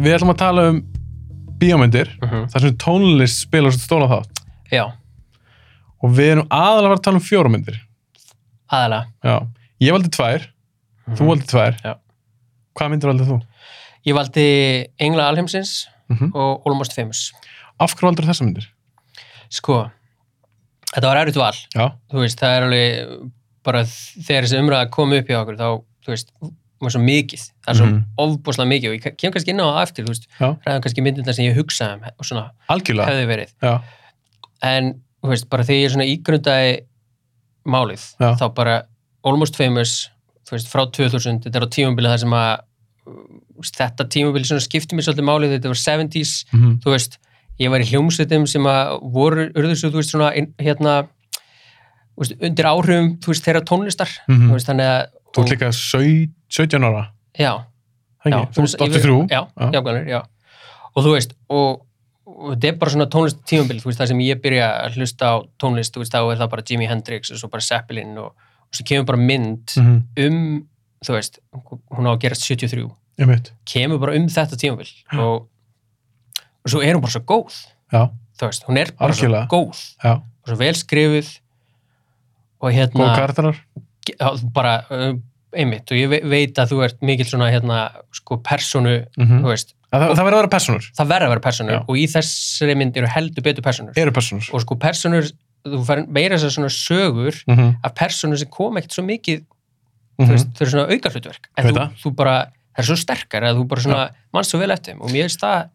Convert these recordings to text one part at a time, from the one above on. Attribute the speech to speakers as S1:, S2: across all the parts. S1: við ætlum að tala um bíómyndir, þar sem tónlist spila svo stóla þátt.
S2: Já,
S1: Og við erum aðalega að fara að tala um fjórumyndir.
S2: aðalega.
S1: Já. Ég valdi tvær, þú valdi tvær.
S2: Mhm. Já.
S1: Hvaða myndir valdi þú?
S2: Ég valdi Engla Alheimsins
S1: Mhm.
S2: og Almost Famous.
S1: Af hverju valdur þessar myndir?
S2: Sko, þetta var erfitt val.
S1: Já.
S2: Þú veist, það er alveg bara þegar þessi umræða kom upp hjá okkur, þá, þú veist, var svo mikið. Það er svo
S1: Mhm.
S2: ofbúslega mikið og ég kem kannski inn á það eftir, þú veist,
S1: Já.
S2: ræðum kannski myndina sem ég hugsaði um og svona
S1: Algjörlega.
S2: hefði verið.
S1: Já.
S2: en þú veist, bara þegar ég svona ígrundaði málið,
S1: Já.
S2: þá bara Almost Famous, þú veist, frá 2000 þetta er á tímabili þar sem að þú veist, þetta tímabili svona skipti mér svolítið málið þetta var 70s,
S1: Mm
S2: þú veist ég var í hljómsveitum sem að voru urðu svo, þú veist, svona inn- hérna þú veist, undir áhrifum, þú veist, þeirra tónlistar þú veist, þannig að
S1: Mhm. Mm. Þú ert líka sau- 17 ára.
S2: já,
S1: Það
S2: já,
S1: ekki? Þú ert
S2: veist, ég-
S1: 83.
S2: já, já. Jákvæmur, já. og þú veist og, og þetta er bara svona tónlist tímambil þú veist það sem ég byrja að hlusta á tónlist þú veist þá er það bara Jimi Hendrix og svo bara Zeppelin og, og svo kemur bara mynd
S1: Mhm.
S2: um, þú veist hún á að gerast 73,
S1: Einmitt.
S2: kemur bara um þetta tímambil og, og svo er hún bara svo góð
S1: Já.
S2: þú veist, hún er bara
S1: Algjörlega.
S2: svo góð
S1: Já.
S2: og svo vel skrifuð og hérna
S1: Góð karakterar.
S2: ge- þá bara uh, einmitt og ég ve- veit að þú ert mikil svona hérna sko personu,
S1: Mm
S2: þú veist
S1: Það, það verður að vera personur.
S2: það verða að vera personur
S1: Já.
S2: og í þessari mynd eru heldur betur personur
S1: Eru personur.
S2: og sko personur, þú fær meira þessar svona sögur
S1: Mm -hmm.
S2: af personur sem kom ekkert svo mikið,
S1: Mm
S2: þú veist, þau eru svona auka hlutverk en
S1: Veit
S2: þú,
S1: það.
S2: þú bara, það er svo sterkar að þú bara svona manst svo vel eftir þeim og mér finnst það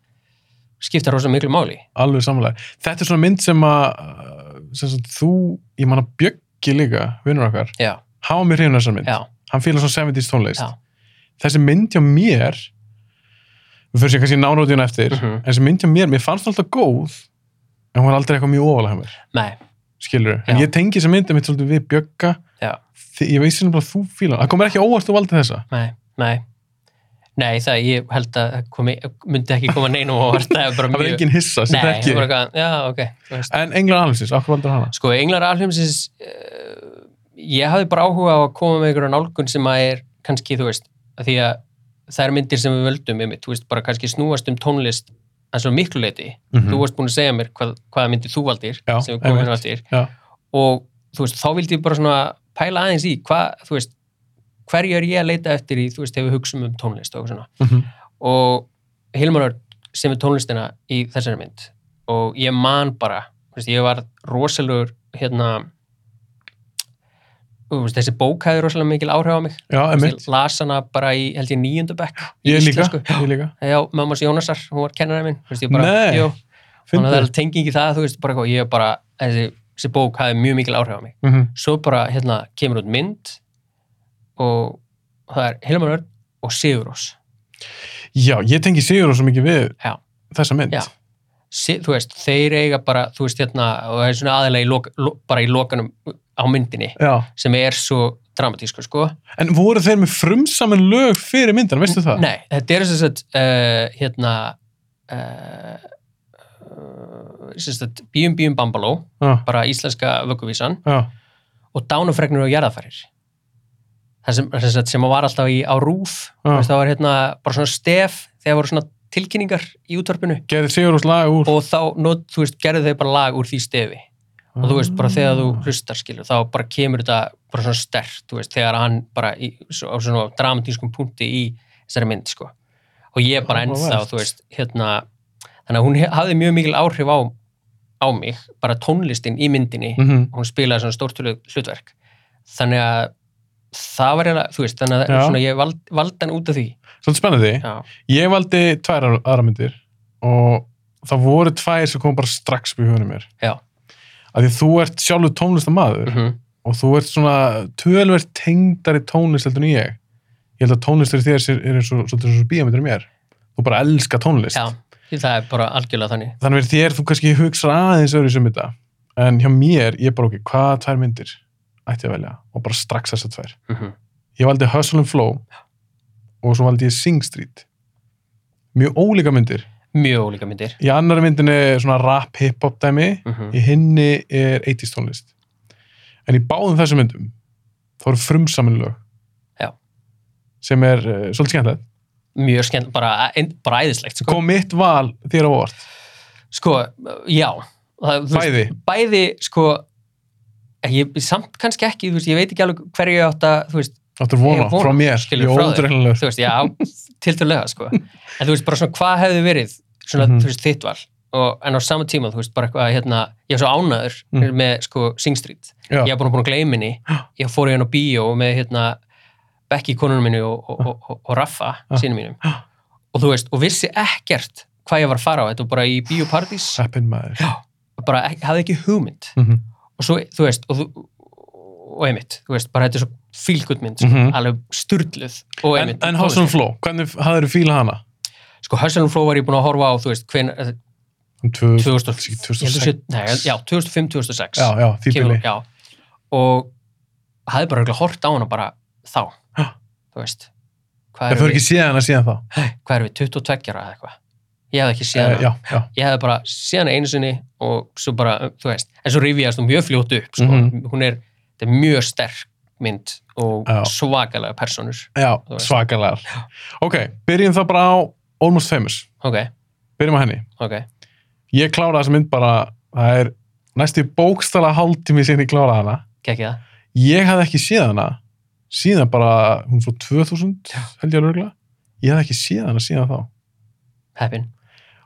S2: skipta rosa miklu máli
S1: Alveg samanlega. Þetta er svona mynd sem að uh, sem sagt, þú, ég man að Bjöggi líka, vinnur okkar,
S2: já,
S1: hafa mér hrifin þessar mynd.
S2: já,
S1: Hann fílar svona 70s tónlist.
S2: já,
S1: Þessi mynd hjá mér, við fyrir sér kannski nánautiðin eftir,
S2: Mhm.
S1: en þessi mynd hjá mér, mér fannst hún alltaf góð, en hún var aldrei eitthvað mjög ofalega hjá mér,
S2: nei,
S1: skilur En
S2: Já.
S1: ég tengi þessi mynd mitt svolítið við Bjögga,
S2: Já.
S1: Þi- ég veist sem bara að þú fílar. hann. Það komir ekki á óvart þú valdi þessa.
S2: nei, nei nei, það, ég held að það komi, myndi ekki koma neinum og það er bara
S1: Það var
S2: mjög
S1: engin hissa, sem þetta
S2: nei, það var
S1: ekki.
S2: eitthvað, já, ok þú veist.
S1: En Englar Alhansins, okkur valdur hana?
S2: Sko, Englar Alheimsins uh, ég hafði bara áhuga á að koma með einhverja nálgun sem að er kannski, þú veist, að því að þær myndir sem við völdum, einmitt, þú veist, bara kannski snúast um tónlist að svo miklu leiti.
S1: Mhm.
S2: Þú varst búin að segja mér hvað, hvaða myndir þú valdir
S1: Já,
S2: sem við komum hérna
S1: einmitt.
S2: áttir
S1: Já.
S2: og þú veist, þá vildi ég bara svona pæla aðeins í hvað, þú veist, hverju er ég að leita eftir í, þú veist, ef við hugsum um tónlist og svona
S1: Mhm.
S2: og Hilmar Örn sem er tónlistina í þessari mynd og ég man bara þú veist, ég var rosalegur hérna þú veist, þessi bók hefði rosalega mikil áhrif á mig
S1: Já,
S2: Þú
S1: emitt.
S2: veist, ég las hana bara í held ég nýjöndu bekk í
S1: Ég líka,
S2: íslensku.
S1: ég líka.
S2: já, mammas Jónasar, hún var kennarinn minn Þú veist, ég bara,
S1: Nei,
S2: jú, þannig að það
S1: Fyndið.
S2: er tenging í það þú veist, bara, eitthvað, ég bara, þessi, þessi bók hefði mjög mikil áhrif á mig
S1: Mhm.
S2: svo bara hérna kemur út mynd og það er Hilmar Örn og Sigurós
S1: Já, ég tengi Sigur og svo mikið við
S2: Já.
S1: þessa mynd.
S2: Já. si- þú veist, þeir eiga bara, þú veist, hérna, og það er svona aðalega í lok, lo, bara í lokanum á myndinni
S1: Já.
S2: sem er svo dramatísku, sko.
S1: En voru þeir með frumsamin lög fyrir myndana, veistu það?
S2: Nei, þetta er þess að, uh, hérna, uh, þess að Bíum Bíum Bambaló,
S1: Já,
S2: bara íslenska vökuvísan
S1: já,
S2: og dánufregnir og jarðafærir. Það sem, sem, sagt, sem var alltaf í, á rúf,
S1: já.
S2: þú veist, það var hérna bara svona stef þegar voru svona tilkynningar í útvarpinu
S1: Gerði Sigur og slag úr.
S2: og þá, not, þú veist, gerðu þau bara lag úr því stefi. og þú veist bara þegar þú hlustar skilur þá bara kemur þetta bara svona stert þú veist þegar hann bara í, svo, á svona dramatískum punkti í þessari mynd sko og ég bara ennþá
S1: Áhugavert.
S2: þú veist hérna þannig að hún he- hafði mjög mikil áhrif á, á mig bara tónlistin í myndinni
S1: Mhm.
S2: hún spilaði svona stórtölu hlutverk þannig að það var eða þú veist þannig að
S1: Já.
S2: svona, ég vald, vald hann út af því
S1: Svolítið spennandi.
S2: já,
S1: Ég valdi tvær aðra- aðra myndir og það voru tvær sem kom bara strax upp í hugunum mér.
S2: Já.
S1: Af því þú ert sjálfur tónlistamadur
S2: mhm,
S1: og þú ert svona tölverð tengdari tónlist heldur en ég. Ég held að tónlistur þér sé- er eins og svolítið svo bíamindur mér. Þú bara elska tónlist.
S2: já því það er bara algjörlega þannig
S1: þannig verið þér, þú kannski hugsa aðeins öðru um þetta, en hjá mér ég bara ok, hvaða tvær myndir ætti ég að velja og bara strax þessar tvær
S2: mhm,
S1: ég valdi Hustle and Flow og svo valdi ég Sing Street mjög ólíka myndir
S2: mjög ólíka myndir
S1: í annari myndinni er svona rap hip-hop dæmi
S2: mhm,
S1: í hinni er 80s tónlist en í báðum þessum myndum þá eru frumsamin lög
S2: Já.
S1: sem er uh, svolítið skemmtilegt
S2: mjög skemmt, bara, ein- bara æðislegt sko.
S1: kom mitt val þér á vort
S2: sko, já það, þú veist,
S1: bæði,
S2: bæði, sko ég, samt kannski ekki, þú veist, ég veit ekki alveg hverju ég átt að, þú veist,
S1: áttur vona,
S2: Ég vona,
S1: frá mér,
S2: skilur,
S1: ég
S2: frá þér.
S1: ódreinilegur
S2: þú veist, já, tiltölulega sko. en þú veist, bara svona hvað hefði verið svona,
S1: Mhm.
S2: þú veist, þitt val og, en á sama tíma, þú veist, bara eitthvað, hérna ég er svo ánæður
S1: Mhm.
S2: með, sko, Sing Street
S1: Já.
S2: ég er búin að búin að gleyma henni ég fór í henni á bíó með, hérna Becky konunum minni og, og, og, og, og Raffa
S1: Já.
S2: sínum mínum og þú veist, og vissi ekkert hvað ég var að fara á þetta var bara í bíópartís
S1: seppin maður
S2: bara ek- hafði ekki hugmynd
S1: Mhm.
S2: og svo, þú veist, og, þú- og einmitt, þú veist, bara þetta er svo fílgutmynd, sko,
S1: Mhm.
S2: alveg sturluð og
S1: en,
S2: einmitt.
S1: en House and Flow, hvernig hafður fíla hana?
S2: Sko, Hustle and Flow var ég búinn að horfa á, þú veist, hven, eh,
S1: Um tvö-
S2: 2000,
S1: kannski
S2: ég held að
S1: 2006
S2: sé- nei, já, 2005, 2006.
S1: já, já, því
S2: Kemur-
S1: bíli
S2: já. Og hafði bara örugglega hort á hana bara þá,
S1: Já.
S2: þú veist.
S1: það
S2: Hvað erum
S1: fyrir
S2: við,
S1: ekki séð hana síðan þá
S2: hvað erum við, 22 ára eða eitthvað? Ég hafði ekki séð
S1: Eh,
S2: hana.
S1: já, já,
S2: Ég hafði bara séð hana einu sinni og svo bara, þú veist, en svo rifjast hún mjög fljótt upp, sko.
S1: Mhm.
S2: Hún er, þetta er mjög sterk mynd og
S1: Já.
S2: svakalega personur.
S1: já,
S2: Þú veist.
S1: svakalega ok, byrjum það bara á Almost Famous,
S2: Ok,
S1: byrjum á henni
S2: ok.
S1: ég klára þessa mynd bara það er næstu bókstala hálftími sem ég klára hana
S2: Kekki það.
S1: ég hafði ekki séð hana síðan bara, hún svo 2000 held ég alveg örugglega. ég hafði ekki séð hana síðan þá
S2: Heppin.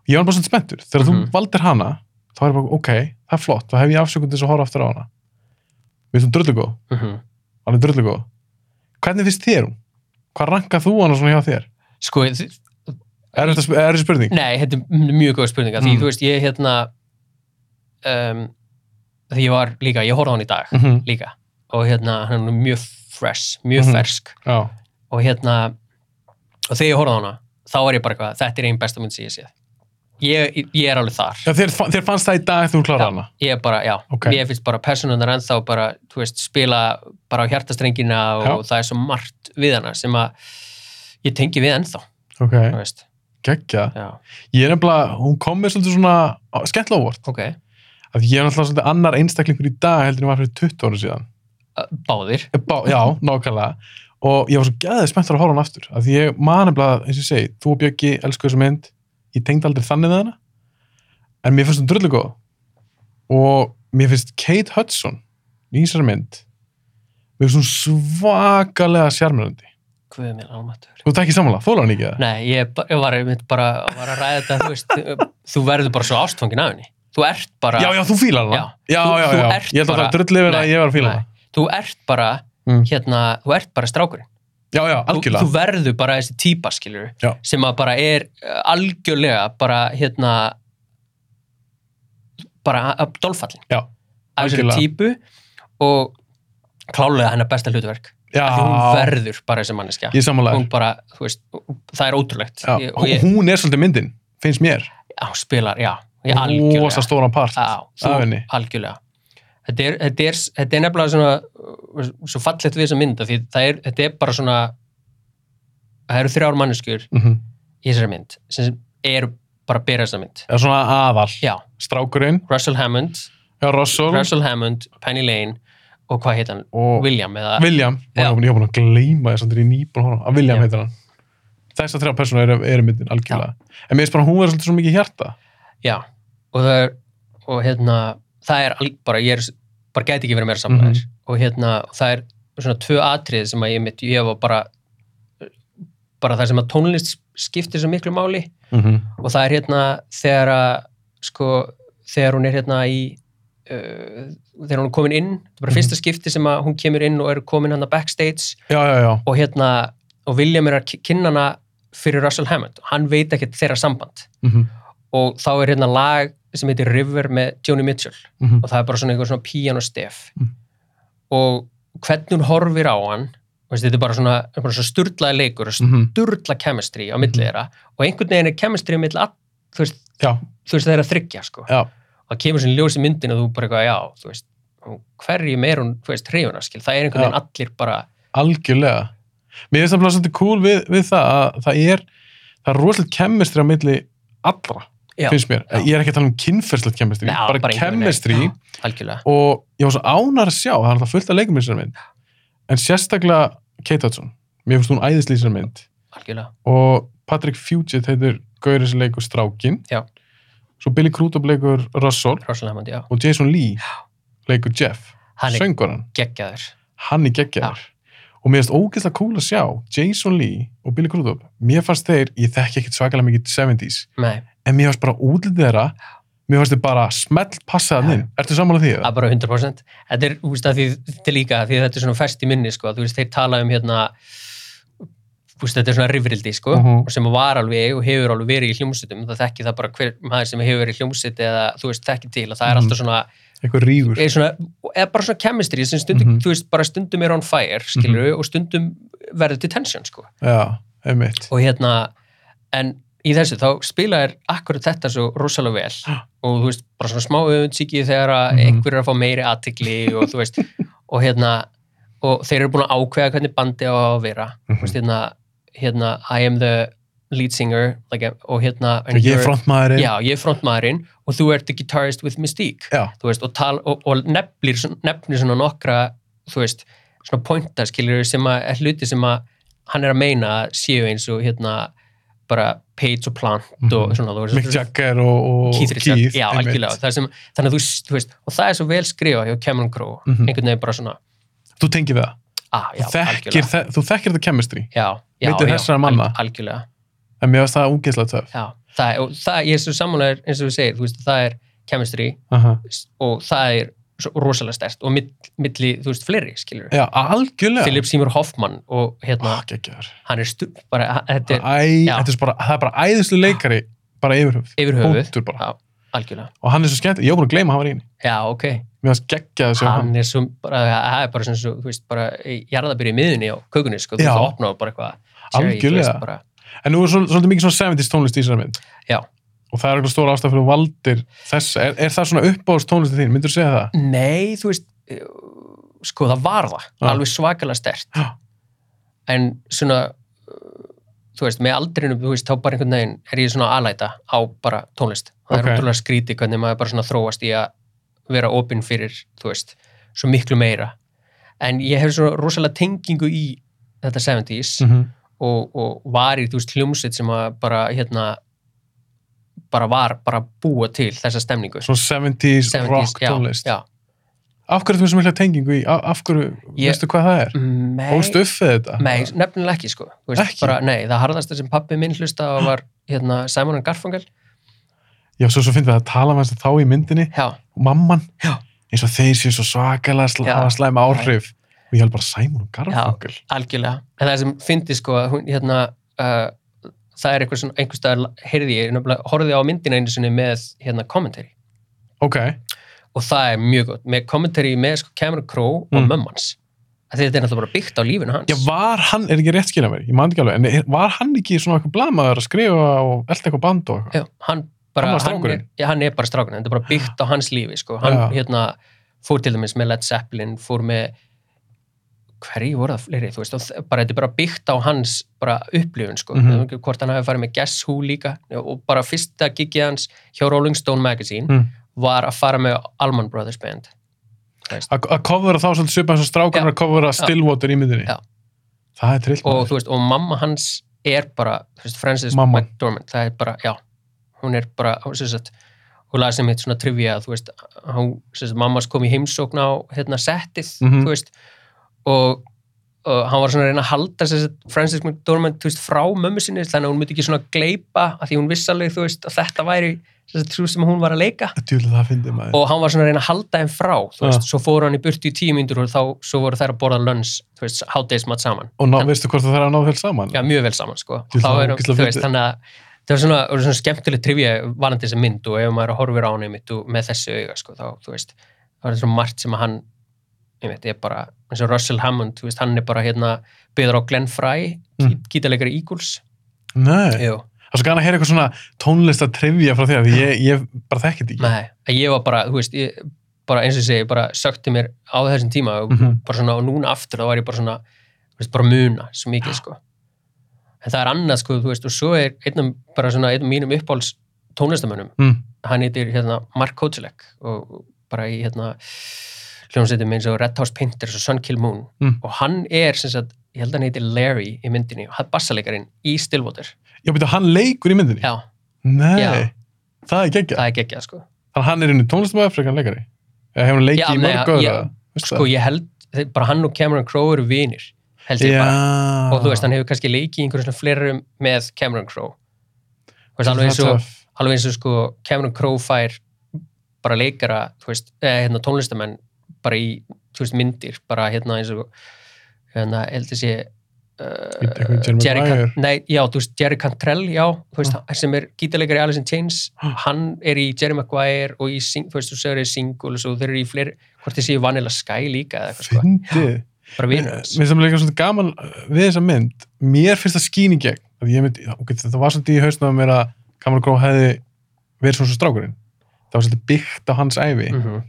S1: ég var bara svona spenntur, þegar
S2: Mhm.
S1: þú valdir hana þá er ég bara, ok, það er flott, þá hef ég afsökun til þess að horfa aftur á hana við erum drullugóð,
S2: Mm
S1: alveg drullugóð hvernig finnst þér hún? hvað rankað þú hana svona hjá þér?
S2: Sko, þi-
S1: er þetta sp- er þetta spurning?
S2: Nei, þetta er mjög góð spurninga því
S1: Mm.
S2: þú veist, ég hérna um, því ég var líka, ég horfði á hann í dag
S1: Mm -hmm.
S2: líka og hérna, hann er mjög fresh mjög
S1: Mhm.
S2: fersk
S1: já,
S2: og hérna, og þegar ég horfði á hana þá er ég bara eitthvað, þetta er einn besta mynd sem ég séð ég, ég er alveg þar
S1: já þér, fa- þér fannst það í dag þegar þú klára
S2: Já.
S1: hana
S2: ég er bara, já,
S1: Ok.
S2: ég finnst bara personunar ennþá bara, þú veist, spila bara á hjartastrengina og það er svo margt við hana sem að ég tengi við ennþá, þú
S1: ok,
S2: veist
S1: geggja
S2: já,
S1: ég er nefnilega, hún kom með svolítið svona skemmtilega óvart,
S2: ok,
S1: að ég er náttúrulega svolítið annar einstaklingur í dag heldur en ég var fyrir 20 ára síðan
S2: báðir
S1: Bá, já, nákvæmlega og ég var svo gæðið spenntur að horfa hann aftur af því ég man nefnilega, eins og ég segi, þú og Bjöggi elsku þessu mynd, ég tengd aldrei þannig við hana en mér finnst hún drullu góð og mér finnst Kate Hudson í þessari mynd mér finnst hún svakalega sjármjörandi
S2: hvað er mér almatur
S1: þú ert ekki samanlega, þólar hann ekki það
S2: Nei, ég, ba- ég var einmitt bara var að ræða þetta, þú veist, þú verður bara svo ástfangin af henni. Þú ert bara,
S1: já, já, þú fílar hana
S2: Já.
S1: já,
S2: Þú-
S1: já,
S2: þú
S1: já.
S2: ert
S1: ég held að
S2: bara-
S1: það drullu yfir
S2: Nei,
S1: að ég var að fíla
S2: nei.
S1: hana
S2: þú ert bara,
S1: Mm.
S2: hérna, þú ert bara strákurinn.
S1: já, já,
S2: Þú,
S1: algjörlega
S2: þú verður bara þessi típa, skilur,
S1: Já.
S2: sem að bara er eh, algjörlega bara, hérna, bara að- að dolfallin.
S1: Já,
S2: Af þessari
S1: algjörlega.
S2: típu og klálega hennar besta hlutverk.
S1: já,
S2: Af því Hún verður bara þessi manneskja.
S1: ég er samanlega
S2: Hún bara, þú veist, það er ótrúlegt.
S1: já,
S2: Ég- og
S1: hún-
S2: ég,
S1: hún er svolítið myndin, finnst mér
S2: hún spilar, já, ég algjörlega.
S1: rosa stóran part
S2: Já, þú,
S1: af henni.
S2: algjörlega. Þetta er, þetta, er, þetta er nefnilega svona, uh, svo fallegt við þessa mynd, af því það er, þetta er bara svona, það eru þrjár manneskjur í
S1: mm
S2: þessari mynd, sem eru bara að bera þessa mynd.
S1: eða svona aðal
S2: Já,
S1: strákurinn,
S2: Russell Hammond,
S1: já, Russell,
S2: Russell Hammond, Penny Lane og hvað heit hann?
S1: og
S2: William eða...
S1: William
S2: Já.
S1: já. ég var búin að gleyma þess að þetta er í nýbúin að horfa. að William
S2: Já.
S1: heitir hann þessar þrjá persóna eru, eru myndin algjörlega en mér finnst bara að hún er svolítið svo mikið hjarta
S2: Já, og það er, og hérna, það er al- bara, ég er, bara gæti ekki verið meira
S1: Mhm.
S2: samanlæðir. Og hérna, það er svona tvö atrið sem að ég mitt, ég var bara, bara það sem að tónlist skiptir svo miklu máli
S1: mm -hmm.
S2: og það er hérna þegar að sko, þegar hún er hérna í uh, þegar hún er komin inn þetta er bara
S1: Mhm.
S2: fyrsta skipti sem að hún kemur inn og er komin hann að backstage
S1: já, já, já,
S2: og hérna og William er að ki- kynna hana fyrir Russell Hammond hann veit ekkert þeirra samband
S1: mm -hmm.
S2: og þá er hérna lag sem heitir River með Joni Mitchell
S1: Mm -hmm.
S2: og það er bara svona einhver svona píanostef
S1: Mhm.
S2: og hvernig hún horfir á hann þú veist, þetta er bara svona, bara svona sturlaði leikur
S1: Mm.
S2: sturla chemistry á milli
S1: Mhm.
S2: þeirra og einhvern veginn er chemistry á milli all, þú veist,
S1: já,
S2: þú veist það er að þryggja sko.
S1: já,
S2: og það kemur sem ljós í myndin og þú bara eitthvað, já, þú veist og hverjum er hún, þú veist, hreyfuna, skil það er einhvern veginn allir bara,
S1: algjörlega mér finnst það bara svolítið cool við, við það að það er, það er rosalega kemmistri á milli allra,
S2: Já.
S1: finnst mér
S2: Já.
S1: ég er ekki að tala um kynferðslegt kemmistri
S2: Já,
S1: bara, bara
S2: einhvern veginn.
S1: kemmistri
S2: Já, algjörlega,
S1: og ég var svo ánar að sjá það er alltaf fullt af leikum í þessari mynd en sérstaklega Kate Hudson mér finnst hún æðislýsar mynd
S2: algjörlega.
S1: og Patrick Fugit heitir Gaurið sem leikur Strákin
S2: Já.
S1: svo Billy Crudup leikur Russell
S2: Rosalega hemmandi, já.
S1: og Jason Lee leikur Jeff
S2: Hann er
S1: söngoran,
S2: geggjaður.
S1: hann er geggjar og mér finnst ógeðslega cool að sjá Jason Lee og Billy Crudup mér fannst þeir, ég þekki ekkit svakalega mikið 70s
S2: Nei,
S1: en mér fannst bara útlitið þeirra mér fannst þeir bara smelt passaðan inn ertu sammála því
S2: að
S1: það?
S2: bara 100%. Þetta er, þú veist, að því, þetta er líka, því þetta er svona fest í minni, sko, þú veist, þeir tala um hérna, þú veist, þetta er svona rifrildi, sko,
S1: Mhm.
S2: og sem var alveg og hefur alveg verið í hljómsutum, það þekki það bara hver maður sem hefur verið í hljómsuti eða, þú veist, þekki til, að það er
S1: Mhm.
S2: alltaf svona,
S1: eitthvað rígur
S2: er svona eða bara svona chemistry sem stundum,
S1: Mhm.
S2: þú veist, bara stundum er on fire, skilur og stundum verður til tension, sko.
S1: já, einmitt
S2: og hérna en í þessu þá spila er akkurat þetta svo rosalega vel
S1: Já.
S2: og þú veist bara svona smá öfundsíki þegar að
S1: Ah. Mhm.
S2: einhver er að fá meiri aðtikli og þú veist og hérna og þeir eru búin að ákveða hvernig bandi á að vera
S1: Mhm.
S2: þú veist hérna, hérna I am the lead singer like, og hérna and
S1: ég
S2: you're-
S1: er frontmaðurinn
S2: já, ég er frontmaðurinn og þú ert the guitarist with Mystique
S1: Já.
S2: þú veist, og, tal, og, og nefnir, nefnir svona nokkra þú veist, svona pointa skilur sem að er hluti sem að hann er að meina að séu eins og hérna bara page og plant og
S1: Mhm.
S2: svona þú
S1: Mick Jagger og, og
S2: Keith Richards, já,
S1: einmitt.
S2: algjörlega Það er sem, þannig að þú, s- þú veist, og það er svo vel skrifa hjá Cameron Crowe,
S1: Mhm.
S2: einhvern veginn bara svona
S1: þú tengir við það,
S2: ah, já,
S1: þú þekkir,
S2: algjörlega
S1: þe þú þekkir þetta chemistry
S2: já, já,
S1: milli
S2: já,
S1: þessara manna.
S2: alg- algjörlega
S1: en mér finnst það ógeðslega töf
S2: já, það, er- og það, ég er svo sammálaður eins og við segir, þú veist, það er chemistry og það er svo rosalega stærst og mill, milli, þú veist, fleiri, skilur
S1: já, algjörlega
S2: Philip Seymour Hoffman og hérna,
S1: Ah, geggjaður.
S2: hann er stu, bara, hann- þetta er
S1: Æ,
S2: já.
S1: þetta er svo bara, það er bara æðislu leikari bara yfir höfuð,
S2: yfir höfuð,
S1: óttur ah. bara
S2: Já. algjörlega
S1: og hann er svo skemmt, ég var búin að gleyma að hann var í henni
S2: já, ok,
S1: mér finnst geggjað að sjá hann
S2: hann er svo bara, það er bara sem svo, þú veist, bara jarðabyrja í miðunni á kökunni, sko, þú
S1: Já.
S2: veist, það opna og bara eitthvað cherry, þú
S1: Algjörlega.
S2: veist, bara,
S1: En nú er svol- svolítið mikið svona 70s tónlist í þessari mynd.
S2: Já.
S1: Og það er eitthvað stóra ástæð fyrir þú valdir þess. Er, er það svona uppáðs tónlistin þín? Myndur þú segja það?
S2: nei, þú veist eh, sko, það var það,
S1: Já.
S2: alveg svakalega stert
S1: Já.
S2: en svona eh, þú veist, með aldrinum, þú veist, þá bara einhvern veginn er ég svona alæta á bara tónlist
S1: Ok.
S2: það er ótrúlega skríti hvernig maður bara svona þróast í að vera opinn fyrir, þú veist svo miklu meira en ég hef svona rosalega tengingu í þetta 70s
S1: -hmm.
S2: og, og var í, þú veist, hljómsveit sem að bara, hérna bara var, bara að búa til þessa stemningu
S1: Svona 70s,
S2: 70s,
S1: rock
S2: já,
S1: tónlist.
S2: já.
S1: Af hverju þú sem mikla tengingu í? Af, af hverju,
S2: Ég-
S1: veistu hvað það er?
S2: Nei,
S1: Óstu upp við þetta?
S2: Nei, nefnilega ekki sko Þú veist,
S1: Ekki?
S2: Bara, nei, það harðasta sem pappi minn hlusta á var hérna, Simon and Garfunkel
S1: Já, svo, svo finnum við að tala með þess að þá í myndinni.
S2: Já,
S1: Og mamman.
S2: Já.
S1: Eins og þeir séu svo svakalega sl
S2: Já.
S1: hafa slæm áhrif. Og ég held bara Simon og Garfunkel.
S2: algjörlega en það sem fyndi sko að hún, hérna, uh, það er eitthvað svona einhverstaðar heyrði ég, nefnilega, horfði á myndina einu sinni með hérna, commentary
S1: Ok.
S2: og það er mjög gott, með commentary með sko, Cameron Crowe og
S1: Mm.
S2: mm. mömmans þetta er náttúrulega bara byggt á lífinu hans
S1: Já, var hann, er ekki rétt skilja mér? Ég man ekki alveg. En er- var hann ekki svona eitthvað blamaður að skrifa og elda eitthvað band og eitthvað?
S2: Já, hann,
S1: Hann
S2: bara,
S1: var
S2: hann, er,
S1: strákurinn?
S2: já, hann er bara strákurinn þetta er bara byggt á hans lífi sko. hann
S1: Já.
S2: hérna, fór til dæmis með Led Zeppelin fór með hverju voru það fleiri, þú veist, og þ- bara, þetta er bara byggt á hans bara upplifun, sko,
S1: Mhm.
S2: mm hvort hann hafi farið með Guess Who líka og bara fyrsta gigið hans hjá Rolling Stone Magazine
S1: Mm.
S2: var að fara með Alman Brothers Band þú veist.
S1: að að covera þá svolítið svipa eins og strákarnar að covera Stillwater í myndinni
S2: Já.
S1: það er trillt
S2: og
S1: maður.
S2: þú veist, og mamma hans er bara, þú veist, Frances
S1: Mamman.
S2: McDormand það er bara, já, hún er bara hún, sem sagt, hún laði sem hitt svona trivia þú veist, hún, sem sagt, mammas kom í heimsókn á hérna settið,
S1: Mhm.
S2: þú veist og, og hann var svona að reyna að halda sem sagt, Frances McDormand, þú veist, frá mömmu sinni þannig að hún myndi ekki svona gleypa að því hún vissaleg, þú veist, að þetta væri sem sagt, sú sem hún var að leika
S1: djúlega það fyndi maður
S2: og hann var svona að reyna að halda þeim frá þú
S1: Já.
S2: veist, svo fór hann í burtu í tíu myndur og þá, svo voru þær að borða lönns, þú veist, hátdeismat saman
S1: og ná, veistu hvort það þarf að ná þeir saman
S2: já, mjög vel saman sko.
S1: Jú,
S2: Þá
S1: það var
S2: erum,
S1: ógeðslega
S2: þú veist,
S1: fyndið.
S2: þannig að það var svona, var svona skemmtileg trivja varandi þessi mynd og ef maður horfir á hann einmitt og með þessu auga sko, þá, þú veist, það var svona margt sem að hann einmitt, er bara, eins og Russell Hammond þú veist, hann er bara hérna, byður á Glenn Fry
S1: Mm.
S2: mm. gítalegari Eagles
S1: nei,
S2: Jú,
S1: það er svo gana að heyra eitthvað svona tónlista trivja frá þér, því ég, ég bara þekki þetta ekki
S2: nei, að ég var bara, þú veist ég, bara eins og ég segi, bara sökti mér á þessum tíma og
S1: Mhm.
S2: bara svona og núna aftur þá var ég bara svona, þú veist, bara að muna svo mikið sko en það er annað sko, þú veist, og svo er einnum bara svona einnum mínum uppáhalds tónlistamönnum
S1: Mm.
S2: hann heitir hérna Mark Kotelek og bara í hérna hljómsveitum eins og Red House Painters og Sun Kill Moon
S1: Mm.
S2: og hann er sem sagt ég held að hann heiti Larry í myndinni og hann bassalegarinn í Stillwater
S1: Já, betur, hann leikur í myndinni?
S2: já,
S1: Nei,
S2: Já.
S1: það er geggja.
S2: það er geggjað sko
S1: Þannig að hann er inn í tónlistamæður frekar en leikari. Eða hefur hann leikið
S2: Já,
S1: í
S2: nei,
S1: mörg öðra?
S2: já, sko ég held, þeir- bara hann og Cameron Crowe eru vinir held ég
S1: já.
S2: bara og
S1: Ah.
S2: þú veist, hann hefur kannski leikið í einhverjum svona flerum með Cameron Crowe Þú veist, alveg eins og, alveg eins og sko, Cameron Crowe fær bara leikara þú veist, eða, hérna, tónlistamenn bara í þú veist, myndir bara hérna eins og hérna, heldur sé eh,
S1: Bíddu, eitthvað Jerry Maguire?
S2: nei, já, þú veist, Jerry Cantrell já, þú veist, sem er gítarleikari í Alice in Chains,
S1: Ah.
S2: hann er í Jerry Maguire og í, Sing- þú veist, þú segir í Singles og þeir eru í fleiri, hvort þeir séu Vanilla Sky líka eða eitthvað, sko,
S1: Fyndið.
S2: bara
S1: Mér
S2: vinur hans
S1: finnst það líka svolítið gaman uh, við þessa mynd. Mér finnst það skín í gegn. Að ég mynd, ok, þetta var svolítið í hausnum að mér að Cameron Crowe hefði verið svona svo strákurinn. Það var svolítið byggt á hans ævi.
S2: mm -hmm.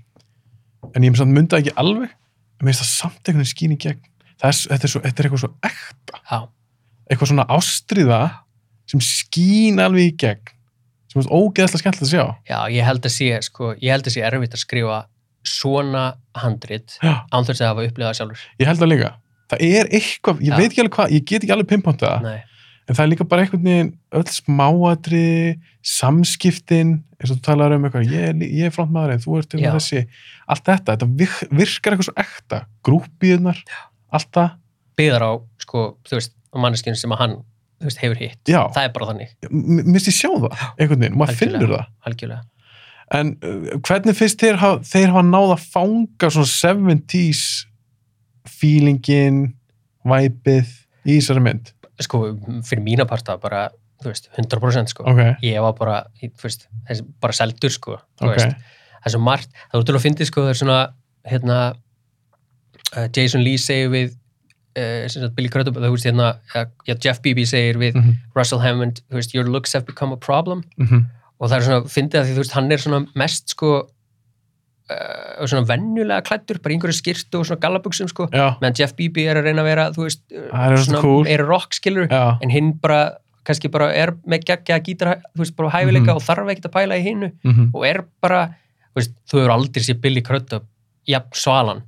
S1: En ég myndi það ekki alveg. En mér finnst það samt einhvern veginn skín í gegn. Það Er, s- þetta, er svo, þetta er eitthvað svo ekta.
S2: já,
S1: eitthvað svona ástriða sem skín alveg í gegn sem er ógeðslega skemmtilegt að sjá
S2: já, ég held að sé sko, ég held að sé erfitt að skrifa svona handrit
S1: Já.
S2: án þess að hafa upplifað það sjálfur
S1: ég held það líka, það er eitthvað ég
S2: Já.
S1: veit ekki alveg hvað, ég get ekki alveg pimpónta það
S2: Nei.
S1: en það er líka bara einhvern veginn öll smáatri, samskiptin eins og þú talar um eitthvað ég, er lí- ég er frontmaður en þú ert til
S2: Já.
S1: þessi allt þetta, þetta vir- virkar eitthvað svo ekta grúpiðunar, allt það
S2: byggðar á sko, þú veist, manneskjum sem að hann þú veist, hefur hitt,
S1: já,
S2: það er bara þannig
S1: M- mér finnst ég sjá það einhvern veginn, maður
S2: Algjörlega.
S1: finnur það
S2: algjörlega,
S1: En uh, hvernig finnst þeir hafa, þeir hafa náð að fanga svona 70s feelingin, væpið í þessari mynd?
S2: sko, fyrir mína parta bara, þú veist, 100% sko
S1: Ok,
S2: ég var bara, í- þú veist, þessi, bara seldur sko, þú
S1: ok.
S2: veist, það er svo margt það er útrúlega fyndið sko, það er svona hérna, uh, Jason Lee segir við uh, sem sagt, Billy Crudup, þú veist, hérna uh, já, Jeff Beebe segir við
S1: Mhm,
S2: Russell Hammond, þú veist, your looks have become a problem
S1: mhm,
S2: og það er svona, fyndið að því, þú veist, hann er svona mest sko uh, svona vennulega klættur, bara í einhverju skýrtu og svona gallabuxum sko,
S1: Já,
S2: meðan Jeff Beebe er að reyna að vera, þú veist,
S1: það er svona cool.
S2: er rock skilur,
S1: Já,
S2: en hinn bara kannski bara er með geggja að gítar þú veist, bara hæfileika
S1: Mhm.
S2: og þarf ekkert að pæla í hinnu
S1: mhm,
S2: og er bara, þú veist, þú hefur aldrei séð Billy Crudup, jafn svalan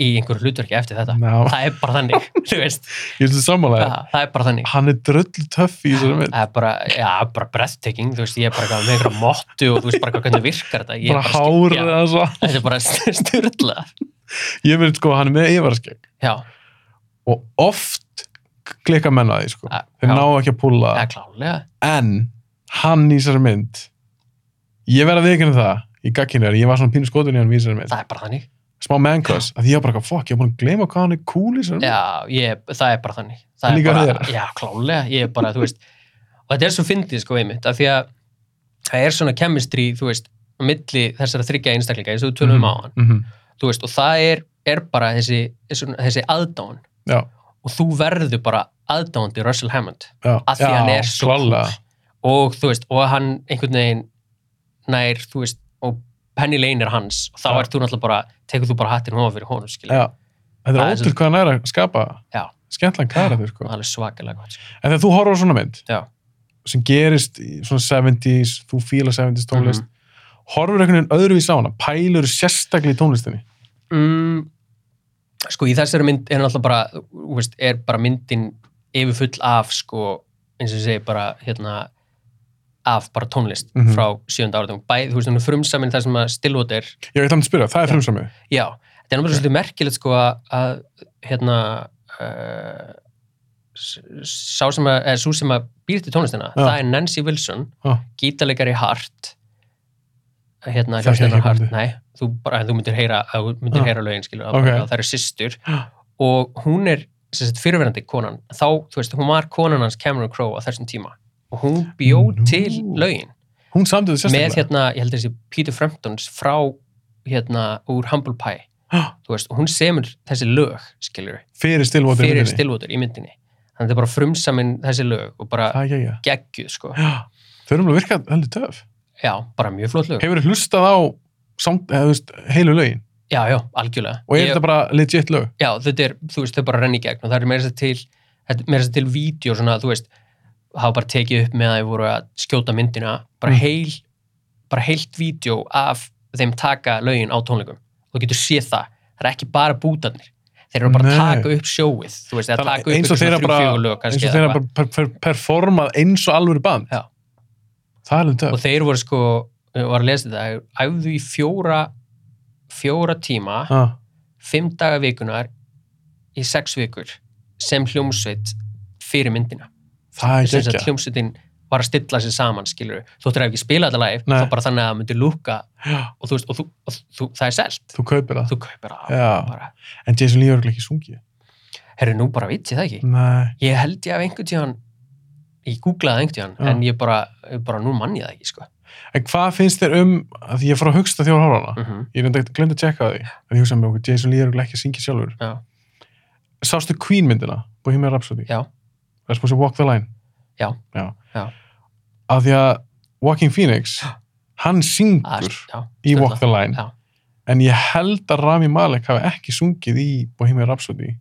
S2: í einhverju hlutverki eftir þetta
S1: ná,
S2: það er bara þannig, þú veist
S1: ég finnst sammála þér.
S2: það, það er bara þannig
S1: Hann er dröllu töff í þessari mynd.
S2: það er bara, já, bara breathtaking þú veist, ég er bara eitthvað með einhverja mottu og þú veist bara hvað- hvernig virkar þetta Ég er
S1: Bara
S2: skil-
S1: hárið
S2: já,
S1: að svo.
S2: þetta er bara styrla
S1: Ég verið sko, hann er með yfarskegg.
S2: já,
S1: Og oft klikka menna því sko.
S2: það-
S1: Þeir
S2: já,
S1: ná ekki að púla.
S2: það er klálega
S1: en hann í þessari mynd ég verði að viðkynna það í gagkinnar, ég var svona pínu skotin í hann í þessari mynd
S2: það er bara þannig
S1: smá mancos, að því ég var bara eitthvað fokk, ég var búin að gleyma hvað hann er cool í þessari mynd
S2: já, ég, það er bara þannig það
S1: Líka
S2: er bara,
S1: þér.
S2: já, klálega, ég er bara, þú veist og þetta er svo fyndið, sko, einmitt af því að það er svona kemistri, þú veist á milli þessara þryggja einstaklinga eins og þú tölum
S1: Mhm.
S2: á hann,
S1: mm -hmm.
S2: þú veist, og það er, er bara þessi, þessi, þessi aðdán
S1: já,
S2: og þú verður bara aðdándi Russell Hammond
S1: já,
S2: Af því
S1: já,
S2: hann er svo
S1: klálega.
S2: og þú veist, og hann einhvern veginn nær, þú veist, og Penny Lane er hans og þá
S1: Já.
S2: ert þú náttúrulega bara, tekur þú bara hattin hófa fyrir honum, skilja,
S1: já. þetta
S2: Það
S1: er
S2: er
S1: ótrúð hvað hann er að skapa
S2: Já.
S1: skemmtlan kæra þér sko
S2: það er alveg svakalega gott, sko.
S1: en þegar þú horfður á svona mynd
S2: Já.
S1: sem gerist í svona 70s, þú fíla 70s
S2: Mhm.
S1: tónlist horfður einhvern veginn öðruvís á hana pælur sérstaklega í tónlistinni
S2: Mm, sko, í þessari mynd er náttúrulega bara, þú veist, er bara myndin yfirfull af, sko, eins og ég segi bara, hérna, af bara tónlist
S1: Mhm.
S2: frá sjönda áratum, bæð, þú veist, hún er frumsamin þar sem að Stillwater
S1: ég veit hann að spyrja, það er
S2: Já.
S1: frumsamið
S2: Já, þetta er náttúrulega svolítið merkilegt sko að- að hérna uh, sá sem að, eða svo sem að býr til tónlistina,
S1: Já.
S2: það er Nancy Wilson
S1: Já.
S2: gítarleikari Hart hérna,
S1: Þekki ekki
S2: hljóðstæðan Hart,
S1: bandið.
S2: nei þú, bara, þú myndir heyra, að þú myndir
S1: Já.
S2: heyra lögin skilur,
S1: Ok.
S2: okay. það eru systur og hún er sem sagt, fyrirverandi konan þá, þú veist, hún var konan hans Cameron Crowe á þessum tíma og hún bjó
S1: Mm, Nú.
S2: til lögin
S1: hún samdi þetta
S2: með
S1: sérstaklega
S2: hérna, ég held að þessi Peter Framptons frá hérna úr Humble Pie
S1: Já.
S2: þú veist, og hún semur þessi lög skilur,
S1: fyrir stilvótið
S2: fyrir stilvotur í myndinni þannig að þetta er bara frumsamin þessi lög og bara
S1: það er ekki
S2: geggjuð sko
S1: Þau eru alveg að virka heldur töf.
S2: já, bara mjög flott lög,
S1: Hefur hlustað á samt, eða, þú veist, heilu lögin
S2: já, já, algjörlega
S1: og er
S2: Ég-
S1: þetta bara legit lög?
S2: já, þetta er, þú veist, þau bara renni í gegn og það er meira þess að til, þetta er meira þess að til vídeo svona, þú veist, hafa bara tekið upp með að þau voru að skjóta myndina bara
S1: Mm.
S2: heil, bara heilt vídeo af þeim taka lögin á tónleikum þú getur séð það, það er ekki bara bútarnir þeir eru bara að
S1: Nei.
S2: taka upp sjóið þú veist, að
S1: Þannig-
S2: taka upp
S1: eins og
S2: einhver
S1: þeirra
S2: svona þrjú,
S1: bara-
S2: fjögur
S1: eins
S2: lög kannski
S1: og
S2: eða
S1: þeirra
S2: eitthvað.
S1: bara per, per, performað eins og alvöru band
S2: Já.
S1: það er alveg
S2: og
S1: töf
S2: þeir voru sko, ég var að lesa þetta æfðu í fjóra fjóra tíma,
S1: ah,
S2: fimm daga vikunar í sex vikur sem hljómsveit fyrir myndina
S1: það er
S2: sem sagt
S1: gekkja
S2: hljómsveitin var að stilla sér saman skilur, þú ættir að ekki spila þetta live
S1: Nei.
S2: þá bara þannig að það myndi lúka
S1: Já,
S2: og, þú veist, og, þú, og þú, það er selt
S1: þú kaupir það
S2: þú kaupir það
S1: Já.
S2: bara,
S1: en Jason Lee er örugglega ekki sungið
S2: herru nú bara veit ég það ekki
S1: nei,
S2: ég held ég af einhvern tíðan ég googlaði einhvern tíðan
S1: Já.
S2: en ég bara, ég bara nú mann ég það ekki sko.
S1: en hvað finnst þér um að því ég fór að hugsta þjóra hálfana
S2: mm
S1: ég reyndi að glemta að tjekka því að ég hugsaði með okkur, Jason Lee er örugglega ekki að syngja sjálfur
S2: já,
S1: sástu Queen myndina, Bohemian Rhapsody
S2: Já.
S1: það er spúin sem Walk the Line
S2: Já.
S1: já.
S2: Já.
S1: að því að Walking Phoenix hann
S2: að,
S1: syngur
S2: já,
S1: í
S2: sturla.
S1: Walk the Line
S2: Já.
S1: en ég held að Rami Malek hafi ekki sungið í Bohemian Rhapsody er,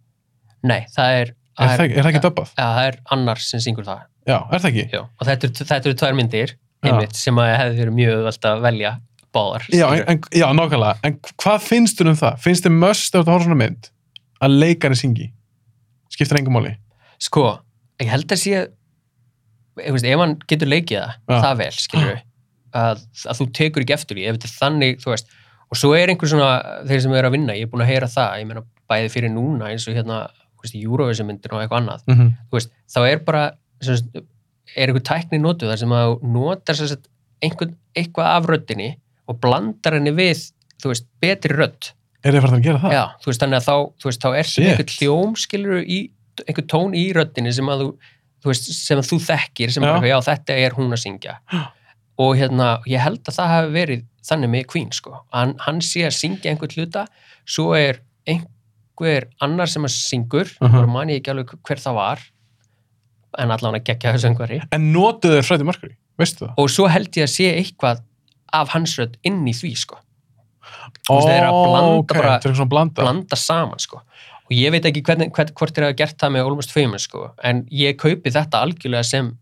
S2: nei, það er,
S1: það, ekki- er það ekki döbbað?
S2: Já, það er annar sem syngur það
S1: Já, er það ekki?
S2: já. og þetta eru- þetta eru tvær myndir einmitt, sem að hefði verið mjög auðvelt að velja báðar
S1: Já,
S2: skilur.
S1: en, en, já, nákvæmlega, en hvað finnst þér um það? Finnst þér möst ef þú horfður svona mynd að leikari syngi? Skiptir engum máli?
S2: sko, ég held að sé ég veist, ef hann getur leikið það
S1: Já.
S2: það vel, skilur við að, að þú tekur ekki eftir því, ef þetta er þannig þú veist, og svo er einhver svona þeir sem eru að vinna, ég er búin að heyra það ég meina bæði fyrir núna eins og hérna þú veist, Eurovision myndir og eitthvað annað
S1: Mm -hmm.
S2: þú veist, þá er bara sem sagt, er einhver tækni notuð þar sem að þú notar sem sagt, einhvern, eitthvað af röddinni og blandar henni við þú veist, betri rödd
S1: Er þið farið að gera það?
S2: Já, þú veist, þannig að þá, þú veist, þá er
S1: Shit.
S2: sem einhver hljóm, skilur í, einhver tón í röddinni sem að þú, þú veist, sem að þú þekkir, sem
S1: Já.
S2: bara, já, þetta er hún að syngja. Og hérna, ég held að það hafi verið þannig með Queen, sko. Hann, hann sé að syngja einhvern hluta, svo er einhver annar sem að syngur, uh
S1: Mhm.
S2: -huh. man ég ekki alveg hver það var, en allan að gegja þessu einhverji.
S1: En notuðu þeir Freddie Mercury, veistu það?
S2: Og svo held ég að sé eitthvað af hans rödd inn í því, sko. veist, þeir eru að blanda
S1: ok,
S2: bara-
S1: Þeir eru svona að blanda.
S2: blanda saman sko. og ég veit ekki hvernig, hvern, hvort þeir hafa gert það með Olmust Famous sko. en ég kaupi þetta algjörlega sem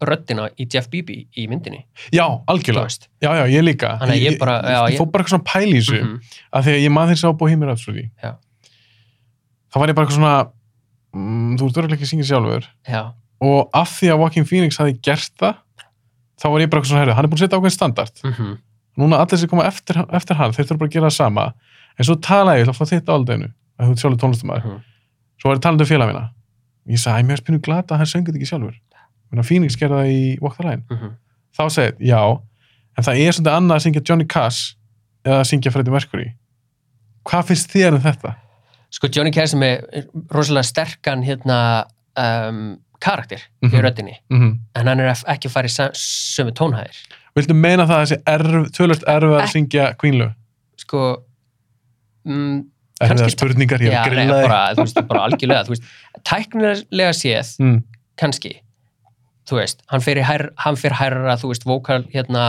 S2: röddina í Jeff Beebe í myndinni
S1: Já,
S2: þú
S1: algjörlega.
S2: veist
S1: Já, já, ég líka.
S2: Þannig að ég bara- já,
S1: ég,
S2: ég-
S1: fór bara eitthvað svona pæl í þessu.
S2: Mhm.
S1: að því að ég maður þess að búið heimir aftur því
S2: Já.
S1: þá var ég bara eitthvað svona mm, þú ert örugglega ekki að syngja sjálfur
S2: já,
S1: og af því að Joaquin Phoenix hafi gert það þá var ég bara eitthvað svona herrið, hann er búin að setja ákveðin standard
S2: mhm,
S1: núna allir sem koma eftir, eftir hann þeir þurfa bara að gera það sama en svo talaði ég, ég ætla að fá þitt áldeginu að þú ert sjálfur tónlistamæður
S2: mhm.
S1: svo var ég talandi um félag mína ég sagði, "Æ, mér er spynnu glata að hann söngu þetta ekki sjálfur Menna, Phoenix gerði það í Walk the Line
S2: mhm.
S1: þá segið, já, en það er svona annað að syngja Johnny Cash eða að syngja Freddie Mercury hvað finnst þér um þetta?
S2: sko Johnny Cash er með rosalega sterkan hérna um, karakter
S1: Mhm.
S2: í röddinni
S1: Mm
S2: en hann er ef- ekki farið sa- sömu tónhæðir
S1: Viltu meina það að þessi erf, tölvöld erfið að
S2: Ek-
S1: syngja kvínlu?
S2: sko mm,
S1: Erfiðar
S2: Kannski-
S1: spurningar, ég er
S2: já,
S1: að
S2: nei,
S1: grilla þig.
S2: bara, þú veist, bara algjörlega þú veist, tæknilega séð
S1: Mm,
S2: kannski þú veist, hann fer, í hær, hann fer hærra þú veist, vokal hérna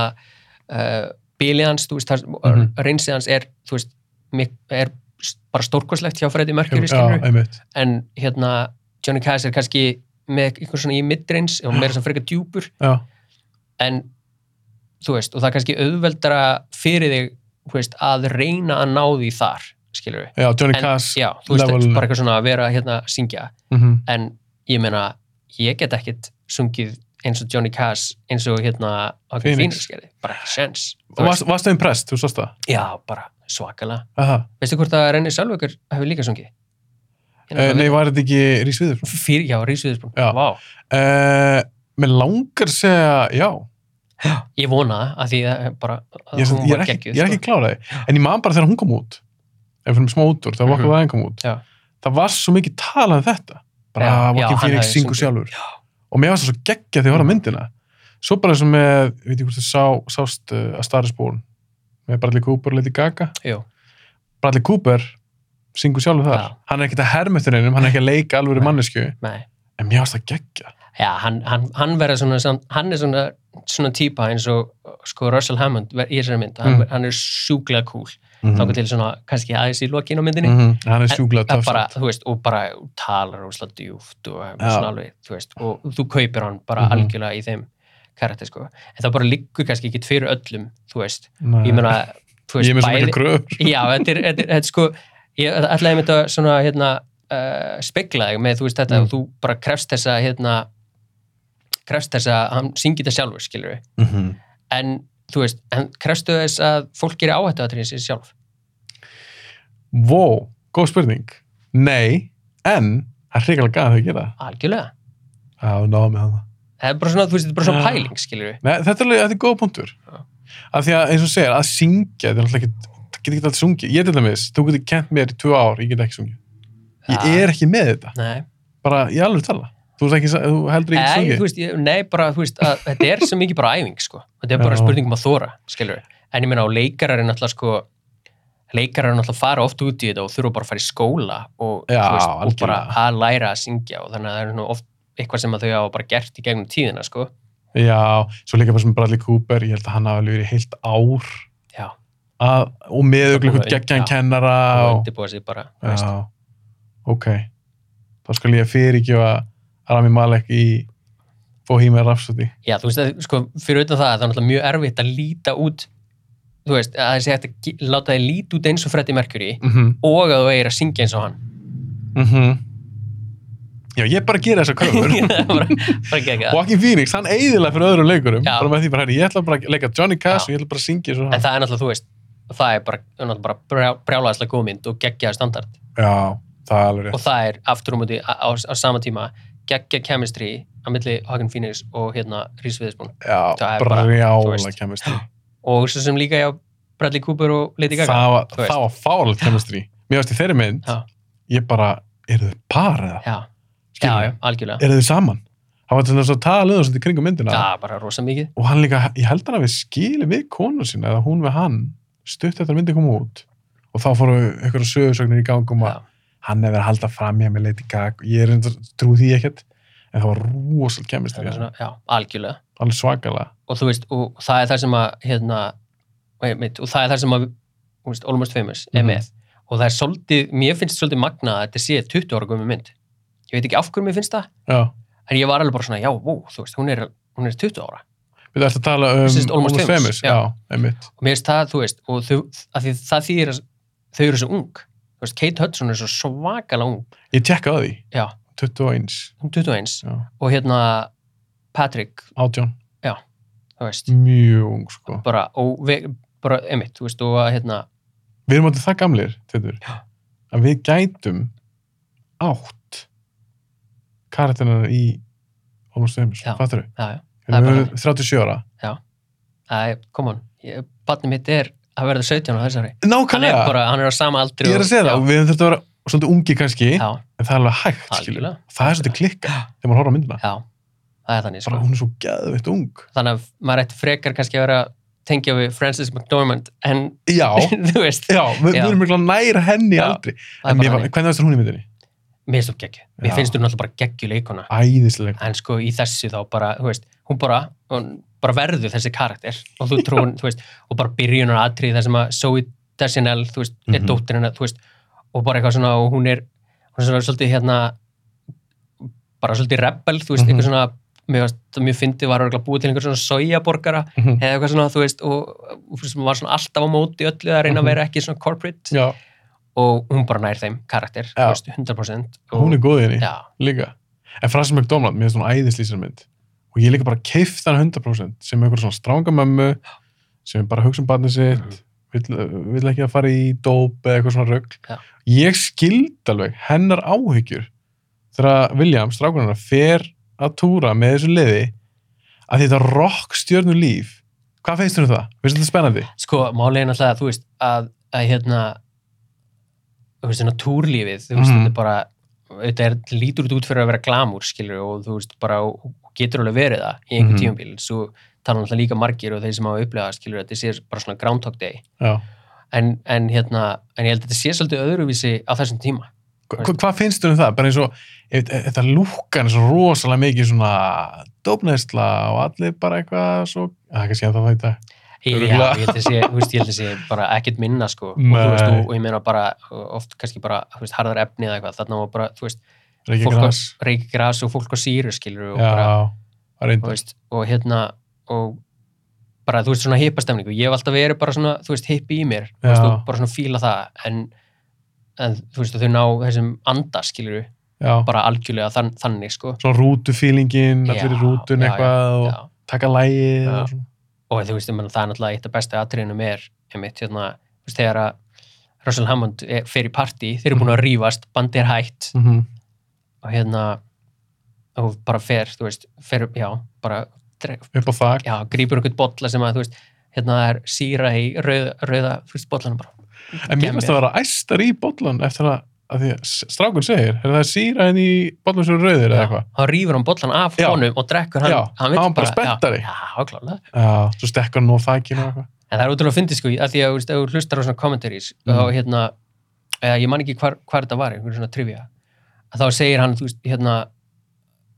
S2: uh, bilið hans, þú veist, mm
S1: Mhm.
S2: reynsið hans er, þú veist mik- er s- bara stórkoslegt hjá Freddy Mercury
S1: já,
S2: skilur,
S1: einmitt.
S2: en hérna Johnny Cash er kannski með einhver svona í midreins og meira sem frekar djúpur
S1: Já,
S2: en þú veist, og það er kannski auðveldara fyrir þig, þú veist, að reyna að ná því þar, skilur við
S1: já, Johnny
S2: en,
S1: Cass.
S2: já, þú veist,
S1: levelinu.
S2: bara eitthvað svona að vera hérna að syngja
S1: mhm.
S2: en ég meina ég get ekkit sungið eins og Johnny Cass eins og hérna Joaquin
S1: Phoenix.
S2: Phoenix gerði, bara ekki sens
S1: Og varst- Varstu einn prest, þú sást það?
S2: já, bara svakalega
S1: Aha.
S2: veistu hvort að Renni Sölvökur hefur líka sungið
S1: Eh, Nei, var þetta ekki Rís Viður?
S2: fyrir, já, Rísviðisbrún,
S1: Já.
S2: vá
S1: Uh, mér langar að segja, já,
S2: ég vona það, að því að bara að
S1: ég, er sem-
S2: hún
S1: ég,
S2: var
S1: er ekki,
S2: geggjuð, sko.
S1: ég er ekki kláraði. En ég man bara þegar hún kom út, ef við erum smá út úr, þegar Walk the
S2: Mhm.
S1: Line kom út,
S2: Já.
S1: það var svo mikið talað um þetta. Bara
S2: Já, já,
S1: Walking
S2: hann
S1: Phoenix
S2: hafði
S1: syngur
S2: sungið.
S1: sjálfur. og mér varst það svo geggja þegar ég
S2: Mm.
S1: horfði á myndina svo bara eins og með, ég veit ekki hvort þið sá, sást uh, að Star is Born með Bradley Cooper og Lady Gaga
S2: sko. Jú,
S1: Bradley Cooper syngur sjálfur þar
S2: Já.
S1: hann er ekkert að hermetur einum, hann er ekki að leika alveg
S2: Nei.
S1: mannesku,
S2: nei
S1: en mér varst það geggja
S2: já, hann, hann, hann verða svona samt- hann er svona, svona típa eins og sko Russell Hammond ver- í þessari mynd hann,
S1: Mm.
S2: hann er sjúklega cool mm.
S1: mm
S2: þá til svona, kannski aðeins í lokin á myndinni
S1: hann er
S2: En-
S1: sjúklað
S2: Það bara,
S1: töfsamt
S2: þú veist, og bara talar og slá djúft
S1: Já.
S2: og svona alveg, þú veist, og þú kaupir hann bara
S1: Mhm.
S2: algjörlega í þeim karakter, sko. En það bara liggur kannski ekki fyrir öllum, þú veist.
S1: Nei.
S2: Ég meina, þú
S1: ég
S2: veist,
S1: er með svo miklu gröf
S2: Já, þetta er, þetta er, þetta er sko, ég ætlaði einmitt að svona hérna uh, spegla þig með þú veist þetta
S1: Mm.
S2: og þú bara krefst þess að hérna krefst þess að hann syngi þetta sjálfur skilur við
S1: mm -hmm.
S2: en þú veist, en krefstu þess að fólk gerir áhættu að sér sjálf
S1: Vó, góð spurning Nei, en það er hrikalega gæð að þau gera
S2: algjörlega,
S1: Já, þú náðu með hana
S2: það er bara svona, þú veist, þetta er bara svona
S1: Já.
S2: pæling skilur við,
S1: Nei, þetta er, alveg- þetta er góð punktur
S2: Já.
S1: af því að eins og þú segir, að syngja þetta er alltaf ekki, það getur ekki alltaf sungið ég til dæmis, þú getur kent mér í tvö ár ég get ekki sungið, ég
S2: Já.
S1: er ekki með þetta
S2: nei
S1: bara í alveg tala, þú, ert ekki, þú heldur ekki
S2: Nei,
S1: sungið
S2: þú veist, ég, nei, bara, þú veist, að þetta er sem mikið bara æfing, sko. Þetta er bara
S1: Já.
S2: spurning um að þóra, skilur við. En ég meina, og leikarar er náttúrulega, sko, leikarar er náttúrulega fara oft út í þetta og þurfa bara að fara í skóla og, þú
S1: Já,
S2: og bara
S1: algjörlega.
S2: að læra að syngja og þannig að það er nú oft eitthvað sem að þau hafa bara gert í gegnum tíðina, sko.
S1: Já, svo líka bara sem Bradley Cooper, ég held að hann hafa alveg verið heilt ár
S2: Já,
S1: að, og með
S2: búið
S1: auðvitað
S2: að- já.
S1: geggjan kennara
S2: og
S1: og,
S2: undirbúa sig bara, þú veist.
S1: já, ok þá skal ég fyrirgjóða Rami Malek í Bohemian Rhapsody
S2: Já, þú veist, að, sko, fyrir auðvitað það, það er náttúrulega mjög erfitt að líta út, þú veist, að það sé hægt að ge- láta þið líta út eins og Freddie Mercury
S1: mm -hmm.
S2: og að þú eigir að syngja eins og hann. Mhm.
S1: Já, ég bara gera þessar kröfur
S2: bara, bara gegga
S1: Joaquin Phoenix, hann eiðilega fyrir öðrum leikurum
S2: Já.
S1: bara með því bara, herri, ég ætla bara að leika Johnny Cash
S2: Já.
S1: og ég ætla bara að syngja svo
S2: en það er náttúrulega, þú veist það er bara, er náttúrulega bara brjá, brjálæðislega góð mynd og geggjaði standard
S1: Já, það er alveg rétt
S2: og það er aftur um út í á, á, á sama tíma geggja chemistry á milli Hagen Phoenix og hérna Rhys Viðisbún það
S1: Já,
S2: er bara, þú
S1: brjála
S2: veist.
S1: kemistri
S2: og svo sem líka já Bradley Cooper og Lady Gaga
S1: Það var,
S2: þú veist.
S1: það var fárlega kemistri Mér varst í þeirri mynd
S2: Já.
S1: Ég bara, eru þau par eða?
S2: já, já,
S1: Skilurðu?
S2: já, algjörlega
S1: Eru þau saman? Það var til þess að tala um þessu í kringum myndina
S2: það er bara rosa mikið
S1: og hann líka, ég held hann að við skili við konu sína eða hún við hann stutt eftir að myndi koma út og þá fóru ykkur sögursögnir í gangum að
S2: Já.
S1: hann hefur verið að halda fram hjá með Lady Gaga ég er reyndar, trú því ekkert en það var rosalega kemist
S2: það er
S1: alveg
S2: svona, já, algjörlega
S1: svakalega
S2: og þú veist, og það er það sem að hérna, mitt, og það er það sem að þú veist, Almost Famous er
S1: Mhm.
S2: með og það er svolítið, mér finnst svolítið magna að þetta sé 20 ára gömur mynd ég veit ekki af hverju mér finnst það
S1: já,
S2: en ég var alveg bara svona, já, vó, þú veist, hún er, hún er 20 ára
S1: við ætlum að tala um
S2: Sýst, Almost Famous,
S1: já,
S2: já.
S1: einmitt
S2: og mér finnst það, þú veist, og þau, að því, það þýðir að þau eru svo ung þú veist, Kate Hudson er svo svakalega ung
S1: ég tjekka á því,
S2: já,
S1: 21
S2: hún er 21
S1: já,
S2: og hérna Patrick,
S1: 18,
S2: þú veist
S1: Mm. mjög ung sko
S2: bara, og við, bara, emitt, þú veist, og að, hérna,
S1: við erum áttið það gamlir, þetta
S2: Já.
S1: að við gætum átt karakterina í Almost Famous,
S2: Já.
S1: fattur
S2: já, já Það er
S1: Við
S2: bara
S1: erum 37 ára.
S2: Æ, come on, ég- barnið mitt er að verða 17 á þessari. Hann er
S1: Nákvæmlega,
S2: bara, hann er á sama aldri.
S1: ég er að segja það og við höfum þurft að vera svolítið ungi kannski,
S2: Já, já,
S1: en það er alveg hægt, skilur.
S2: algjörlega.
S1: Það er svolítið klikka þegar maður horfir á myndina.
S2: Já, það er þannig, sko.
S1: Bara hún er svo geðveitt ung.
S2: Þannig að maður ætti frekar kannski að vera að tengja við Frances McDormand, en
S1: Já,
S2: þú veist,
S1: já, við, við
S2: Já.
S1: erum mjög næra henni
S2: Já,
S1: aldrei.
S2: það
S1: En
S2: er
S1: mér var,
S2: bara þannig.
S1: hvernig veist hún í myndinni?
S2: Mér finnst þú geggju. Mér
S1: Já.
S2: finnst þú náttúrulega bara geggju leikuna.
S1: Æðislega.
S2: En sko, í þessu þá bara, þú veist, hún bara, hún bara verður þessi karakter og þú trúin, þú veist, og bara byrjunar aðtrið þar sem að Zoe Deschanel, þú veist, er
S1: Mhm.
S2: dóttir hennar, þú veist, og bara eitthvað svona, og hún er, hún er svona svolítið hérna, bara svolítið rebel, þú veist,
S1: Mhm.
S2: eitthvað svona, mjög, mjög fyndið var örgulega búið til einhver svona sojaborgara
S1: Mhm.
S2: eða eitthvað svona, þú veist, og, og sem var svona alltaf á móti öllu að reyna
S1: Mhm.
S2: að vera ekki svona corporate
S1: Já,
S2: og hún bara nær þeim karakter,
S1: Já.
S2: þú veist, 100% og,
S1: hún er góð í henni,
S2: Já,
S1: líka. En Frances McDormand, mér finnst hún æðislýsar mynd. Og ég líka bara keift hann 100% sem einhver svona strángamömmu, sem bara hugsa um barnið sitt, vill, vill ekki að fara í dóp eða eitthvað svona rögl
S2: Já.
S1: ég skild alveg hennar áhyggjur þegar William, strákunarna, fer að túra með þessu liði að þetta rockstjörnu líf hvað feistur um það? finnst þetta spennandi?
S2: sko, málið er náttúrulega að þú veist að, að hérna þú veist, hérna túrlífið, þú veist,
S1: Mhm.
S2: þetta er bara þetta er, lítur þetta út fyrir að vera glamúr skilur og þú veist, bara og, og getur alveg verið það í einhver
S1: Mhm.
S2: mm. tíumbíl svo tala náttúrulega líka margir og þeir sem hafa upplegað skilur þetta sé bara svona Groundhog Day
S1: Já.
S2: en, en hérna, en ég held að þetta sé svolítið öðruvísi á þessum tíma
S1: Hva, hva- hvað finnst um það? bara eins og e- e- þetta lúkkan er svo rosalega mikið svona dópneðsla og allir bara eitthvað svo, að það kannski að það það í dag
S2: Já, ég
S1: Örugglega.
S2: held að sé, þú veist, ég held að sé bara ekkert minna, sko, og,
S1: Nei.
S2: þú veist, og, og ég meina bara, oft kannski bara, þú veist, harðar efni eða eitthvað, þarna var bara, þú veist,
S1: reykja
S2: fólk á
S1: græs
S2: reykja gras og fólk á síru, skilur, og bara,
S1: já,
S2: og,
S1: reyndar
S2: veist, og hérna og bara þú veist svona hippastemningu ég hef alltaf verið bara svona, þú veist, hippi í mér þú veist,
S1: Já.
S2: og bara svona fíla það en en þú veist að þau ná þessum anda skilur við
S1: já,
S2: bara algjörlega þann, þannig sko
S1: svona rútufílingin, allir í
S2: Já,
S1: rútun
S2: já,
S1: eitthvað og
S2: já.
S1: taka lægið
S2: Já.
S1: og svona.
S2: og þú veist, ég meina, það er náttúrulega eitt af besta atriðinum er einmitt, hérna, þú veist, þegar að Russell Hammond er, fer í partí, þeir eru búin að rífast bandi er hætt
S1: Mhm.
S2: og hérna og bara fer, þú veist, fer já, bara, dre-
S1: upp á þak
S2: já, grípur einhvern bolla sem að, þú veist, hérna það er síra í rauða, rauða þú veist, bollanum bara
S1: en mér finnst það að vera æstar í bollan eftir að, að því að strákun segir er það síra henni í bollan sem eru rauðir eða
S2: Já,
S1: eitthvað
S2: hann rýfur hann bollan af
S1: Já.
S2: honum og drekkur hann,
S1: Já,
S2: vill
S1: hann bara spenntari.
S2: já, já, klálega
S1: já, svo stekkur hann á þakinu og eitthvað
S2: En það er útrúlega að fyndi sko, að því að þú veist, ef þú hlustar á svona commentaries
S1: Mhm.
S2: og hérna, eða, ég man ekki hvar, hvar þetta var, einhver svona trivia, að þá segir hann, þú veist, hérna,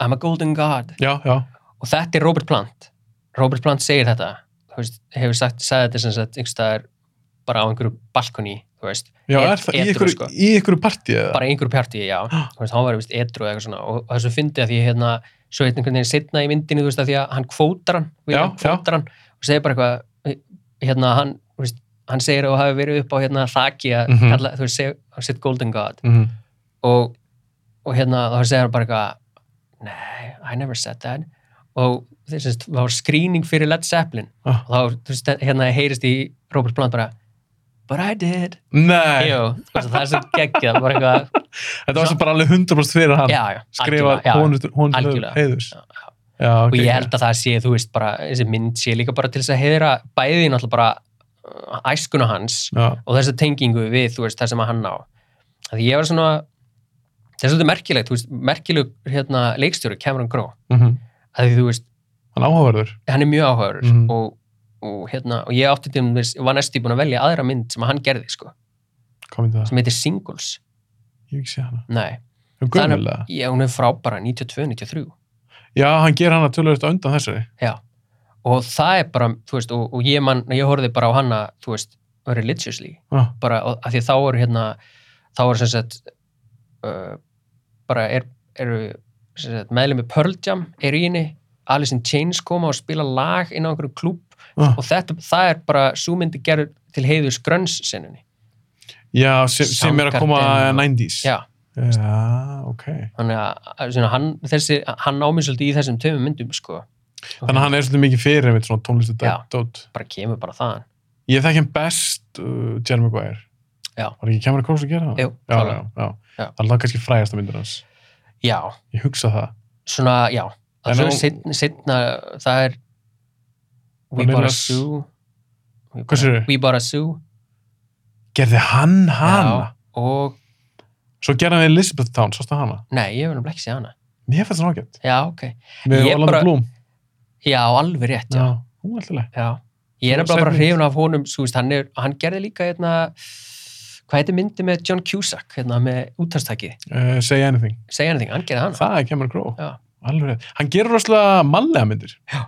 S2: I'm a golden god.
S1: já, já,
S2: Og þetta er Robert Plant. Robert Plant segir þetta, þú veist, hefur sagt, sagði þetta sem sagt, einhvers staðar bara á einhverju balkoni, þú veist,
S1: já,
S2: Et-
S1: er það í
S2: edrú,
S1: einhverju,
S2: sko.
S1: í einhverju partíi eða?
S2: bara í einhverju pjarti, já, þú veist, hann var, þú veist, edru eða eitthvað svona, og, og þessu fyndi að því, hérna, svo heit einhvern veginn setna í myndinu, þú veist, að því að hann kvótar hann, William
S1: Já, já.
S2: kvótar hann, og segir bara eitthvað, hérna, hann, þú veist, hann segir að þú hafi verið upp á, hérna, þaki að
S1: Mhm.
S2: kalla, þú veist, seg, að setja golden god,
S1: Mhm.
S2: og, og hérna, þá segir hann bara eitthvað, nei, I never said that, og þess að það var skrýning fyrir Led Zeppelin,
S1: Ah.
S2: og þá, þú veist, hérna, heyrist í Robert Plant bara, but I did,
S1: nei,
S2: jú, þú veist, það er svo geggjað, bara eitthvað,
S1: þetta var svo bara alveg 100% fyrir hann
S2: já, já,
S1: skrifa
S2: algjörlega, já,
S1: honum honum til
S2: Algjörlega.
S1: heiðurs
S2: já, já.
S1: já,
S2: og
S1: ok,
S2: ég held að það sé, þú veist, bara þessi mynd sé líka bara til þess að heiðra bæði náttúrulega bara uh, æskuna hans
S1: já,
S2: og þessa tengingu við, þú veist, það sem að hann á að ég var svona það er svolítið merkilegt, þú veist, merkileg hérna, leikstjóri, Cameron Crowe
S1: mhm.
S2: að því, þú veist,
S1: hann áhugaverður
S2: hann er mjög áhugaður
S1: Mhm.
S2: og, og hérna, og ég átti til þess, var næstu búin að velja aðra mynd sem að hann gerði, sko,
S1: komið það,
S2: sem heitir Singles
S1: ég hef ekki sé hana
S2: nei,
S1: um
S2: Þannig-
S1: gömulega,
S2: ég, hún er frábæra 92, 93
S1: já, hann ger hana tölvöld undan þessari
S2: og það er bara, þú veist, og, og ég man, ég horfði bara á hana, þú veist, religiously,
S1: ah,
S2: bara og- af því þá eru hérna, þá eru sem sagt, uh, bara er, eru sem sagt, meðlum með Pearl Jam eru í henni, Alice in Chains koma og spila lag inn á einhverju klúb
S1: ah.
S2: og þetta, það er bara súmyndi gerður til heiðu skrönns sinnunni.
S1: já, sem, sem er að koma
S2: Soundgarden.
S1: 90s
S2: Já,
S1: Já, ok.
S2: þannig að- að svona, hann, þessi, hann námið svolítið í þessum töfum myndum, sko.
S1: Þannig að hann er svolítið mikið fyrir einmitt svona tónlistu
S2: Já.
S1: dót.
S2: Bara kemur bara þaðan.
S1: Ég þekki hann best uh, Jeremy Maguire.
S2: Já.
S1: Var ekki Cameron Crowe að gera það? Já,
S2: Jú,
S1: já,
S2: klálega.
S1: já,
S2: Já.
S1: Það er það kannski frægasta myndir hans.
S2: Já,
S1: Ég hugsa það.
S2: svona, já
S1: En
S2: það er
S1: nú-
S2: setna, setna, það er We
S1: Vanilla
S2: Bought a
S1: s-
S2: Zoo We
S1: Hvað
S2: Bought a-
S1: sérðu?
S2: We Bought a Zoo
S1: Gerði hann hana?
S2: já, og,
S1: Svo gerði hann Elizabeth Town, sástu hana?
S2: nei, ég hef nefnilega ekki séð hana
S1: Mér fannst það ágætt.
S2: já, ok,
S1: Með
S2: Ég
S1: Orlando
S2: bara-
S1: Bloom.
S2: já, alveg rétt já,
S1: Hún er alltaf leið.
S2: já. ég er
S1: Þú
S2: nefnilega bara
S1: sagðir-
S2: hrifun af honum svo, veist, hann, er, hann gerði líka hérna, hvað heitir myndi með John Cusack hérna, með útastækið,
S1: Uh, say anything.
S2: segja anything, hann gerði hana
S1: Það er Cameron Crowe.
S2: Já.
S1: Alveg rétt. Hann gerir rosalega mannlega myndir.
S2: Já.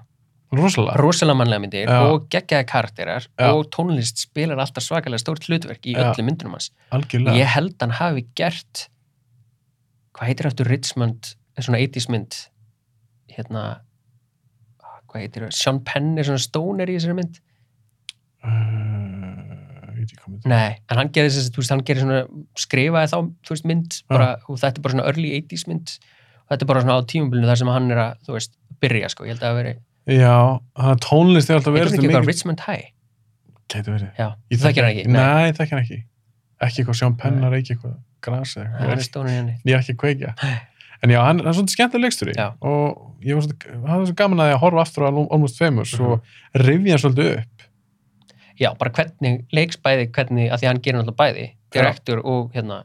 S1: Rosalega.
S2: rosalega mannlega myndir
S1: Já.
S2: og geggjaði karakterar
S1: Já.
S2: og tónlist spilar alltaf svakalega stórt hlutverk í
S1: Já.
S2: öllu myndunum hans
S1: Algjörlega.
S2: Ég held hann hafi gert hvað heitir eftir Richmond er svona 80s mynd hérna ah, hvað heitir það, Sean Penn er svona stoner í þessari mynd
S1: Uh, Eh, ég veit ekki hvað mynd.
S2: Nei, en hann gerði þessi, þú veist, hann gerði svona skrifaði þá, þú veist, mynd bara, og þetta er bara svona early 80s mynd og þetta er bara svona á tímumbilinu þar sem hann er að þú veist, byrja, sko, ég held að það hafi verið
S1: Já, þannig að tónlist er alltaf
S2: Heitir
S1: verið
S2: hann
S1: svo
S2: ekki eitthvað
S1: mikið...
S2: Richmond High?
S1: Gæti verið.
S2: Já, þú þekkir hann ekki?
S1: Nei, ég þekki hann ekki. Ekki eitthvað Sjón Pennar, ekki eitthvað Gras eða
S2: Hann er
S1: eitthvað.
S2: stoner í henni
S1: Ég er ekki að kveikja. En já, hann, hann er svona skemmtileg leiksturi
S2: Já.
S1: og ég var svona, hann er svo gaman að ég horfa aftur á Al- Almost Famous
S2: Mhm.
S1: og rifja hann svolítið upp.
S2: já, bara hvernig leiksbæði, hvernig, að því hann gerir náttúrulega bæði,
S1: Já.
S2: direktur og hérna,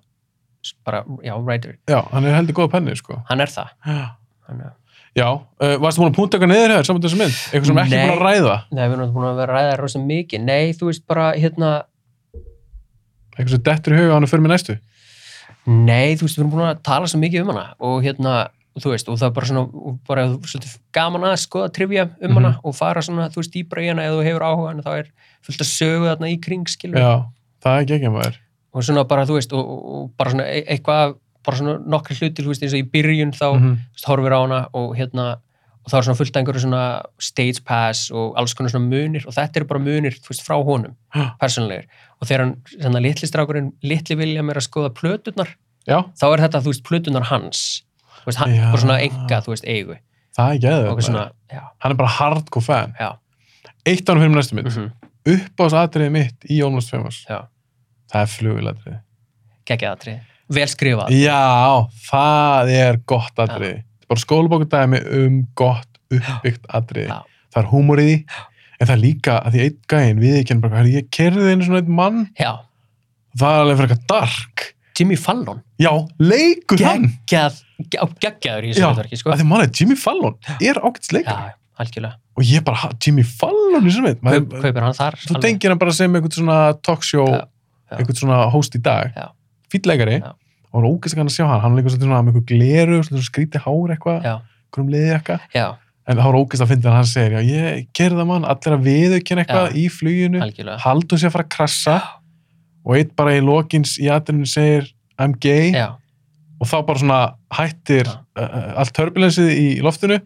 S2: s- bara, já, writer
S1: Já, hann er heldur góða penni, sko.
S2: hann er það
S1: Já,
S2: hann er...
S1: uh, varstu búin að púnta eitthvað niður hér saman þessu mynd? Eitthvað sem ekki
S2: Nei.
S1: búin að ræða?
S2: nei, við erum náttúrulega búin að vera að ræða rosa mikið nei, þú veist bara, hérna
S1: Eitthvað sem dettur í huga hann og fyrir mig næstu?
S2: Mm. nei, þú veist, við erum búin að tala svo mikið um hana og hérna, þú veist, og það er bara svona og bara svolítið gaman að skoða trivja um
S1: Mhm.
S2: hana og fara svona, þú veist, dýbra í hana ef þú hefur áhuga, en þá er fullt að sögu þarna í kring, skilur
S1: Já, það er ekki ekki maður.
S2: og svona bara, þú veist, og, og, og bara svona e- eitthvað, bara svona nokkri hluti, þú veist, eins og í byrjun þá
S1: Mhm.
S2: þú veist, horfir á hana og hérna og það er svona fullt af einhverju svona stage pass og alls konar svona munir og þetta eru bara munir þú veist, frá honum,
S1: Já.
S2: persónulegir og þegar hann, þannig að litli strákurinn litli vilja mér að skoða plöturnar
S1: já,
S2: þá er þetta, þú veist, plöturnar hans þú veist, hann,
S1: Já.
S2: bara svona enga, þú veist, eigu
S1: það er
S2: og eitthvað
S1: geðið
S2: svona, já,
S1: hann er bara hardcore fan
S2: já
S1: eitt ánum fyrir mér næstu mynd,
S2: mm
S1: mm -hmm. uppáðsatriðið mitt í Jónlust Femars
S2: Já.
S1: það er flugilatriði
S2: geggja vel skrifað
S1: já, það er gott atriði Þetta er bara skólabókudæmi um gott uppbyggt atriði
S2: Já.
S1: það er húmor í því en það er líka að því einn gæinn við ekki bara, "Herri, ég kerði einu svona einn mann
S2: já,
S1: það er alveg fyrir eitthvað dark
S2: Jimmy Fallon
S1: já, leikur hann
S2: geggjað, ge- á geggjaður í þessu
S1: Já,
S2: hlutverki, sko
S1: að
S2: já,
S1: því mann er Jimmy Fallon er ágætis leikur
S2: já, algjörlega,
S1: og ég bara, ha, Jimmy Fallon í svona mynd
S2: Kaup,
S1: Maður-
S2: kaupir hann þar
S1: þú
S2: alveg.
S1: tengir hann bara sem einhvern svona talkshow
S2: Já, já.
S1: einhvern svona host í dag
S2: Já.
S1: fýll leikari
S2: Já.
S1: og hann ógæst að sjá hann hann er líka svona með einhver gleru svona skríti hár eitthvað
S2: já,
S1: einhverjum liði eitthvað
S2: já,
S1: en það er ógæst að finna hann hann segir já, ég gerði það mann, allir að viðaukina eitthvað
S2: Já.
S1: í fluginu,
S2: algjörlega
S1: haldur sér að fara að krassa og eitt bara í lokins í aðrinu segir I'm gay
S2: já,
S1: og þá bara svona hættir
S2: Já.
S1: uh, allt turbulensið í loftinu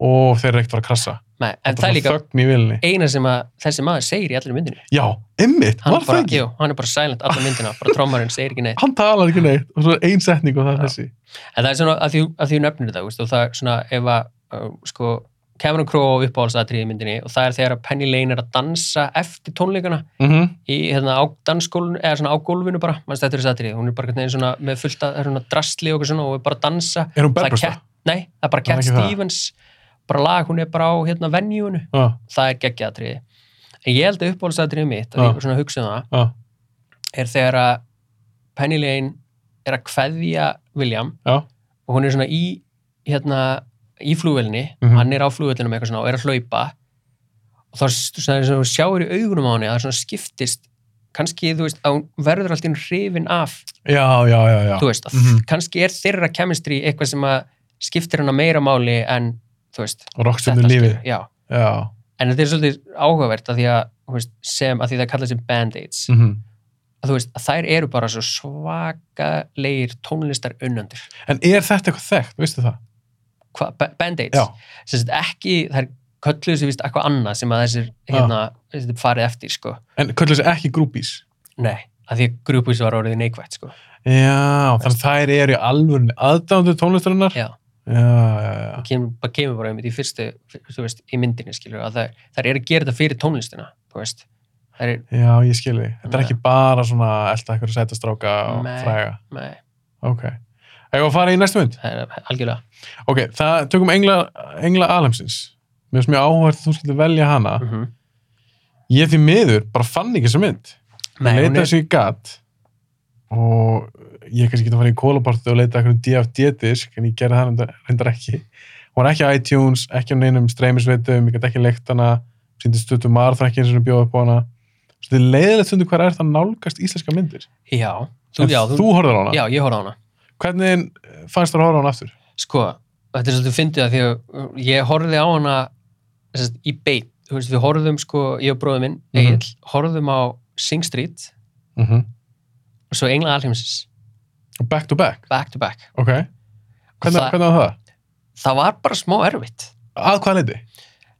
S1: og þeir eru ekkert að fara að krassa
S2: Nei,
S1: Bara
S2: en það er
S1: svona
S2: líka
S1: þögn í vilni
S2: eina sem að þessi maður segir í allir myndinu
S1: já, emmitt,
S2: hann,
S1: var
S2: er bara,
S1: það ekki?
S2: jú, hann er bara silent allar myndina, bara trommarinn segir ekki neitt
S1: hann talar ekki neitt og svo er ein setning og það er
S2: Já.
S1: þessi
S2: en það er svona að því, að því nöfnir þetta veist, og það er svona ef að uh, sko, Cameron Crowe uppáhaldsatriði í myndinni og það er þegar að Penny Lane er að dansa eftir tónleikana
S1: mm
S2: í hérna, á dansskólinu eða svona á gólfinu bara, mannst þetta er þess atriði hún er bara einhvern veginn svona með fullt að það er svona drastli og eitthvað svona og er bara að dansa
S1: er hún
S2: það er
S1: berbrústa?
S2: Cat, nei, það er
S1: Það
S2: bara
S1: er
S2: Cat
S1: ekki það.
S2: Stevens bara lag, hún er bara á hérna venjúinu
S1: Já,
S2: það er geggjatriði en ég held að uppáhaldsatriði mitt, að
S1: Já.
S2: ég var svona að hugsa um það
S1: já,
S2: er þegar að Penny Lane er að kveðja William
S1: já,
S2: og hún er svona í hérna, í flugvelni,
S1: Mhm.
S2: hann er á flugvelnum eitthvað svona og er að hlaupa og þá s- svona, svona, sjáur í augunum á henni að það svona skiptist kannski, þú veist, að hún verður alltaf hrifin af,
S1: já, já, já, já.
S2: þú veist að
S1: Mhm.
S2: kannski er þeirra kemistri eitthvað sem að skiptir hana meira máli en, þú veist,
S1: og rockstundur lífið
S2: skilur, já,
S1: já,
S2: en þetta er svolítið áhugavert að því að, þú veist, sem, að því það kallast sem band-aids
S1: mm
S2: að þú veist, að þær eru bara svo svakalegir tónlistar unnandur.
S1: en er þetta eitthvað þekkt, veistu það?
S2: Band-Aids.
S1: já,
S2: Sem sagt ekki, þær kölluðu sér vist eitthvað annað sem að þessir hérna, þessir farið eftir, sko.
S1: en kallur þessi ekki grúpís
S2: Nei, að því að grúpus var orðið neikvægt, sko.
S1: já, þannig að þær eru í alvörni aðdándu tónlistarinnar
S2: Já.
S1: já, já, já,
S2: Kemur, bara kemur bara einmitt í fyrstu, fyrstu, þú veist, í myndinni, skilur, að þær, þær eru að gera þetta fyrir tónlistina, þú veist. Þær eru,
S1: já, ég skil því þetta er
S2: Nei.
S1: ekki bara svona elta eitthvað sætastráka og
S2: Nei.
S1: fræga
S2: nei,
S1: ok, eigum við að fara í næstu mynd
S2: það er algjörlega.
S1: ok, það tökum engla, engla alheimsins mér finnst mjög áhverð að þú skilur velja hana
S2: Mm -hmm.
S1: ég því miður bara fann ekki þessa mynd
S2: Nei,
S1: ég
S2: hún
S1: leita
S2: er,
S1: þessu í gat og ég kannski geta að fara í kólaportu og leita eitthvað DFD-disk en ég gerði það reyndar- reyndar ekki hún var ekki á iTunes, ekki á neinum streymisveitum, ég gæti ekki leikt hana síndi stuttum marður ekki eins og bjóða upp á hana svo þetta er leiðilegt stundu hvað er það að nálgast íslenska myndir
S2: já, þú,
S1: en
S2: já,
S1: þú horfður á hana
S2: já, ég horfði á hana.
S1: hvernig fannst þér að horfa á hana aftur?
S2: Sko, þetta er svolítið fyndið að því að ég horfði á hana sest, í beit, þú veist, við horfðum sko, ég og bróðum minn,
S1: Mhm.
S2: Egil, horfðum á Sing Street
S1: Mm
S2: Mhm. og svo Engla Alheimsins,
S1: back to back,
S2: back to back.
S1: ok hvernig,
S2: það,
S1: hvernig var það?
S2: það var bara smá erfitt,
S1: að hvað leiti?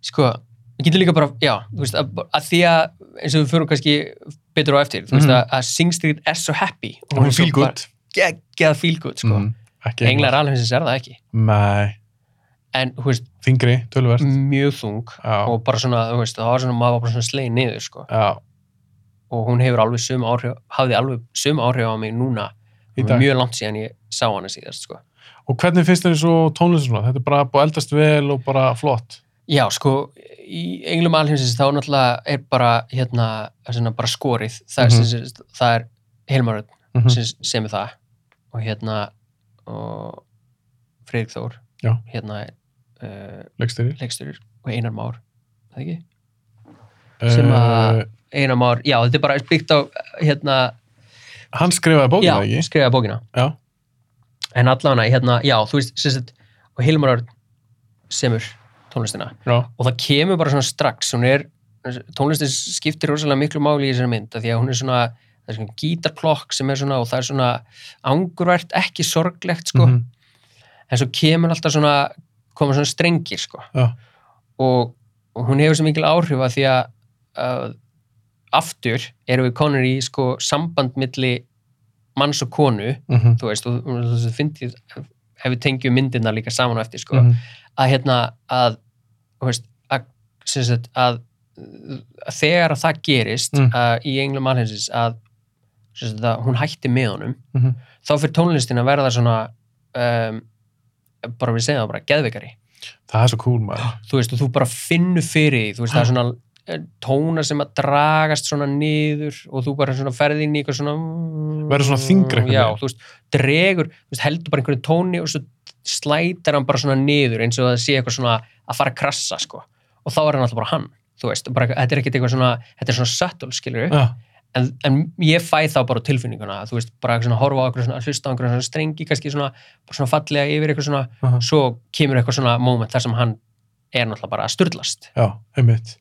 S2: sko, ég getur líka bara, já, þú veist, að, að því að, eins og við fyrir kannski betur á eftir, þú veist,
S1: Mhm.
S2: að, að Sing Street er svo happy.
S1: hún er
S2: svo
S1: feel
S2: bara
S1: good
S2: Geggjað feel good, sko.
S1: Mm, ekki
S2: Englar Alheimsins er það ekki,
S1: nei,
S2: en, þú veist,
S1: þingri, tölverst
S2: mjög þung
S1: já,
S2: Mm. og bara svona, þú veist, það var svona, maður var bara svona slegin niður, sko.
S1: já,
S2: og hún hefur alveg sömu áhrif, hafði alveg sömu áhrif á mig núna
S1: í dag
S2: mjög langt síðan ég sá hana síðast sko.
S1: Og hvernig finnst þér svo tónlistin svona? Þetta er bara búið að eldast vel og bara flott.
S2: já sko, í englum alheimsins þá náttúrulega er bara hérna, svona, bara skorið það,
S1: Mhm.
S2: mm -hmm. það er Hilmaröð
S1: Mm
S2: sem, sem er það og hérna og Fredrik Þór
S1: Já.
S2: hérna uh,
S1: Leggstýri.
S2: leikstyrur og Einar Már er það ekki?
S1: Sem
S2: Sem
S1: að...
S2: að- Einar Már, já þetta er bara byggt á hérna
S1: Hann skrifaði bókina,
S2: já,
S1: ekki?
S2: skrifaði bókina
S1: Já.
S2: en allavega, hérna, já, þú veist sem sagt, og Hilmar Örn semur tónlistina
S1: Já.
S2: og það kemur bara svona strax hún er, tónlistin skiptir rosalega miklu máli í þessari mynd, af því að hún er svona það er svona gítarklokk sem er svona og það er svona angurvært, ekki sorglegt sko,
S1: Mhm.
S2: en svo kemur alltaf svona koma svona strengir sko.
S1: Já.
S2: og, og hún hefur svo mikil áhrif að því að uh, aftur erum við konur í sko, samband milli manns og konu
S1: mhm,
S2: þú veist, og, og, og, og fyndið ef við tengjum myndina líka saman á eftir sko,
S1: mhm,
S2: að hérna að, þú veist, að, sem sagt, að, að þegar að það gerist
S1: Mm.
S2: að, í englum alheimsins að, sem sagt, að hún hætti með honum
S1: mhm.
S2: þá fyrir tónlistin að verða svona um, bara við segja það bara geðveikari
S1: það er svo cool maður
S2: þú veist og þú bara finnur fyrir því þú veist
S1: Ah.
S2: það er svona eh, tónar sem að dragast svona niður og þú bara svona ferði inn í eitthvað svona
S1: Verður svona þyngri einhvern
S2: já,
S1: veginn.
S2: þú veist, dregur, þú veist, heldur bara einhverjum tóni og svo slætar hann bara svona niður eins og það sé eitthvað svona að fara að krassa sko og þá er hann alltaf bara hann þú veist, bara, þetta er ekkert eitthvað svona þetta er svona subtle skilur
S1: Já,
S2: en, en ég fæ þá bara á tilfinninguna þú veist, bara svona horfa á einhverju svona hlusta á einhverju svona strengi, kannski svona, bara svona fallega yfir eitthvað svona,
S1: aha,
S2: svo kemur eitthvað svona moment þar sem hann er náttúrulega bara að styrlast
S1: já, einmitt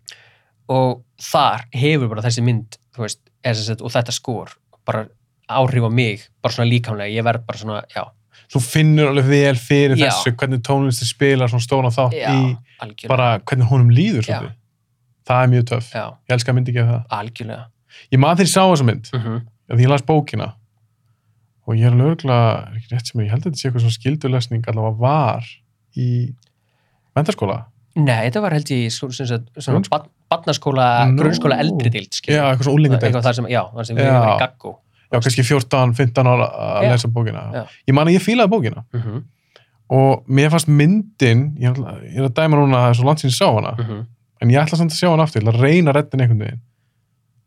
S2: og þar hefur bara þessi mynd þú veist, eða sem sagt, og þetta skor bara áhrif á mig, bara svona líkamlega ég verð bara svona, já,
S1: þú finnur alveg vel fyrir
S2: Já.
S1: þessu hvernig tónlistin spilar svona stóna þátt
S2: já
S1: í
S2: algjörlega,
S1: bara hvernig honum líður
S2: Já.
S1: svolítið. það er mjög töff,
S2: já,
S1: ég elska myndi ekki af það
S2: algjörlega
S1: ég maður þegar ég sá þessa mynd
S2: mm
S1: að ég las bókina og ég er alveg örugglega- er ekki rétt sem ég ég held að þetta sé eitthvað svona skildulesning allavega var í mentarskóla
S2: Nei, þetta var held ég í skó- sem sagt, svona
S1: Grunnsk-
S2: bat barnaskóla,
S1: Nú.
S2: grunnskóla eldri dild
S1: já,
S2: skilur,
S1: eitthvað svona
S2: Það-
S1: úlingadeild
S2: eitthvað þar sem, já, þar sem við
S1: Já.
S2: erum í gaggó
S1: já, kannski 14, 15 ára að
S2: Já.
S1: lesa bókina
S2: Já.
S1: ég man að ég fílaði bókina
S2: mm -hmm.
S1: og mér fannst myndin ég er náttúrulega- ég er að dæma núna að það er svo langt sín sá hana
S2: Mm. mhm.
S1: en ég ætla samt að sjá hana aftur, ég ætla að reyna að redda henni einhvern veginn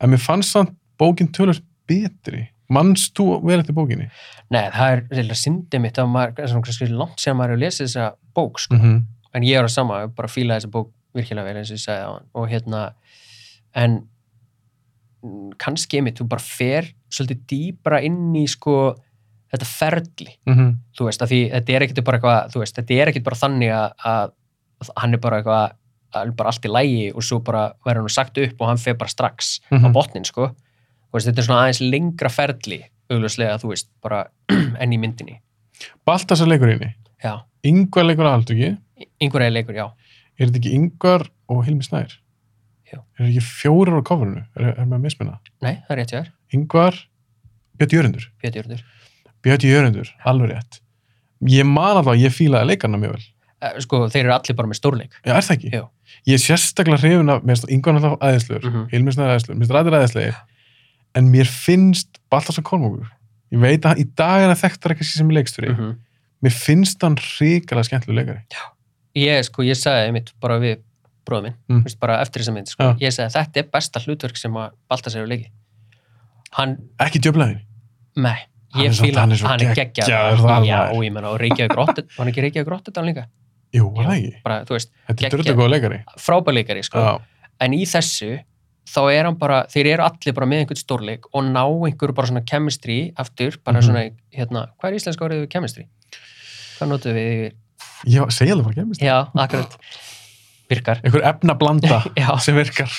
S1: en mér fannst samt bókin tölur betri mannst þú vel eftir bókinni?
S2: Nei, það er reyðilega syndið mitt að maður, svona kannski langt sér að maður hefur lesið þessa bók, sko.
S1: Mm -hmm.
S2: En ég er að sama, ég bara fíla þessa bók virkilega vel eins og ég sagði á hann. Og hérna, en mm, kannski einmitt, þú bara fer svolítið dýbra inn í, sko, þetta ferli,
S1: Mm -hmm.
S2: þú veist, að því þetta er ekkit bara eitthvað, þú veist, þetta er ekkit bara þannig að, að hann er bara eitthvað, hann er bara allt í lægi og svo bara verður hann sagt upp og hann fer bara strax
S1: mhm.
S2: á botnin, sko. Þú veist, þetta er svona aðeins lengra ferli, augljóslega, þú veist, bara enn í myndinni.
S1: Baltasar leikur inni,
S2: Já,
S1: yngvar leikur aðaldur ekki
S2: einhverja leikur, já.
S1: er þetta ekki yngvar og Hilmi Snær?
S2: Jú.
S1: Er ekki fjórar á coverinu? Er, er maður að mismunna?
S2: Nei, það er rétt hjá þér,
S1: Yngvar, Björn Jörundur
S2: Björn Jörnur.
S1: Björn Jörundur, alveg rétt ég man alltaf að ég fílaði leikarna mjög vel
S2: Eh, Sko, þeir eru allir bara með stórleik.
S1: Já, er það ekki?
S2: Jú.
S1: Ég er sérstaklega hrifin af, mér finnst yngvar alltaf aðeinslegur, mm
S2: Mhm.
S1: -hmm. Hilmi Snær aðeinslegur, mér finnst ræðir aðeinslegir, en mér finnst Baltasar Kormungur, ég veit að hann- í dag er hann þekktar ekki sem leikstur mm
S2: -hmm.
S1: mér finnst hann hrikalega skemmtileg leikari.
S2: Ég, sko, ég sagði einmitt bara við bróðum minn,
S1: Mm.
S2: mm. veist, bara eftir þess að mynd, sko.
S1: Já.
S2: Ég sagði, þetta er besta hlutverk sem að Baltasar hefur leikið. Hann,
S1: Ekki djöflaðin.
S2: nei,
S1: Hann er
S2: ég
S1: svo-
S2: fíla,
S1: hann er svo geggjaður, það er
S2: Já,
S1: maður.
S2: og ég menna, og Reykjavík Grottet, var hann ekki Reykjavík Grottet hann líka?
S1: Jú, var það ekki?
S2: Bara, þú veist,
S1: Þetta er
S2: Geggjaður.
S1: drölda góða leikari.
S2: frábæleikari, sko.
S1: Já.
S2: en í þessu þá er hann bara, þeir eru allir bara með einhvern stórleik og ná einhverju bara svona chemistry aftur, bara
S1: Mhm.
S2: svona, hérna, hvað er íslenska orðið við chemistry? Hvað notum við yfir?
S1: Ég segja það bara gemist.
S2: Já, akkurat. Virkar,
S1: Einhver efna blanda
S2: Já.
S1: sem virkar.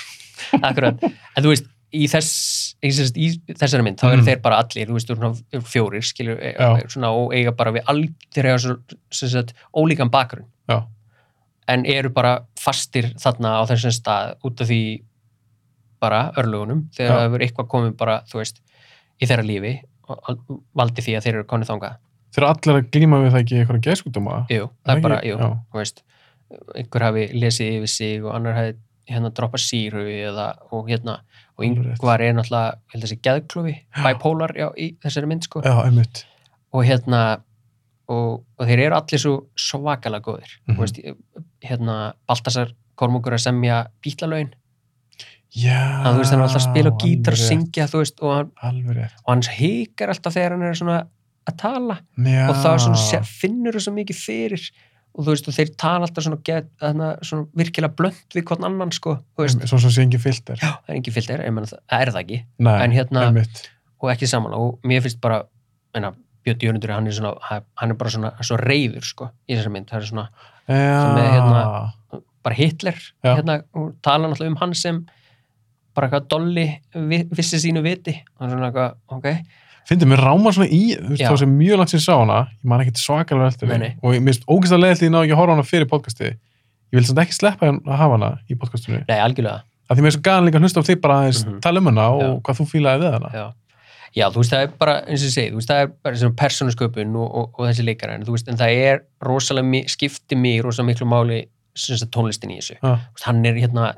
S2: akkurat. En þú veist, í, þess, í, þess, í þessari mynd, þá eru
S1: Mm.
S2: þeir bara allir, þú veist, þú eru svona fjórir, skilur, e-
S1: Já.
S2: svona, og eiga bara við all, þeir eiga svo, sem sagt, ólíkan bakgrunn,
S1: Já.
S2: en eru bara fastir þarna á þessum stað út af því bara örlugunum, þegar
S1: Já.
S2: það hefur eitthvað komið bara, þú veist, í þeirra lífi og og valdi því að þeir eru konið þangað.
S1: Þeir eru allir að glíma við það ekki eitthvað geðskutuma.
S2: Jú, það er bara, jú,
S1: Já.
S2: þú veist einhver hafi lesið yfir sig og annar hafi hérna droppa síru eða, og hérna, og
S1: Alveg rétt.
S2: yngvar er náttúrulega, ég held að þessi geðklufi, bipolar já, í þessari mynd, sko,
S1: Já, einmitt.
S2: og hérna og, og þeir eru allir svo svakalega góðir,
S1: Mhm.
S2: þú veist hérna, Baltasar Kormungur að semja bítlalögin,
S1: Já.
S2: hann, þú veist, hann er alltaf að spila á
S1: Ah, alveg
S2: gítar,
S1: rétt,
S2: syngja, þú veist, og hann,
S1: Alveg rétt.
S2: og hann hikar alltaf þegar hann er svona að tala
S1: Já.
S2: og það er
S1: Ah.
S2: svona, sé- finnur það svo mikið fyrir og þú veist, og þeir tala alltaf svona, get, þarna, svona virkilega blönd við hvern annan sko, þú veist,
S1: Einmitt, Svo sem sé engin filter.
S2: já, það er engin filter ég meina, það það er það ekki,
S1: Nei,
S2: en hérna-
S1: Einmitt.
S2: og ekki saman og mér finnst bara, meina, Björn Jörnundur hann er svona, hann- hann er bara svona, svo reyður sko, í þessari mynd, það er svona
S1: Já.
S2: með, hérna- bara Hitler,
S1: Já.
S2: hérna, og tala náttúrulega um hann sem bara eitthvað dolli vi- vissi sínu viti, og svona eitthvað, ok
S1: Fyndið, mér rámar svona í, þú veist,
S2: Já.
S1: þá sem mjög langt sem ég sá hana, ég man ekkert svakalega vel eftir
S2: Nei,
S1: henni.
S2: nei.
S1: Og ég mist ógæst að leiðast því ná ekki að horfa á hana fyrir podcasti. Ég vil samt ekki sleppa hann að hafa hana í podcastinu.
S2: Nei, algjörlega.
S1: Af því mér er svo gæðan líka að hlusta á þig bara aðeins
S2: Mhm.
S1: tala um hana og
S2: Já.
S1: hvað þú fílaði við hana.
S2: Já. Já, þú veist, það er bara, eins og ég segi, þú veist, það er bara svona persónusköpun og, og, og þessi leikara, en þú veist, en það er rosalega, mi- skipti mig rosalega miklu máli sem sagt tónlistin í þessu.
S1: Já.
S2: Þú veist, hann er hérna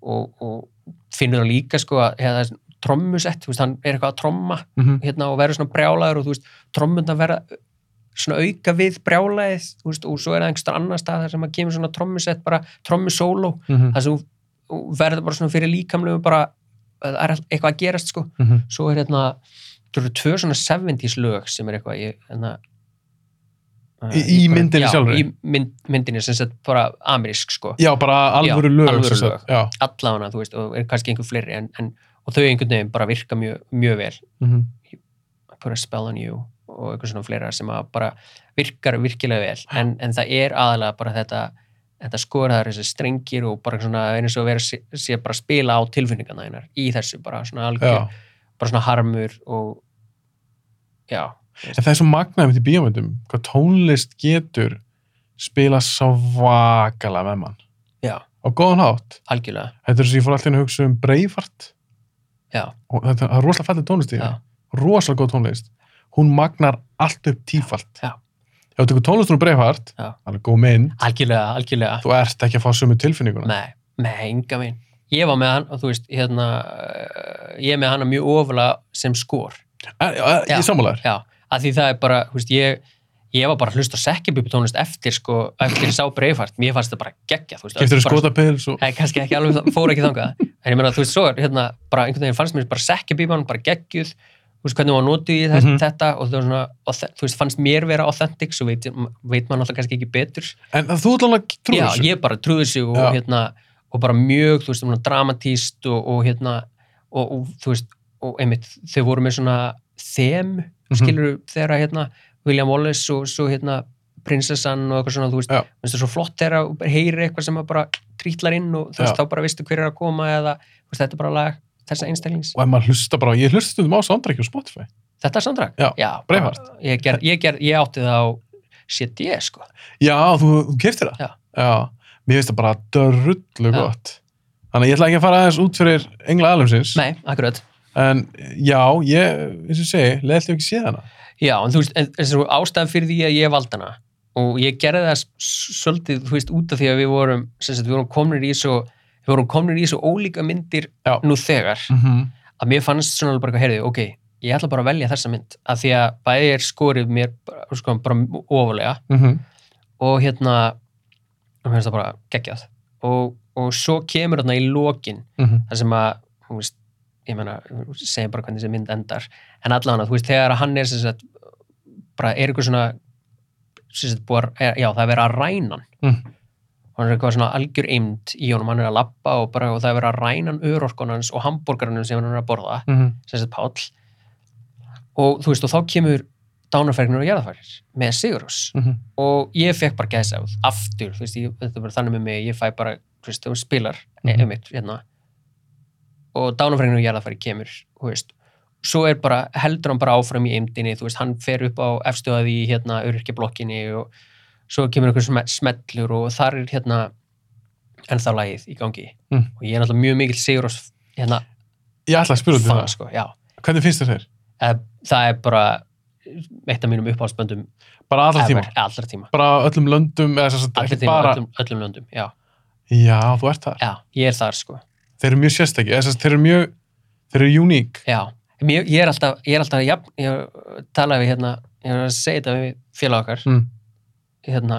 S2: og, og finnur það líka, sko, að hérna, það er trommusett, þú veist, hann er eitthvað að tromma
S1: Mhm.
S2: hérna, og verður svona brjálaður og þú veist, trommundar verða svona auka við brjálaðið, þú veist, og svo er það einhverstað annar stað þar sem að kemur svona trommusett bara trommusóló,
S1: Mhm.
S2: þar sem þú- þú verður bara svona fyrir líkamlegu bara, það er eitthvað að gerast sko,
S1: Mhm.
S2: svo er hérna þú eru tvö svona 70s lög sem er eitthvað ég, hérna, eh,
S1: Í- í myndinni
S2: já,
S1: sjálfri?
S2: í mynd, myndinni sem sett bara amerísk sko,
S1: Já, bara alvöru
S2: Já,
S1: lög.
S2: alvöru
S1: sem sagt. Já.
S2: allafana þú veist, og er kannski einhver fleiri en, en, og þau einhvern veginn bara virka mjög, mjög vel
S1: Mhm.
S2: I put a spell on you og eitthvað svona fleira sem að bara virkar virkilega vel en, en það er aðalega bara þetta þetta skoraðar, þessi strengir og bara svona eins og vera sé, sé bara að spila á tilfinningarna einar í þessu bara svona algjör,
S1: Já.
S2: bara svona harmur og já,
S1: En það er svo magnaðið mitt í bíómyndum, hvað tónlist getur spila svakalega með mann.
S2: Já.
S1: Á góðan hátt.
S2: algjörlega
S1: Þetta er svo ég fór alltaf inn að hugsa um Breifart.
S2: Já.
S1: Og þetta það er rosalega fallið tónlist í
S2: já,
S1: því. Rosalega góð tónlist. Hún magnar allt upp tífalt.
S2: Já.
S1: Ef þú tekur tónlistunum Breifart,
S2: Já.
S1: alveg góð mynd,
S2: algjörlega, algjörlega
S1: þú ert ekki að fá sömu tilfinninguna.
S2: Nei, nei, enga mín. Ég var með hann og þú veist, hérna, eh, ég er með hann mjög ofalega sem skor.
S1: Er, er,
S2: Já.
S1: ég sammálaður.
S2: Já, að því það er bara, þú veist, ég, ég var bara að hlusta sekkibubi tónlist eftir, sko, eftir ég sá breyfart. Mér fannst það bara geggja, þú veist.
S1: Keftur
S2: bara-
S1: skotapils og...
S2: Nei, kannski ekki alveg, það- fór ekki þangað. En ég meina, þú veist, svo er, hérna, bara einhvern veginn fannst mér bara sekkibubi hann, bara geggjuð, þú veist, hvernig hún var notið í þess,
S1: Mhm.
S2: þetta og það var svona, auth- þú veist, fannst mér vera authentic, svo veit, veit maður náttúrulega kannski ekki betur
S1: En þú ætlaði að trúið
S2: já,
S1: þessu.
S2: ég bara trúði sig og,
S1: Já.
S2: hérna, og bara mjög, þú veist, svona dramatíst og, og hérna, og, og þú veist, og einmitt, þau voru með svona þem,
S1: Mhm.
S2: skilur þeirra, hérna, William Wallace og svo, hérna, prinsessan og eitthvað svona, þú veist,
S1: Já.
S2: veist svo flott þeirra og bara heyri eitthvað sem að bara trítlar inn og þú veist,
S1: Já.
S2: þá bara veistu hver er að koma eða, þú veist, þetta er bara lag þessa einstaklings.
S1: Og ef maður hlusta bara, ég hlusta stundum á soundtrack á Spotify.
S2: Þetta er soundtrack?
S1: Já, Braveheart.
S2: bara- Ég, ger, ég, ger, ég átti það á CD, sko.
S1: Já, þú, þú keftir það?
S2: Já.
S1: Mér finnst það bara dörrullu
S2: Já.
S1: gott. Þannig að ég ætla ekki að fara aðeins út fyrir engla alheimsins.
S2: Nei, akkurat.
S1: En já, ég, eins og ég segi, leðilt ég ekki séð hana.
S2: Já, en þú veist, en, en svo ástæðan fyrir því að ég valdi hana og ég gerði það s- s- svolítið, þú veist, út af því að við vorum, sem sagt, við vorum komnir í svo, við vorum komnir í svo ólíka myndir
S1: Já.
S2: nú þegar
S1: Mm -hmm.
S2: að mér fannst svona alveg bara, heyrðu, ok, ég ætla bara að velja þessa mynd af því að bæði er skorið mér, bara, sko, bara ofalega
S1: Mhm.
S2: og hérna, og mér finnst það bara geggjað og, og svo kemur þarna í lokin
S1: Mhm.
S2: þar sem að þú veist, ég meina, segjum bara hvernig þessi mynd endar en allavega, þú veist, þegar að hann er sem sagt, bara er eitthvað svona sem sagt, búar, er, já, það er verið að ræna hann
S1: Mhm.
S2: og hann er eitthvað svona algjör eimd í honum, hann er að labba og, bara, og það er verið að ræna hann örorkonans og hambúrgarnum sem hann er að borða,
S1: Mhm.
S2: sem sagt Páll og þú veist, og þá kemur dánarfergnir og jarðafærir með Sigurús
S1: Mhm.
S2: og ég fekk bara gæðsáð aftur, þú veist, ég, þetta er bara þannig með mig ég fæ bara, þú veist, þú spilar mm
S1: Mhm.
S2: einmitt, hérna og dánafræðinu og jarðafæri kemur, þú veist svo er bara, heldur hann bara áfram í eimdini, þú veist, hann fer upp á efstuðað í hérna, örkjablokkinni og svo kemur einhver sm- smellur og þar er hérna ennþá lagið í gangi
S1: Mm.
S2: og ég er náttúrulega mjög mikill sigur og hérna,
S1: Ég ætla að spyrja út í
S2: fan,
S1: það.
S2: sko, já
S1: Hvernig finnst þér þér?
S2: það, það er bara eitt af mínum uppáhaldsböndum
S1: Bara allra
S2: ever,
S1: tíma.
S2: allra tíma,
S1: Bara öllum löndum, eða þess að
S2: allra
S1: ekki
S2: tíma
S1: bara...
S2: öllum, öllum löndum, já
S1: Já, þú ert þar.
S2: Já, ég er þar sko.
S1: Þeir eru mjög sérstakki, eða þess að þeir eru mjög, þeir eru uník.
S2: Já, Mér, ég er alltaf, ég er alltaf, jafn, ég er að tala við hérna, ég er að segja þetta við félag okkar,
S1: Mm.
S2: hérna,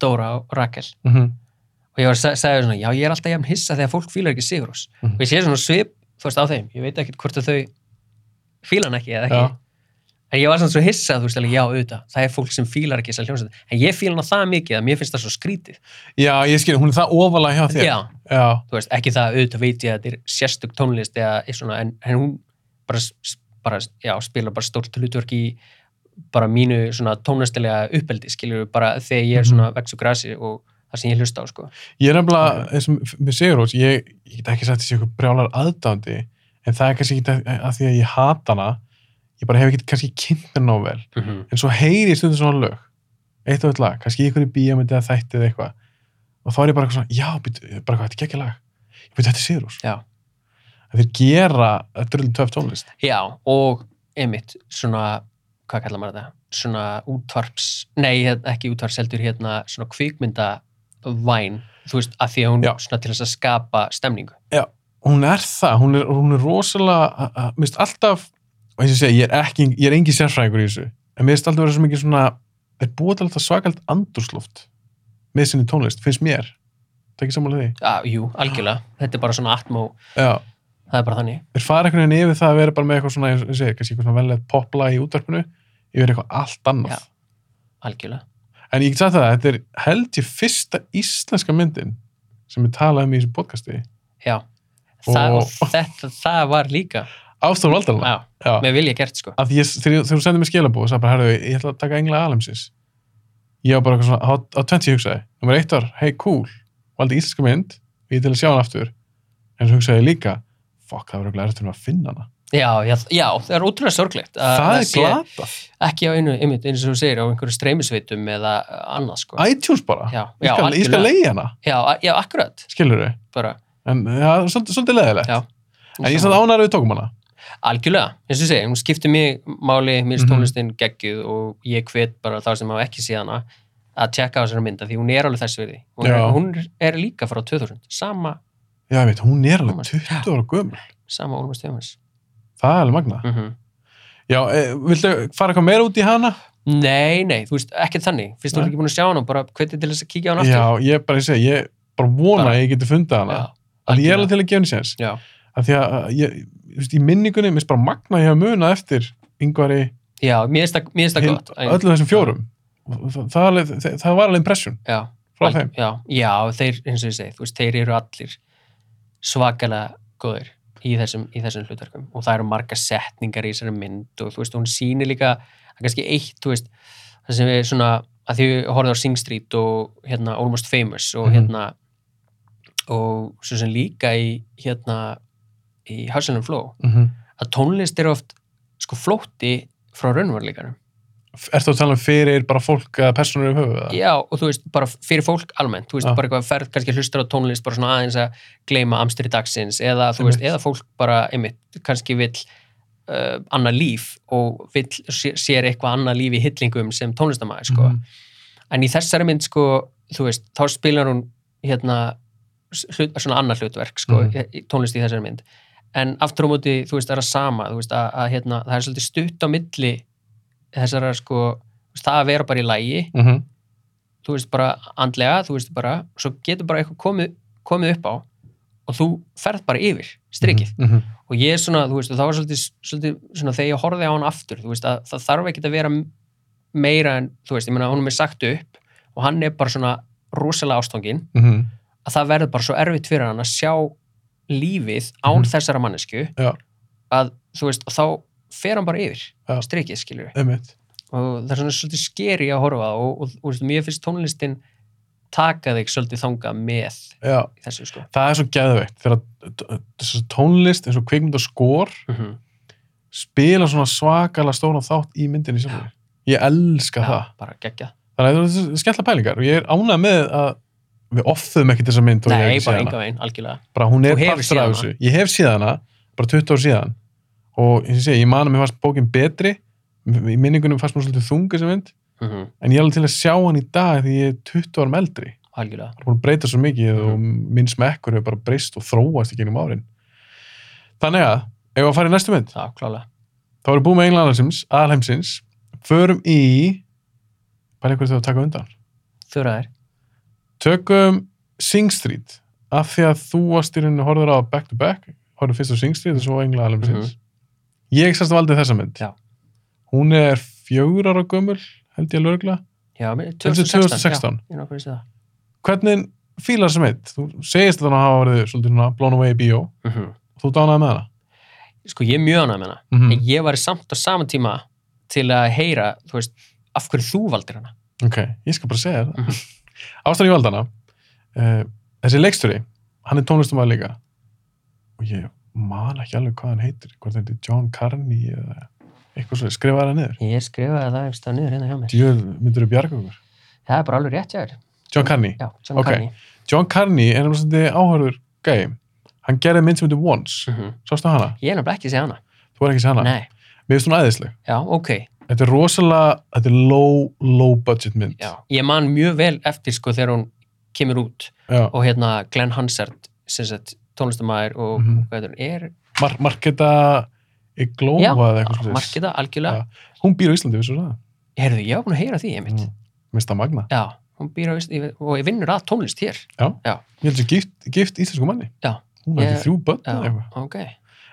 S2: Dóra og Rakel.
S1: Mhm.
S2: Og ég var að se- segja svona, já, ég er alltaf jafn hissa þegar fólk fílar ekki Sigurús.
S1: Mhm.
S2: Og ég sé svona svip, þú veist, á þeim. Ég veit ekkert hvort að þau fílan ekki eða ekki.
S1: Já.
S2: En ég var svona svo hissa, þú veist, alveg, já, auðvitað, það er fólk sem fílar ekki þessar hljómsveit. En ég fíla hana það mikið að mér finnst það svo skrítið.
S1: Já, ég skil, hún er það ofalega hjá þér.
S2: Já,
S1: Já.
S2: þú veist, ekki það auðvitað veit ég að þetta er sérstök tónlist eða er svona, en, en hún bara, s- bara, já, spila bara stórt hlutverk í bara mínu svona tónlistilega uppeldi, skiljur bara þegar ég er svona vex og grasi og það sem ég hlusta á, sko.
S1: Ég er nefnilega, eins og með Sigurós, ég, ég get ekki sagt þessi eitthvað brjálar aðdándi, en það er kannski ekki að, að því að ég hata hana, ég bara hef ekki kannski kynnt mér nóg vel
S2: mm -hmm.
S1: en svo heyri ég stundum svona lög eitt og eitt lag, kannski í einhverju bíómyndi eða þætti eða eitthvað og þá er ég bara eitthvað svona, já, být, bara hvað, þetta er gekkja lag ég veit, þetta er Sigurús
S2: Já.
S1: að þeir gera drullin töf tónlist
S2: Já, og einmitt svona, hvað kallar maður þetta? Svona útvarps, nei hér- ekki útvarpseldur hérna, svona kvikmynda væn, þú veist, að því að hún
S1: Já.
S2: svona til þess að skapa stemningu.
S1: hún er það, hún er, hún er rosalega, a- a- mér finnst alltaf og eins og ég segi, ég er ekki, ég er engin sérfræðingur í þessu, en mér finnst alltaf vera svo mikið svona er búið til alltaf svakalt andursloft með sinni tónlist, finnst mér það er ekki sammála því,
S2: Ah, jú, algjörlega, þetta er bara svona atmó,
S1: já,
S2: það er bara þannig.
S1: þeir fara einhvern veginn yfir það að vera bara með eitthvað svona, eins og ég segi, kannski eitthvað svona vellega popla í útvarpinu, yfir eitthvað allt annað
S2: Já. Algjörlega.
S1: en ég get sagt það, þetta er held ég fyrsta íslenska myndin sem við talaðum í þessu podcasti
S2: Já. Það,
S1: Og-
S2: og þetta, það var líka,
S1: Ástofn Valdarla
S2: já, með vilja gert sko.
S1: að ég, þegar, ég- þegar þú sendir mér skilabóð og sagði bara, herðu, ég ætla að taka engla alemsins ég var bara eitthvað svona, á- á 20 hugsaði nummer eitt var, hey cool, valdi íslenska mynd og ég til að sjá hann aftur en svo hugsaði ég líka, fuck, það verður glæður eftir að finna hana,
S2: Já, já, já, það er útrúlega sorglegt. að
S1: það, er
S2: sé
S1: glata
S2: Ekki á einu, einmitt, eins og þú segir, á einhverju streymisveitum eða annað sko.
S1: iTunes bara,
S2: já,
S1: ég
S2: já,
S1: skal, ég skal
S2: algjörlega.
S1: leiði hana
S2: Já, já, akkurat,
S1: skilur þau,
S2: bara.
S1: en það er svolítið, svolítið leðilegt
S2: Já.
S1: en ég satt ánar við tókum hana
S2: Algjörlega, eins og ég segi, hún skiptir mig máli,
S1: Mhm.
S2: mér er tónlistin geggjuð og ég hvet bara þá sem hafa ekki séð hana að tjekka á þessari mynda því hún er alveg þess verið. Hún, er,
S1: Já.
S2: hún er líka frá 2000, sama,
S1: já, ég veit, hún er alveg
S2: Gaman.
S1: 20 ára gömul
S2: sama Ólmar Stefáns.
S1: það er alveg magna
S2: Mm
S1: já, e, viltu fara eitthvað meira út í hana?
S2: Nei, nei, þú veist, ekki þannig. Fyrst þú ert
S1: Nei.
S2: ekki búin að sjá hana, bara hvetið til þess að kíkja á hana aftur.
S1: já, ég bara, ég segi, ég bara vona
S2: Bara-
S1: að ég geti fundið hana að ég er alveg til að gefa henni séns
S2: Já.
S1: af því að að ég, þú veist, í minningunni mér finnst bara magna að ég hafa munað eftir yngvari,
S2: Já, mér finnst það- mér finnst það
S1: Hild-
S2: gott. Æ,
S1: öllu þessum fjórum Og það, það, er alveg- það, það var alveg impression
S2: Já,
S1: frá
S2: alg-
S1: þeim
S2: já, já, þeir, eins og ég segi, þú veist, þeir eru allir svakalega góðir í þessum, í þessum hlutverkum og það eru marga setningar í þessari mynd og þú veist, hún sýnir líka, það er kannski eitt, þú veist, það sem við svona, að því við horfðum á Sing Street og hérna Almost Famous og
S1: Mhm.
S2: hérna og svo sem líka í hérna í Hustle and Flow
S1: mm -hmm.
S2: að tónlist eru oft sko flótti frá raunvarleikarum
S1: Ertu að tala um fyrir bara fólk að personur um höfuð? eða?
S2: Já, og þú veist, bara fyrir fólk almennt, þú veist,
S1: Já.
S2: bara eitthvað ferð, kannski hlustar á tónlist, bara svona aðeins að gleyma amstri dagsins, eða þú veist,
S1: Einmitt.
S2: eða fólk bara, einmitt, kannski vill uh, annað líf og vill, sé- sér eitthvað annað líf í hillingum sem tónlistamæður, sko.
S1: Mhm.
S2: En í þessari mynd, sko, þú veist, þá spilar hún, hérna, s- hlut, svona annað hlutverk, sko,
S1: Mhm.
S2: í- í tónlist í þessari mynd. En aftur á móti, þú veist, það er að sama, þú veist, að, að hérna, það er svolítið stutt á milli þessara, sko, þú veist, það að vera bara í lægi,
S1: Mhm.
S2: þú veist bara andlega, þú veist bara svo getur bara eitthvað komið, komið upp á og þú ferð bara yfir strikið
S1: Mhm.
S2: og ég er svona, þú veist, og þá er svolítið, svolítið svona þegar ég horfði á hann aftur, þú veist, að það þarf ekki að vera m- meira en, þú veist, ég meina honum er sagt upp og hann er bara svona rosalega ástangin,
S1: Mhm.
S2: að það verður bara svo erfitt fyrir hann að sjá lífið án
S1: Mhm.
S2: þessara mannesku
S1: Já.
S2: að, þú veist, og þá fer hann bara yfir
S1: Já.
S2: strikið, skilur við
S1: Einmitt.
S2: og það er svona svolítið skeri að horfa á og, og, og, og mér finnst tónlistin taka þig svolítið þangað með
S1: Já,
S2: í þessu sko
S1: það er svo geðveikt þegar t- t- tónlist eins og kvikmynd og skor spila svona svakalega stóna þátt í myndinni sjálfur. Ég elska það.
S2: bara geggja
S1: Þannig að þetta er skemmtilega pælingar og ég er ánægð með að við offuðum ekkert þessa mynd og ég hef
S2: nei,
S1: ekki séð
S2: bara
S1: hana.
S2: enga veginn, algjörlega
S1: bara hún er
S2: Þú hefur
S1: partur
S2: séð
S1: af
S2: hana.
S1: þessu ég hef séð hana, bara 20 ár síðan og eins og ég segi, ég man að mér fannst bókin betri í minningunum fannst mér svolítið þunga sem mynd
S2: mm
S1: en ég er alveg til að sjá hann í dag því ég er 20 árum eldri
S2: algjörlega
S1: hann er búin að breyta svo mikið
S2: Mhm.
S1: og minn smekkur hefur bara breyst og þróast í gegnum árin þannig að, ef við að fara í næstu mynd
S2: já, klálega
S1: þá erum við búin með englandarsins, alheimsins förum í bara einhverju þau að taka undan
S2: þurraðir
S1: tökum Sing Street af því að þú varst í rauninu horfður á Back to Back, horfður fyrst á Sing Street og svo á Engla Alemsins ég sérst valdi þessa mynd
S2: Mhm. Já.
S1: hún er fjögur ára gömul held ég lögla,
S2: já, mér-
S1: þetta er
S2: 2016 já,
S1: 2016
S2: ég er nokkuð um að segja
S1: hvernig fílar þessa mynd? þú segist að hann hafa verið svolítið svona blown away í bíó
S2: það Mhm.
S1: þú dánaði með hana
S2: sko, ég er mjög annað með hana
S1: mm
S2: en ég var samt á sama tíma til að heyra, þú veist, af hverju þú valdir hana
S1: ok, ég skal bara segja það
S2: Mhm.
S1: mm ástæðan ég valdi hana uh, þessi leiksturi, hann er tónlistumæður líka og ég man ekki alveg hvað hann heitir hvort þetta er John Carney eða eitthvað svo, skrifaði það niður
S2: Ég skrifaði það einhverstað niður hérna hjá mér.
S1: djöð myndur við bjarga okkur
S2: Það er bara alveg rétt hjá þér.
S1: John Carney,
S2: Já, John
S1: Ok.
S2: Carney.
S1: John Carney er náttúrulega svolítið áhörður gæi hann gerði mynd sem heitir Once
S2: Mhm.
S1: sástu hana,
S2: Ég er nefnilega ekki séð hana.
S1: þú er ekki sér hana
S2: Nei.
S1: mér finnst hún æðisleg,
S2: Já, ok.
S1: þetta er rosalega þetta er low, low budget mynd
S2: Já. Ég man mjög vel eftir sko þegar hún kemur út
S1: Já.
S2: og hérna Glenn Hansard, sem sagt tónlistamæður og
S1: Mhm.
S2: hvað heitir hún, er
S1: Mar Marketa Glóa
S2: Já,
S1: eða eitthvað svoleiðis.
S2: markiða algjörlega.
S1: Já. hún býr á Íslandi, vissu það
S2: Herðu, ég var búin að heyra því einmitt.
S1: Mm. minnst það magna,
S2: Já, hún býr á Íslandi og ég vinnur að tónlist hér.
S1: ég held sér gift, gift íslensku manni
S2: Já.
S1: hún er
S2: Ég-
S1: ekki þrjú börn
S2: Já,
S1: eða eitthvað
S2: ok.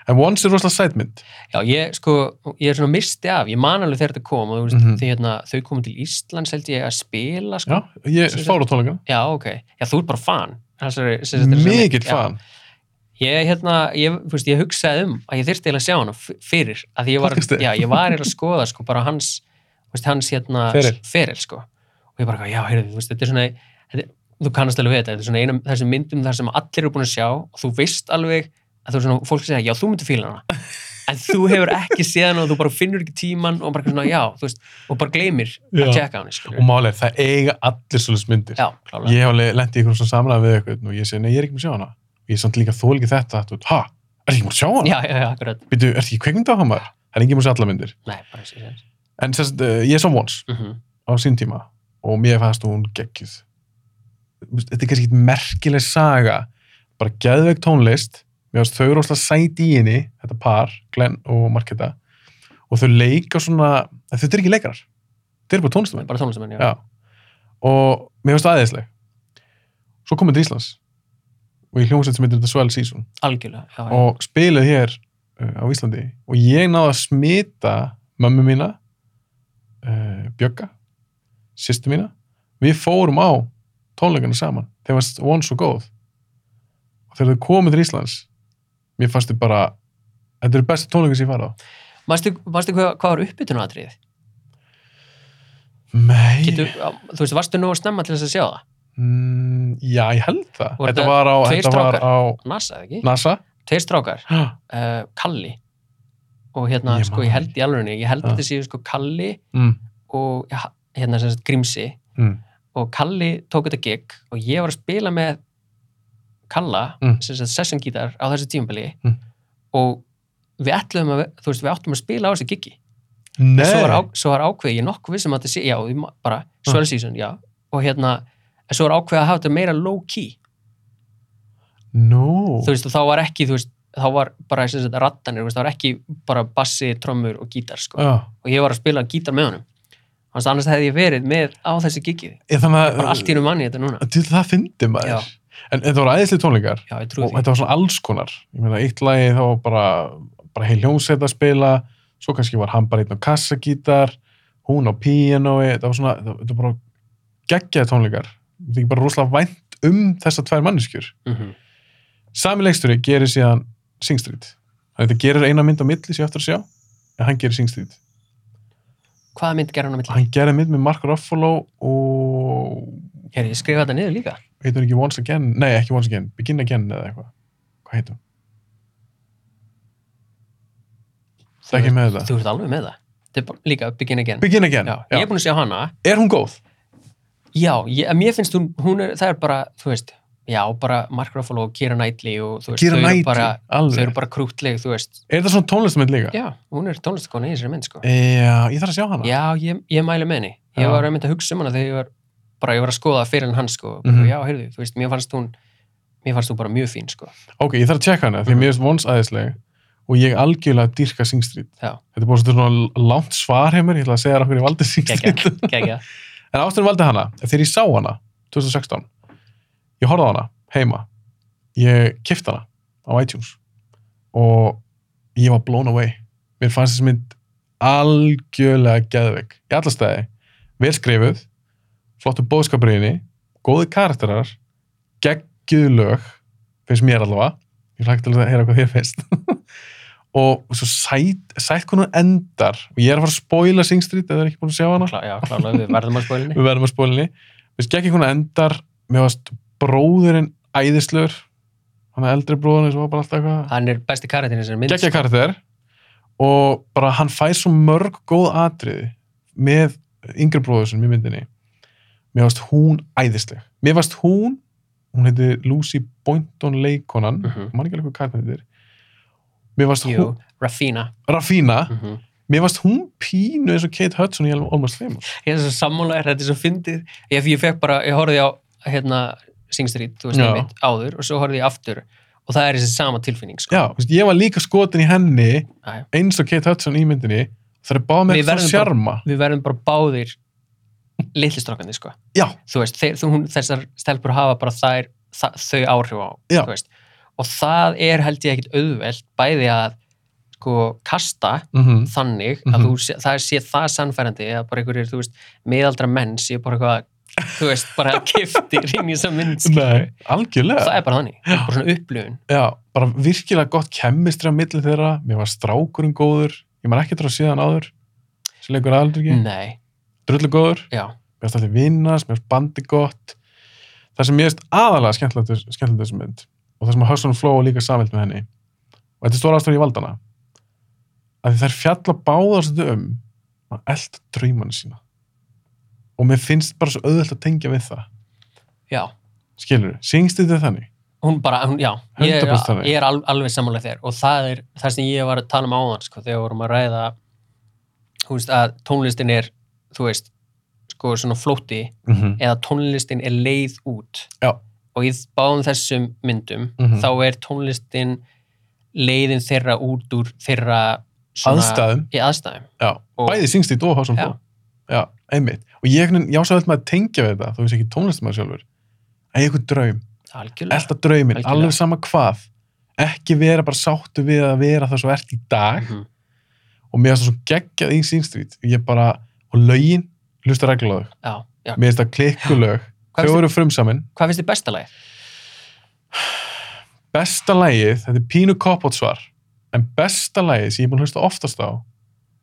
S1: en Once er rosalega sætmynd
S2: Já, ég sko, ég er svona misti af, ég man alveg þegar þetta kom og þú veist, mm
S1: Mhm.
S2: hérna, þau komum til Íslands held ég að spila sko.
S1: Já, ég
S2: Sem sagt-
S1: fór á tónleikana
S2: Já, ok. Já, þú ert bara fan. Þessari, sem sagt, þessari-
S1: mikill
S2: Já.
S1: fan,
S2: Ég, hérna, ég, þú veist, ég hugsaði um að ég þyrfti eiginlega að sjá hana f- fyrir að því ég var,
S1: Podcastið.
S2: já, ég var eiginlega að skoða sko, bara hans, þú veist, hans hérna,
S1: Feril.
S2: feril sko. og ég bara, eitthvað, já, heyrðu, þú veist, þetta er svona þetta, þú kannast alveg við þetta, þetta er svona einum þessum myndum þar sem allir eru búin að sjá og þú veist alveg að þú er svona, fólk segja, já, þú myndir fíla hana en þú hefur ekki séð hana og þú bara finnur ekki tíman og bara eitthvað svona, já, þú veist og bara gleymir
S1: Já. Oh
S2: að tjekka hana
S1: og
S2: skilur.
S1: málega það eiga allir svolítið myndir
S2: já, klálega,
S1: ég hef alveg lendið ykkur svona samræði við eitthvað og ég segi, nei, ég er ekki með að sjá hana og ég er samt líka þól ekki þetta, þú veit, ha, er ekki með að sjá hana
S2: já, já, já, akkurat
S1: býtu, er ekki kveikmynd á hann maður það er ekki með að sjá alla myndir
S2: nei, bara þessi séns
S1: en sérst, uh, ég sá Once
S2: mm
S1: á sín tíma og mér fannst hún geggjuð Þú veist, þetta er kannski ekkert merkileg saga bara geðveik tónlist mér fannst þau rosalega sæti í henni þetta par, Glenn og Marketa og þau leika svona en þetta er ekki leikarar, þetta er bara tónlistamenn
S2: bara tónlistamenn, já,
S1: Já. og mér fannst það æðisleg svo komum við til Íslands og ég hljómsveit sem heitir The Swell Season
S2: algjörlega já, já.
S1: og spiluð hér uh, á Íslandi og ég náði að smita mömmu mína uh, Bjögga sýstu mína við fórum á tónleikana saman þeir varst one so góð og þegar þau komið til Íslands mér fannst þau bara þetta eru bestu tónleika sem ég farið á
S2: Manstu, manstu hvað, hvað var uppbytunatriðið?
S1: Nei,
S2: Getur, þú veist, varstu nú að snemma til þess að sjá það?
S1: mm, já ég held það
S2: Voru
S1: þetta
S2: þetta
S1: var á,
S2: tveir
S1: þetta var
S2: strákar?
S1: á
S2: NASA, eða ekki?
S1: NASA
S2: Tveir strákar,
S1: Hæ?
S2: uh, Kalli og hérna,
S1: Ég
S2: sko,
S1: man
S2: ég
S1: það
S2: held í alvegni ég held
S1: Ja.
S2: að þetta séu sko Kalli
S1: mm.
S2: og ja, hérna sem sagt Grímsi
S1: Mm.
S2: og Kalli tók þetta gig og ég var að spila með Kalla,
S1: Mm.
S2: sem sagt session gítar á þessu tímabili
S1: Mm.
S2: og við ætluðum að, þú veist, við áttum að spila á þessu gigi
S1: Nei Ah.
S2: svo var, á, svo var ákveð, ég er nokkuð vissum að þetta sé, já, ég ma- bara, Swell Season, já, og hérna, en svo var ákveð að hafa þetta meira low key,
S1: no.
S2: þú veist, og þá var ekki, þú veist, þá var bara, sem sagt, rattanir, þú veist, þá var ekki bara bassi, trommur og gítar, sko,
S1: Já.
S2: og ég var að spila gítar með honum, þannig að annars hefði ég verið með á þessi gigið,
S1: Ég, þannig að
S2: bara allt í einu manni þetta núna,
S1: Til það fyndi
S2: Já.
S1: maður. En, en það voru æðislega tónleikar
S2: já, ég
S1: og
S2: trúi því,
S1: þetta var svona alls konar. Ég meina, eitt lagi þá var bara, bara heil hljómsveit að spila, svo kannski var hann bara einn á kassagítar, hún á píanói, þetta var svona, þetta þetta var bara geggjaði tónleikar. Það er bara rosalega vænt um þessar tvær manneskjur.
S2: mm
S1: Sami leikstjóri gerir síðan Sing Street. Þannig þetta gerir eina mynd á milli sem ég á eftir að sjá, en hann gerir Sing Street.
S2: hvaða mynd gerði hann á milli,
S1: Hann gerir mynd með Mark Ruffalo og
S2: hér, ég skrifa þetta niður líka,
S1: heitur hún ekki Once Again, nei ekki Once Again Begin Again eða eitthvað, hvað heitum það er ekki með þetta
S2: þú ert alveg með það, þetta er bara, líka Begin Again,
S1: Begin Again,
S2: já, ég er búin að sjá hana,
S1: er hún góð?
S2: Já, ég, mér finnst hún, hún er, það er bara, þú veist, já, bara Mark Ruffalo og Keira Knightley og þú veist,
S1: Keira
S2: þau eru
S1: Knightley,
S2: bara, þau
S1: alveg
S2: eru bara krútleg, þú veist.
S1: er þetta svona tónlistamind líka?
S2: Já, hún er tónlistakona í þessari mynd, sko.
S1: E, já, ég þarf að sjá hana
S2: Já, ég, ég mæli með henni.
S1: Já.
S2: Ég var einmitt að hugsa um hana þegar ég var, bara ég var að skoða fyrir hann hans, sko.
S1: Mhm.
S2: Já, heyrðu, þú veist, mér fannst hún, mér fannst hún bara mjög fín, sko.
S1: ok, ég þarf að tjekka hana, því
S2: Mhm.
S1: að mér finnst Once æðisleg og ég algjörlega dyrka Sing Street
S2: Já.
S1: þetta er búin svona langt svar heimur ég ætla að segja þér okkur ég valdi Sing
S2: Gegja,
S1: Street
S2: gegja.
S1: en ástæðan valdi hana, þegar ég sá hana 2016, ég horfði á hana heima, ég kifti hana á iTunes og ég var blown away mér fannst þessi mynd algjörlega geðveik, í alla staði vel skrifuð, flottu bóðskapriðinni, góði karakterar geggjuð lög finnst mér allavega, ég hlægt til að heyra hvað þér finnst og svo sætt, sætt hvernig hún endar og ég er að fara að spoila Sing Street eða er ekki búin að sjá hana
S2: Klá, já, klálega, við verðum að spólinni.
S1: við verðum að spólinni við skekki hún endar mér varst bróðurinn æðislur hann er eldri bróðurinn sem var bara alltaf eitthvað
S2: Hann er besti karatinn í þessari mynd. sko.
S1: gekkja karakter og bara hann fær svo mörg góð atriði með yngri bróðursinn í myndinni mér varst hún æðisleg mér varst hún, hún heiti Lucy Boynton leikonan mm
S2: Mhm.
S1: mann ekki alveg hvað kærna þetta er mér varst
S2: Jú,
S1: hún,
S2: Rafina
S1: Rafína
S2: mm -hmm.
S1: mér varst hún pínu eins og Kate Hudson í alveg Almost Famous
S2: Ég er svo sammálaður, þetta er svo fyndið ég, ég fekk bara, ég horfði á hérna, Sing Street, þú veist
S1: Já.
S2: það mitt, áður og svo horfði ég aftur og það er þessi sama tilfinning sko.
S1: já, þú veist, ég var líka skotin í henni
S2: Æ.
S1: eins og Kate Hudson í myndinni það er báð með
S2: Við
S1: eitthvað
S2: verðum
S1: sjarma
S2: Við verðum bara báðir litlistrókandi, sko
S1: já,
S2: þú veist, þeir, þú, hún, þessar stelpur hafa bara þær, það, þau áhrif á
S1: Já.
S2: þú veist. og það er held ég ekkit auðvelt bæði að sko, kasta
S1: mhm,
S2: þannig að
S1: Mhm.
S2: þú sé, það sé það sannfærandi að bara einhverjir, þú veist, miðaldra menn sé bara eitthvað, þú veist, bara kiftir inn í þessa mynd skilur.
S1: nei, algjörlega
S2: það er bara þannig, bara svona upplifun
S1: Já, bara virkilega gott kemmistri á milli þeirra, mér var strákurinn góður ég maður ekki trá síðan áður sem leikur aldrei ekki,
S2: nei,
S1: drullu góður
S2: já,
S1: mér varst allir vinnast, mér varst bandi gott það sem mér veist aðalega skemmtilegt við- skemmtilegt við þessu mynd og það sem að Hudson og Flow líka samilt með henni og þetta er stóra ástæður í valdana að þær fjalla báðast um að elda drauman sína og mér finnst bara svo auðvöld að tengja við það
S2: já
S1: skilur, syngst þetta þannig
S2: hún bara, hún, já, ég er,
S1: 100% þannig.
S2: ég er al, alveg sammála þér og það er það sem ég var að tala um áðan, sko, þegar við vorum að ræða þú veist, að tónlistin er þú veist, sko, svona flótti
S1: mm -hmm.
S2: eða tónlistin er leið út
S1: Já.
S2: og í báðum þessum myndum
S1: Mhm.
S2: þá er tónlistin leiðin þeirra út úr þeirra svona,
S1: aðstæðum,
S2: í aðstæðum
S1: já,
S2: Og-
S1: bæði syngst þetta og Hudson og
S2: Já.
S1: Flow Já, einmitt. Og ég, einhvern veginn- ég ásæði alltaf að tengja við þetta, þó ég sé ekki tónlistamæður sjálfur. En ég eitthvað draum,
S2: algjörlega
S1: elda drauminn,
S2: Algjörlega.
S1: alveg sama hvað. Ekki vera bara sáttu við að vera það svo ert í dag.
S2: Mhm.
S1: Og mér finnst það svo geggjað í sínstrít. Ég bara, og lögin, hlusta reglulega á þau.
S2: já, já.
S1: Mér finnst það klikkulög.
S2: Hvað
S1: Þau
S2: finnst
S1: eru frumsamin.
S2: hvað finnst þið besta lagið?
S1: Besta lagið, þetta er pínu koppotsvar, en besta lagið sem ég er búin að hlusta oftast á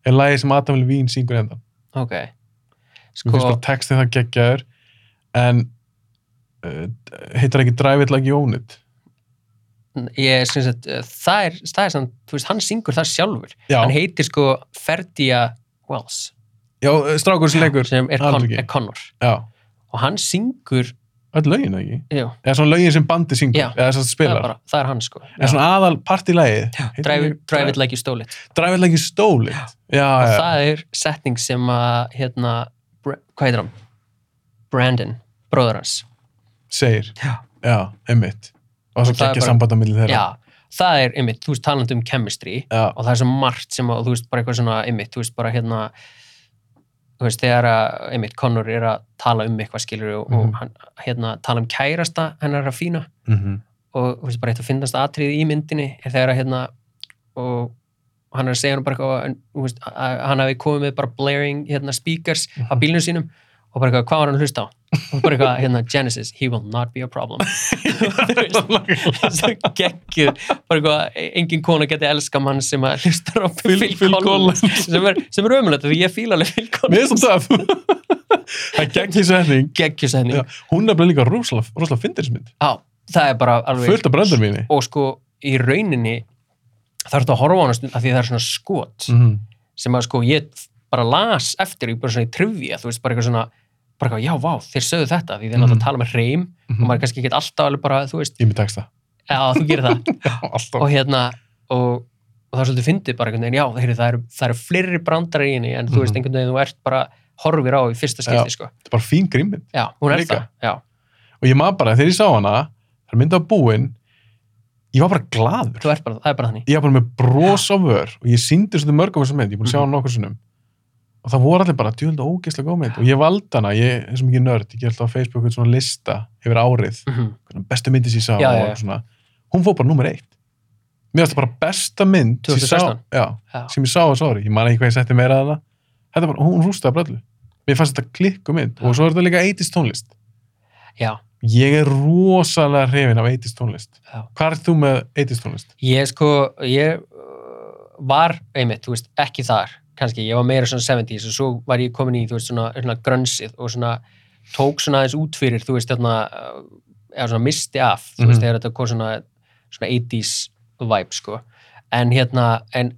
S1: er lagið sem Adam Levine syngur endan.
S2: ok
S1: Mér finnst
S2: sko,
S1: bara textin það geggjaður en uh, heitar ekki Drive It Like You Own It
S2: ég syns að uh, það er, það er samt, þú veist, hann syngur það sjálfur
S1: Já,
S2: hann heitir sko Ferdia Wells
S1: já uh, strákur sem leikur
S2: sem er,
S1: Alls
S2: Con
S1: ekki.
S2: er Connor
S1: Já,
S2: og hann syngur
S1: öll lögin eða ekki
S2: jú,
S1: eða svona lögin sem bandi syngur
S2: Já.
S1: eða sem
S2: það, er
S1: spilar
S2: bara, það er hann sko Já.
S1: en svona aðal partilagið heitir
S2: Drive,
S1: ekki-
S2: it- drive it like you stole it
S1: Drive It Like You Stole It Já,
S2: og
S1: já,
S2: það er setning sem að hérna, Bra- hvað heitir hann? Brandon, bróður hans
S1: segir
S2: Já.
S1: já einmitt og svo
S2: Og það er
S1: geggja
S2: bara-
S1: samband á milli þeirra
S2: já, það er einmitt, þú veist talandi um chemistry
S1: Já,
S2: og það er svo margt sem að, þú veist, bara eitthvað svona einmitt, þú veist, bara hérna þú veist, þegar að, einmitt, Connor er að tala um eitthvað skilur og,
S1: Mhm.
S2: og hann, hérna, tala um kærasta hennar að fína
S1: mhm,
S2: og þú veist, bara eitthvað finnast atrið í myndinni er þegar að, hérna, og hann er að segja hann bara eitthvað, en, þú veist, að- að hann hafi komið með bara blaring, hérna, speakers á
S1: mhm.
S2: bílnum sínum og bara eitthvað, hvað var hann að hlusta á? og bara eitthvað, hérna, Genesis, he will not be a problem svo geggjur bara eitthvað, e- engin kona geti elska mann sem að hlustar á
S1: Phil- Phil Collins.
S2: sem er, sem er ömulegt, því ég fíla alveg Phil
S1: Mér
S2: Collins
S1: finnst það það geggja setning
S2: geggjur sæðning,
S1: Já, hún er bara líka rosalega rosalega fyndinsmynd
S2: á, það er bara alveg
S1: fullt af bröndur mínu
S2: og sko, í rauninni þarf þetta að horfa á hana stund, af því það er svona skot
S1: mhm
S2: sem að sko, ég bara las eftir, ég bara svona í trivja, þú veist, bara eitthvað svona bara eitthvað, já, vá, þeir sögðu þetta, því þeir
S1: Mhm.
S2: náttúrulega tala um með reym og maður er kannski ekki alltaf alveg bara, þú veist,
S1: Ég með texta.
S2: já, þú gerir það
S1: Já, alltaf.
S2: og hérna og, og það er svolítið fyndið bara einhvern veginn, já, heyri, það, eru, það eru fleiri brandar í henni en þú veist
S1: Mhm.
S2: einhvern veginn þú ert bara horfir á í fyrsta skipti, sko.
S1: Þetta er bara fín grímynd.
S2: Já, hún er
S1: Líka.
S2: það, já.
S1: Og ég maður bara, þegar ég sá hana, það er myndið á búinn, ég var bara gladur.
S2: Þú ert bara, það er bara þannig.
S1: Ég var bara með bros á vör og ég síndi svolítið mörgum þessum mynd, ég er búin að sjá
S2: Mhm.
S1: hana nokkur sinnum. Og það voru allir bara djúlda ógeðslega góð mynd og ég valdi hana, ég er svo mikið nörd, ég gerði alltaf á Facebook eitthvað svona lista yfir árið,
S2: Mm
S1: hvernig bestu myndi sem ég sá
S2: Já,
S1: og
S2: já, já.
S1: eitthvað svona. Hún fór bara nummer eitt. Mér varst það bara besta mynd sem ég sá,
S2: 2016?
S1: já,
S2: Já.
S1: sem ég sá á sári, ég man ekki hvað ég setti meira að það. Þetta bara, hún rústaði bara öllu. Mér fannst þetta klikku mynd og svo er þetta líka 80s tónlist.
S2: já,
S1: Ég er rosalega hrifin af 80s tónlist.
S2: já.
S1: Hvað er þú með 80s tónlist?
S2: Ég sko, ég uh, var, einmitt, þú veist, ekki þar kannski, ég var meira svona 70s og svo var ég komin í, þú veist, svona, svona grönsið og svona tók svona aðeins út fyrir, þú veist, þarna, uh, eða svona misti af, þú veist,
S1: Mhm.
S2: þegar þetta kom svona, svona 80s vibe, sko. En hérna, en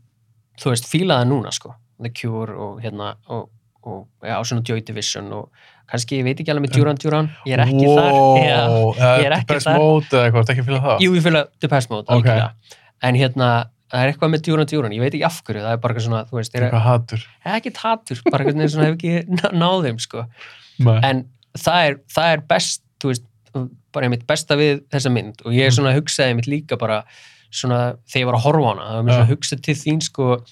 S2: þú veist, fíla það núna sko The Cure og hérna og, og já, svona Joy Division og kannski, ég veit ekki alveg með Duran Duran ég er ekki þar já, ég er ekki
S1: Best
S2: þar.
S1: mode eða eitthvað, ertu ekki að fylga það?
S2: Jú, ég fylg að The Past Mode,
S1: Ok.
S2: algjörlega. En hérna, það er eitthvað með Duran Duran, ég veit ekki af hverju, það er bara eitthvað svona, þú veist, er,
S1: Eitthvað hattur.
S2: er ekki tatur, bara eitthvað neginn svona hef ekki ná- náð þeim, sko.
S1: Nei.
S2: En það er, það er best, þú veist, bara einmitt besta við þessa mynd og
S1: Mm.
S2: ég er svona hugsaði einmitt líka bara svona þegar ég var að horfa á hana, það var mér svona
S1: Já.
S2: hugsa til þín, sko,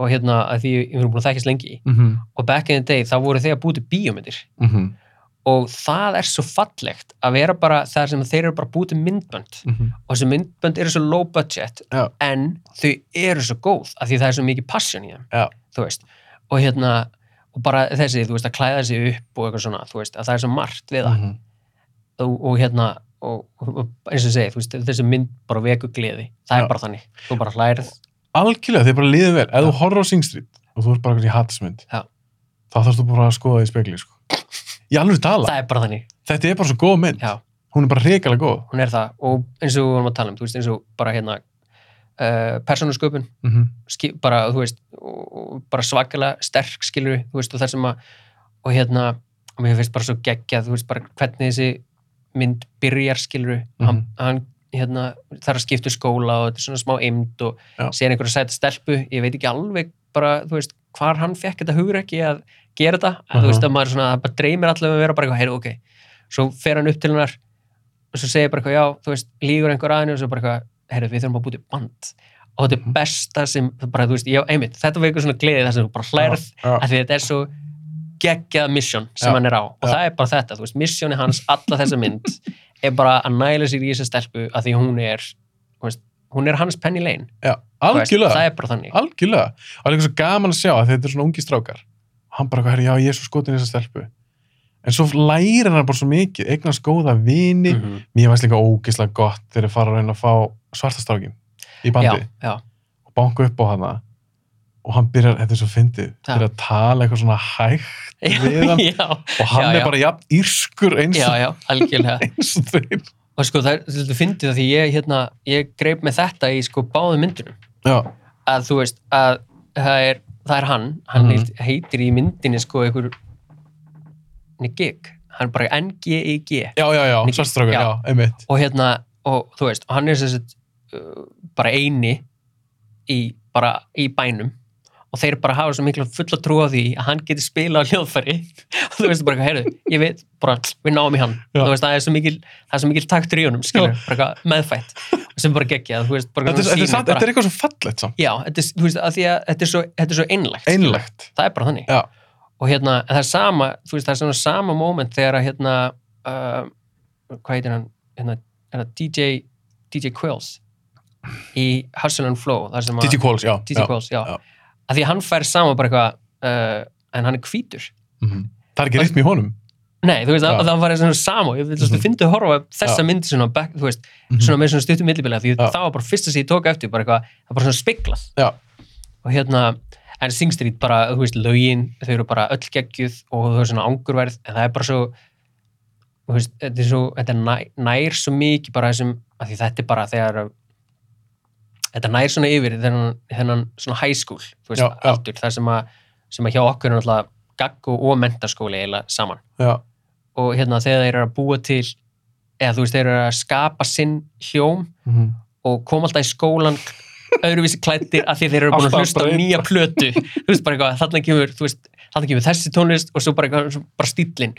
S2: og hérna, að því ég verið búin að þekkjast lengi
S1: Mhm,
S2: og back in the day, þá voru þeir að búti bíómyndir
S1: mhm,
S2: og það er svo fallegt að vera bara þar sem þeir eru bara búti myndbönd
S1: mhm.
S2: og þessi myndbönd eru svo low budget
S1: Já.
S2: en þau eru svo góð af því það er svo mikið passion í þeim
S1: Já.
S2: þú veist, og hérna og bara þessi, þú veist, að klæða sig upp og eitthvað svona, þú veist, að það er svo margt við það
S1: Mhm.
S2: og, og hérna og, og eins og ég segi, þú veist, þessi mynd bara veku gleði, það
S1: Já.
S2: er bara þannig þú bara hlærið,
S1: Algjörlega, þeir bara liðið vel. Ef þú
S2: Já.
S1: horfir á Sing Street og þú ert bara eitthvað í hattismynd,
S2: Já.
S1: þá þarfst þú bara að skoða það í spegli, sko. Í alveg tala.
S2: það er bara þannig
S1: Þetta er bara svo góð mynd.
S2: já,
S1: Hún er bara reikalega góð.
S2: hún er það og eins og við varum að tala um, þú veist, eins og bara hérna uh, persónusköpun
S1: Mhm,
S2: skil, bara, þú veist, og, og bara svakalega sterk skilur, þú veist, og þar sem að og hérna, og mér finnst bara svo geggjað, þú veist, bara hvernig þessi mynd byrjar skilur, hann, hann hérna, þarf að skipta um skóla og þetta er svona smá eimd og
S1: Já.
S2: síðan einhverja sæta stelpu, ég veit ekki alveg bara, þú veist, hvar hann fekk þetta hugur ekki að gera þetta, en þú
S1: Aha.
S2: veist að maður svona, það bara dreymir allavega um að vera bara eitthvað, heyrðu, ok svo fer hann upp til hennar og svo segir bara eitthvað, já, þú veist, lígur einhver aðinu og svo bara eitthvað, heyrðu, við þurfum að búti band og þetta er
S1: Mhm.
S2: besta sem bara, þú veist, já, einmitt, þetta veikur svona gleði þar sem þú bara hlærð
S1: Já.
S2: að því þetta er svo geggjað misjón sem
S1: Já,
S2: hann er á og
S1: já.
S2: það er bara þetta, þú veist, missjóni hans alla þessa mynd er bara að næla sér í þessa stelpu að því hún er þú veist, hún er hans Penny Lane
S1: Já,
S2: þú veist, það
S1: algjörlega,
S2: er bara þannig
S1: algjörlega. Og það er líka svo gaman að sjá að þetta er svona ungi strákar. Hann bara, herri, já, ég er svo skotin í þessa stelpu. En svo lærir hann bara svo mikið, eignast góða vini.
S2: mm -hmm.
S1: Mér finnst líka ógislega gott þegar ég fara að reyna að fá svartastrákin í
S2: já,
S1: bandi
S2: já,
S1: og banka upp á hana og hann byrjar, þetta er svo fyndið,
S2: Já.
S1: byrjar að tala eitthvað svona hægt Við
S2: já,
S1: hann-
S2: já,
S1: og hann
S2: Já, já.
S1: er bara jafn írskur eins,
S2: já, já, algjörlega
S1: eins og þeir.
S2: og sko það er þetta fyndið að því ég, hérna, ég greip með þetta í sko báðum myndunum
S1: Já,
S2: að þú veist að það er, það er hann hann
S1: Mhm.
S2: heilt- heitir í myndinni sko einhver N-G-I-G hann er bara N-G-I-G
S1: já, já, já
S2: Mikið-
S1: svartastrákin,
S2: já.
S1: já. einmitt.
S2: og hérna, og þú veist, og hann er sem sagt uh, bara eini í, bara í bænum og þeir bara hafa svo mikla fulla trú á því að hann getur spilað á hljóðfæri og þú veist bara, heyrðu, ég veit bara, við náum í hann,
S1: Já.
S2: þú veist, það er svo mikil það er svo mikil taktur í honum, skilur, bara eitthvað meðfætt sem bara geggja, þú veist, bara
S1: Þetta er, þetta, er
S2: sýnir
S1: samt,
S2: bara-
S1: þetta er eitthvað svo fallegt samt,
S2: já, þetta er, þú veist, að því að þetta er svo, þetta er svo einlægt, skilur.
S1: einlegt.
S2: það er bara þannig
S1: Já.
S2: og hérna, en það er sama þú veist, það er svona sama moment þegar að hérna uh, hvað heitir hann hérna, hérna DJ DJ Quills í Hustle and Flow þar sem að
S1: Digi Qualls, já.
S2: DJ
S1: já.
S2: Quills, já,
S1: já.
S2: að því að hann fær sama bara eitthvað uh, en hann er hvítur
S1: Mhm. Það er ekki rytmi í honum.
S2: nei, þú veist,
S1: Já.
S2: að, að það var svona sama ég vil
S1: Mhm.
S2: mm. finna að horfa á þessa
S1: Já.
S2: myndi svona, back, þú veist,
S1: Mhm.
S2: svona með svona stuttum millibili því
S1: Já.
S2: það var bara fyrsta sem ég tók eftir bara eitthvað, það var bara svona spiklað
S1: Já.
S2: og hérna, en Sing Street bara, þú veist, lögin, þau eru bara öll geggjuð og þau eru svona angurverð, en það er bara svo þú veist, þetta er svo þetta er nær, nær svo mikið bara þessum af því þetta er bara þegar þetta nær svona yfir þennan, þennan svona high school, þú veist,
S1: Já, já.
S2: aldur það sem að, sem að hjá okkur er náttúrulega gagg og mentaskóli eiginlega saman
S1: Já,
S2: og hérna þegar þeir eru að búa til eða þú veist, þeir eru að skapa sinn hljóm
S1: mhm.
S2: og kom alltaf í skólan öðruvísi klættir af því þeir eru búin að
S1: Alltaf
S2: hlusta á
S1: breyta.
S2: nýja plötu þú veist bara eitthvað, þarna kemur, þú veist, þarna kemur þessi tónlist og svo bara, eitthvað, svo bara stíllinn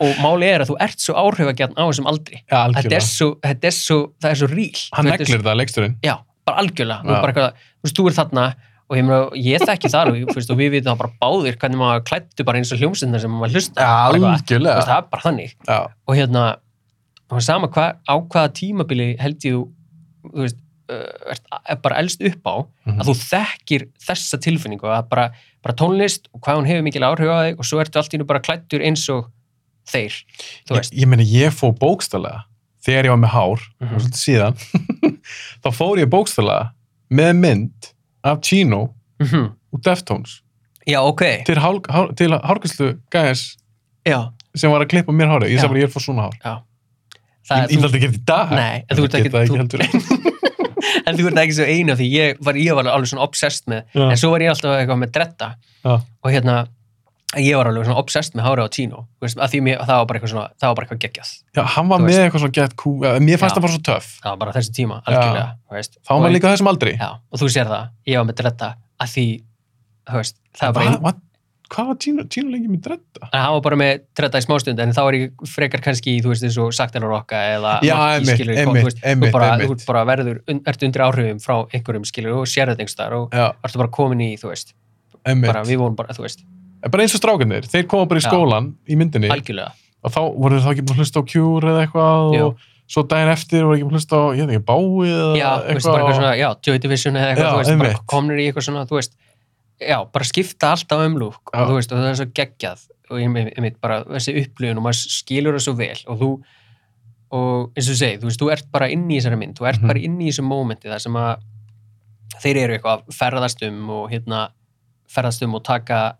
S2: og málið er að þú ert svo áhrifagjarn á þessum aldri
S1: já
S2: þetta er
S1: algjörlega.
S2: svo, þetta er svo, það er svo ríl
S1: Hann
S2: Þú veist,
S1: neglir það, leiksturinn.
S2: já, bara algjörlega, þú,
S1: Já.
S2: bara eitthvað, þú veist, þú er þarna og ég, meina, ég þekki það alveg, þú veist, og við vitum það bara báðir hvernig maður klættu bara eins og hljómsindar sem maður hlusta á, bara eitthvað, þú veist,
S1: algjörlega.
S2: það er bara þannig
S1: Já,
S2: og hérna og sama hva, á hvaða tímabili held ég þú, þú veist, uh, ert a- bara elst upp á
S1: Mhm.
S2: að þú þekkir þessa tilfinningu að bara, bara tónlist og hvað hún hefur mikil áhrif á þig og svo ertu allt í nú bara klættur eins og þeir þú
S1: Ég,
S2: veist,
S1: ég meina, ég fó bókstælega þegar ég var með hár, mm
S2: Mhm.
S1: svolítið síðan þá fór ég bókstælega með mynd af Chino
S2: Mhm.
S1: og Deftones
S2: já ok
S1: til, hál, hál, til hárgæslu gæðis
S2: já,
S1: sem var að klippa mér hárið. Ég
S2: Já.
S1: sagði bara, ég er fór svona hár.
S2: það
S1: ég ég ætla ekki að gera þetta í dag.
S2: Nei,
S1: En
S2: en þú
S1: ég
S2: ert ekki-
S1: get það
S2: þú-
S1: ekki heldur.
S2: en þú ert ekki svo einu af því ég var, ég var alveg svona obsessed með
S1: Já.
S2: en svo var ég alltaf eitthvað með dretta
S1: Já.
S2: og hérna ég var alveg svona obsessed með hárið á Tino þú veist, að því mér, það var bara eitthvað svona það var bara eitthvað geggjað
S1: Já, hann var
S2: Þú
S1: með
S2: veist.
S1: eitthvað svona gett kú, eh, mér fannst
S2: Já.
S1: það bara svo töff.
S2: það var bara þessi tíma algjörlega þú veist.
S1: Þá var
S2: Og-
S1: maður líka á þessum aldri.
S2: já, og þú sér það, ég var með dretta að því þú veist, það var bara
S1: Hva- va- Hvað var Tínu, tínu lengi með dretta?
S2: En hann var bara með tretta í smástund en þá er ég frekar kannski, í, þú veist, eins og saktanarokka eða
S1: Já,
S2: Rocky,
S1: einmitt,
S2: skilurðu, kom-
S1: einmitt,
S2: þú veist,
S1: einmitt,
S2: þú bara,
S1: einmitt.
S2: þú bara verður, un, ert undir áhrifum frá einhverjum skilur og sér þetta einhverstaðar og
S1: Já,
S2: ertu bara komin í, þú veist,
S1: emmitt.
S2: bara
S1: Bara,
S2: við vorum bara, þú veist,
S1: eins og strákanir, þeir koma bara í
S2: Já.
S1: skólan í myndinni
S2: algjörlega
S1: og þá voru þeir þá ekki búin að hlusta á Cure eða eitthvað
S2: Jú.
S1: og svo daginn eftir voru ekki búin að hlusta á, ég veit ekki, Báið eða
S2: Já, þú veist, bara eitthvað svona, já, Joy Division eða eitthvað,
S1: Já,
S2: þú veist,
S1: einmitt.
S2: bara komnir í eitthvað svona, þú veist já, bara skipta alltaf um lúk
S1: Já.
S2: og þú veist, og það er svo geggjað og ég mitt bara þessi upplifun og maður skilur það svo vel og þú, og eins og þú segir, þú veist, þú ert bara inni í þessari mynd, þú ert
S1: Mhm.
S2: bara inni í þessu mómenti þar sem að þeir eru eitthvað að ferðast um og hérna ferðast um og taka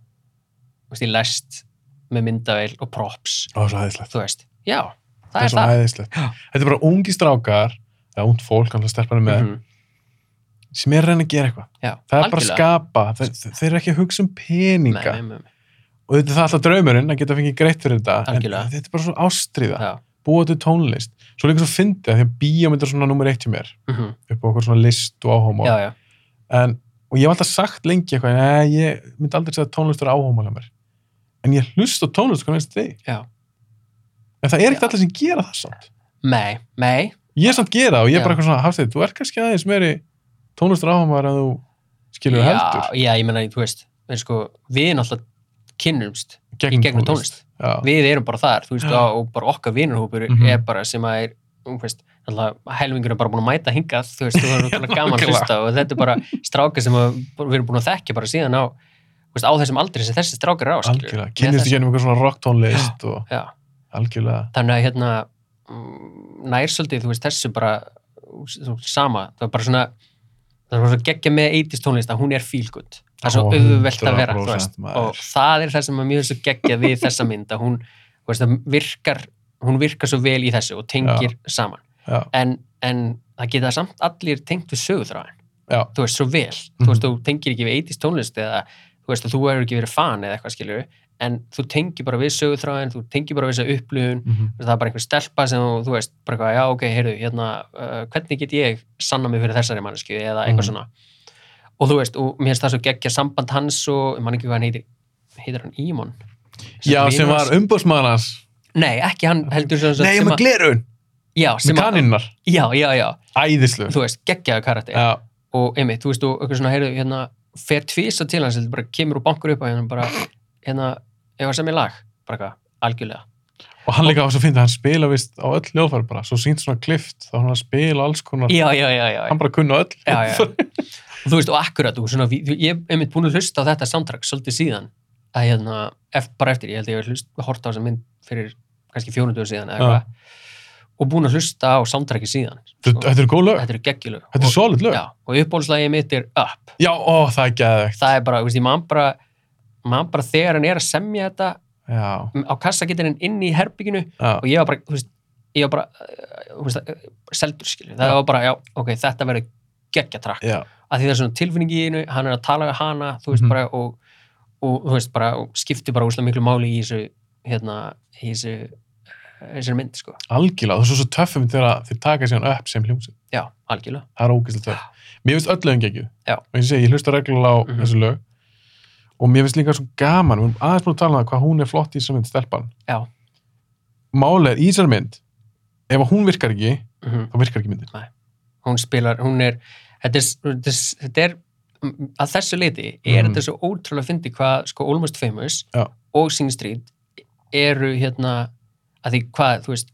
S2: þú veist, í lest með myndavél og props,
S1: Ó, svo æðislegt.
S2: þú veist, já það,
S1: Það er
S2: er
S1: svo
S2: það
S1: æðislegt.
S2: Já.
S1: Þetta er bara ungi strákar, eða ungt fólk, kannski stelpanum með,
S2: Mhm,
S1: sem er að reyna að gera eitthvað.
S2: já,
S1: Það er bara að
S2: algjörlega.
S1: skapa, þeir, þeir eru ekki að hugsa um peninga.
S2: Nei, nei, nei, nei,
S1: og þetta er það alltaf draumurinn að geta fengið greitt fyrir þetta
S2: Algjörlega.
S1: en þetta er bara svona ástriða,
S2: já,
S1: búa til tónlist svo líka svo fyndið að því að bíómynd er svona nummer eitt hjá mér,
S2: mhm,
S1: upp á okkur svona list og áhóma
S2: já, já
S1: en, og ég hef alltaf sagt lengi eitthvað, neða ég myndi aldrei segja að tónlist er áhóma hjá mér en ég hlust á tónlist hvernig veist þig
S2: Já.
S1: en það er ekkert
S2: Já.
S1: allir sem gera það samt
S2: Nei, nei,
S1: ég er samt gera og ég er
S2: Já.
S1: bara eitthvað svona hafstæði, þú er kannski aðeins meiri tónlist er áhóma en þú skilur
S2: já,
S1: heldur
S2: já, ég meina, þú veist, við, sko, við náttúrulega kynnumst í gegnum tónlist.
S1: Já.
S2: Við erum bara þar, þú veist,
S1: Já.
S2: og, og bara okkar vinurhópur
S1: Mhm.
S2: er bara sem að er, þú veist, alltaf helmingur er bara búin að mæta hingað, þú veist, þú erum bara gaman að
S1: nákvæmlega.
S2: hlusta og þetta er bara strákar sem að, við erum búin að þekkja bara síðan á, þú veist, á þessum aldri sem þessi strákar er á, skilurðu.
S1: algjörlega,
S2: Með
S1: kynnist í
S2: þessu-
S1: gegnum eitthvað svona rock tónlist og
S2: Já,
S1: algjörlega
S2: þannig að hérna mm, nær svolítið, þú veist, þessu bara þú- sama, það var bara svona það var svo geggja með 80s tónlist að hún er feel good, það er svo
S1: Ó,
S2: auðvelt að vera þú
S1: 100%
S2: veist,
S1: maður.
S2: og það er það sem er mjög svo geggja við þessa mynd að hún, þú veist, það virkar hún virkar svo vel í þessu og tengir saman,
S1: Já.
S2: en, en það geta samt allir tengt við sögutræðin
S1: Já.
S2: þú veist, svo vel,
S1: Mhm.
S2: þú veist, þú tengir ekki við 80s tónlist eða, þú veist, þú hefur ekki verið fan eða eitthvað skilur, en þú tengir bara við sögutræðin, þú tengir bara við þessa upplifun
S1: Mhm.
S2: það er bara einhver stelpa sem þú, þú veist bara eitthvað, já ok, heyrðu, hérna uh, hvernig get ég sanna mig fyrir þessari mannesku eða
S1: Mhm.
S2: eitthvað svona og þú veist, og mér finnst það svo geggja samband hans og ég man ekki hvað hann heitir, heitir hann Ímon
S1: Já,
S2: vinur
S1: sem
S2: hans-
S1: var umbúrsmaður hans.
S2: nei, ekki hann heldur sem,
S1: Nei,
S2: sem
S1: með glerun.
S2: já,
S1: Með
S2: sem að,
S1: kaninnar.
S2: já, já, já,
S1: Æðislu.
S2: þú veist, geggjaðu karakter
S1: Já,
S2: og einmitt, þú veist, og eitthvað svona, heyrðu, hérna fer tvisa til hans, heldur, bara kemur og bankur upp á hérna, bara, hérna, ef að semja lag bara eitthvað, algjörlega
S1: og hann líka á þess að finna, hann spila vist á öll hljóðfæri bara, svo sínt svona klift, þá hann að spila alls konar,
S2: já, já, já, já, já.
S1: hann bara kunna öll.
S2: já, já. og þú veist, og akkurat og svona, við- ég hef einmitt búin að hlusta á þetta soundtrack svolítið síðan að, hérna, eft, bara eftir, ég held að ég hef hlust hort á þessa mynd fyrir kannski fjórundu síðan
S1: Já.
S2: eða eitthvað og búin að hlusta á soundtracki síðan sko.
S1: Þetta þetta eru góð lög.
S2: þetta eru geggjulög
S1: Þetta er
S2: og,
S1: solid lög.
S2: já, og uppbólslagið mitt er Up
S1: Já, ó, það er geðvegt.
S2: það er bara, þú veist, ég man bara mann bara þegar hann er að semja þetta
S1: Já,
S2: á kassakittininn inn í herbygginu
S1: já.
S2: og ég var bara, þú veist, ég var bara uh, þú veist, uh, seldur, skilju það
S1: Já.
S2: var bara, já, ok, þetta verður geggja trakk
S1: Já,
S2: að því það er svona tilfinning í einu, hann er að tala við hana, þú veist
S1: Mhm.
S2: bara, og, og þú veist bara, og skiptir bara úslega miklu máli í þessu, hérna, í þessu, þessari mynd, sko.
S1: algjörlega. Og svo svo töffum þegar þeir taka sér hann upp sem hljómsið.
S2: Já, algjörlega.
S1: Það er ógæslega töff. Mér finnst öll lögum geggjuð.
S2: Já.
S1: Og eins og ég segi, ég hlusta reglulega á
S2: Mhm.
S1: þessu lög. Og mér finnst líka svo gaman, við erum aðeins búin að tala um það, hvað hún er flott í þessari mynd, stelpan.
S2: Já.
S1: málið er í þessari mynd ef að hún virkar ekki,
S2: Mm
S1: þá virkar ekki myndin
S2: Hún spilar, hún er, þetta er, þetta er, þetta er mm, að þessu leiti er
S1: Mhm.
S2: þetta svo ótrúlega fyndi hvað, sko, Almost Famous
S1: Já.
S2: og Sing Street eru, hérna, að því hvað, þú veist,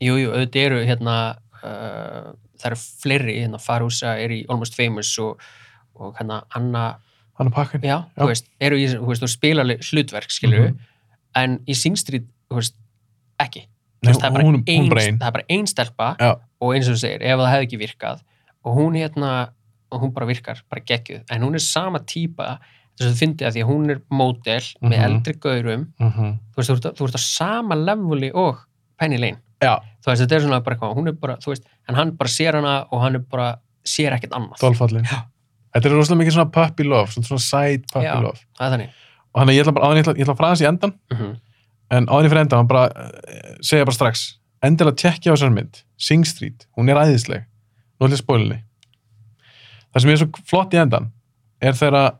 S2: jú, jú, auðvitað eru, hérna, uh, það eru fleiri, hérna, Farúsa er í Almost Famous og, og hérna, Anna,
S1: hann er pakkan
S2: já,
S1: Já.
S2: þú veist, eru í, þessu- þú veist, þú spila hlutverk, skilur
S1: Mhm.
S2: en í Sing Street, þú veist, ekki
S1: Nei,
S2: þú veist, það, er bara
S1: hún,
S2: ein,
S1: hún breyn
S2: það er bara ein stelpa
S1: Já.
S2: og eins og þú segir, ef það hefði ekki virkað og hún hérna, og hún bara virkar bara geggjuð, en hún er sama típa þess að þú fyndið að því að hún er módel með
S1: Mhm.
S2: eldri gaurum,
S1: mm -hmm.
S2: þú veist, þú ert, þú ert á sama leveli og Penny Lane
S1: já,
S2: þú veist, þetta er svona bara eitthvað, hún er bara, þú veist, en hann bara sér hana og hann er bara sér ekkert annað
S1: Þolfallin.
S2: Já.
S1: Þetta er rosalega mikið svona puppy love, svona, svona side puppy
S2: Já.
S1: love.
S2: það er þannig
S1: Og þannig að ég ætla bara, áður en ég ætla, ég ætla að fræða þessi endan,
S2: mm -hmm.
S1: en áður en ég fyrir endan, bara, eh, segja bara strax, endilega tekja á þessar mynd, Sing Street, hún er æðisleg, nú ætla ég að spóla henni. Það sem er svo flott í endan, er þegar að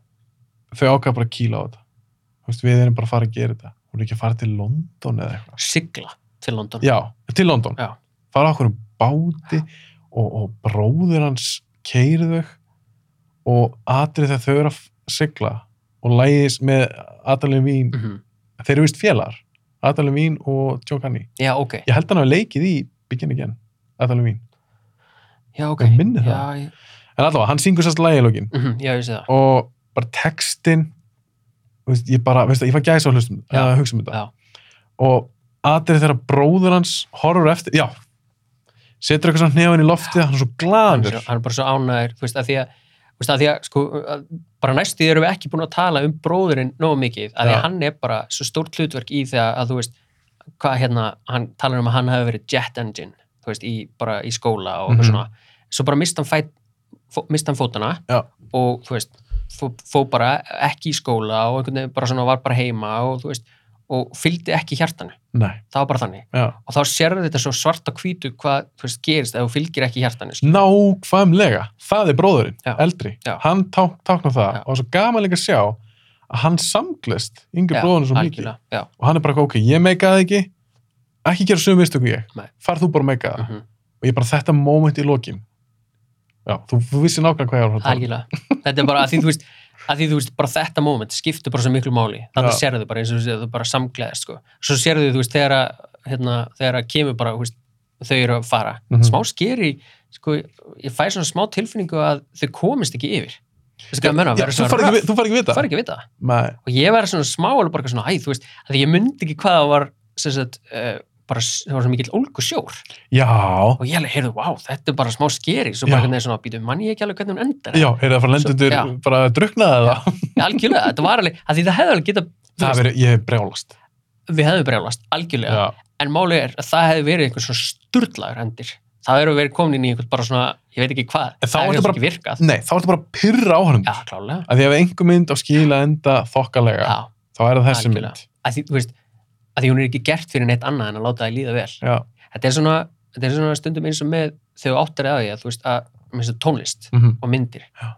S1: þau ákveða bara að kýla á þetta. Þú veist, við erum bara að fara að gera þetta. Hún er ekki að fara til London eða eitthvað.
S2: sigla til London
S1: Já, til London.
S2: Já.
S1: Fara okkur um báti og, og bróður hans keirðu og atrið þegar þau eru að sigla og lægis með Adalyn Vín.
S2: Mhm.
S1: Þeir eru vist félagar. Adalyn Vín og Joe Canny.
S2: já ok,
S1: Ég held hann að leikið í Begin Again, Adalyn Vín.
S2: já ok
S1: Ég minni það.
S2: já, ég,
S1: En allavega, hann syngur sérst lægi í lókin
S2: mm já ég sé það
S1: og bara textin, þú veist, ég bara, veist það, ég var gæs á hlustum,
S2: Já.
S1: að hugsa um þetta.
S2: já,
S1: og atrið þegar bróður hans horfur eftir, já setur eitthvað svona nefn í loftið, hann er svo
S2: hann,
S1: glaður
S2: er, svo- hann er bara svo ánæður þú veist að því að, þú veist, að, því að sko, að, bara næstu því erum við ekki búin að tala um bróðurinn nógu mikið, að því
S1: Já.
S2: að hann er bara svo stórt hlutverk í þegar að þú veist hvað hérna, hann talar um að hann hafi verið jet engine, þú veist, í, bara í skóla og
S1: Mhm.
S2: svona, svo bara mist hann fæt fó, mist hann fótana
S1: Já.
S2: og þú veist, fó, fó bara ekki í skóla og einhvern veginn bara svona var bara heima og þú veist, og fylgdi ekki hjartanu,
S1: nei,
S2: það var bara þannig
S1: já,
S2: og þá sérðu þetta svo svart á hvítu hvað, þú veist, gerist ef þú fylgir ekki hjartanu, sko.
S1: nákvæmlega það er bróðurinn,
S2: Já.
S1: eldri
S2: Já.
S1: hann tá, tákna það
S2: Já.
S1: og það er svo gaman líka að sjá að hann samglist yngri
S2: Já,
S1: bróðurinn svo mikið
S2: algjörlega, já,
S1: og hann er bara, eitthvað, ok, ég meikaði ekki ekki gera sömu mistöku ég
S2: Nei.
S1: far þú bara að meika það
S2: mhm,
S1: og ég bara þetta moment í lokin já, þú, þú vissi nákvæmlega hvað ég var að tala um.
S2: algjörlega þetta er bara að því þú veist að því þú veist bara þetta moment skiptir bara svo miklu máli þannig
S1: Já.
S2: sérðu bara eins og þú veist, þú bara samgleðist sko. svo sérðu þú veist þegar að hérna, þegar að kemur bara þú veist, þau eru að fara
S1: Mhm.
S2: smá skeri sko, ég fæ svona smá tilfinningu að þau komist ekki yfir Veistu hvað ég meina?
S1: um. Já,
S2: Verður
S1: þú
S2: svona
S1: far ekki,
S2: röf.
S1: vi- þú far ekki
S2: Þú
S1: vita
S2: fær ekki að vita það
S1: Nei,
S2: og ég var svona smá alveg bara eitthvað svona æ, þú veist, að ég myndi ekki hvað það var sem sagt, uh, bara s- það var svona mikill ólgu
S1: já,
S2: og ég alveg, heyrðu, vá, þetta er bara smá skeri svo bara
S1: Já.
S2: hvernig er svona, býtum, mann ég ekki alveg hvernig hún endar
S1: Já, er það frá lendundur
S2: já.
S1: bara að drukna eða?
S2: Já, algjörlega, þetta var alveg, að því það hefði alveg geta
S1: Það verið, ég hef brjálast.
S2: við hefðum brjálast, algjörlega en málið er að það hefði verið einhver svona sturlaður endir, það hefur verið komin inn í einhvern bara svona, ég veit ekki hvað
S1: En þá
S2: það
S1: ertu
S2: hefur
S1: bara-
S2: ekki virkað,
S1: Nei, þá ertu bara að pyrra á hann.
S2: já, klálega
S1: Að því ef einhver mynd á skila enda
S2: já,
S1: þokkalega, þá er það þessi
S2: Algjörlega.
S1: mynd.
S2: að því, þú veist, að því hún er ekki gert fyrir neitt annað en að láta það líða vel
S1: Já,
S2: þetta er svona, þetta er svona stundum eins og með þau áttar eða því að þú veist að, að tónlist
S1: mm
S2: og myndir
S1: Já.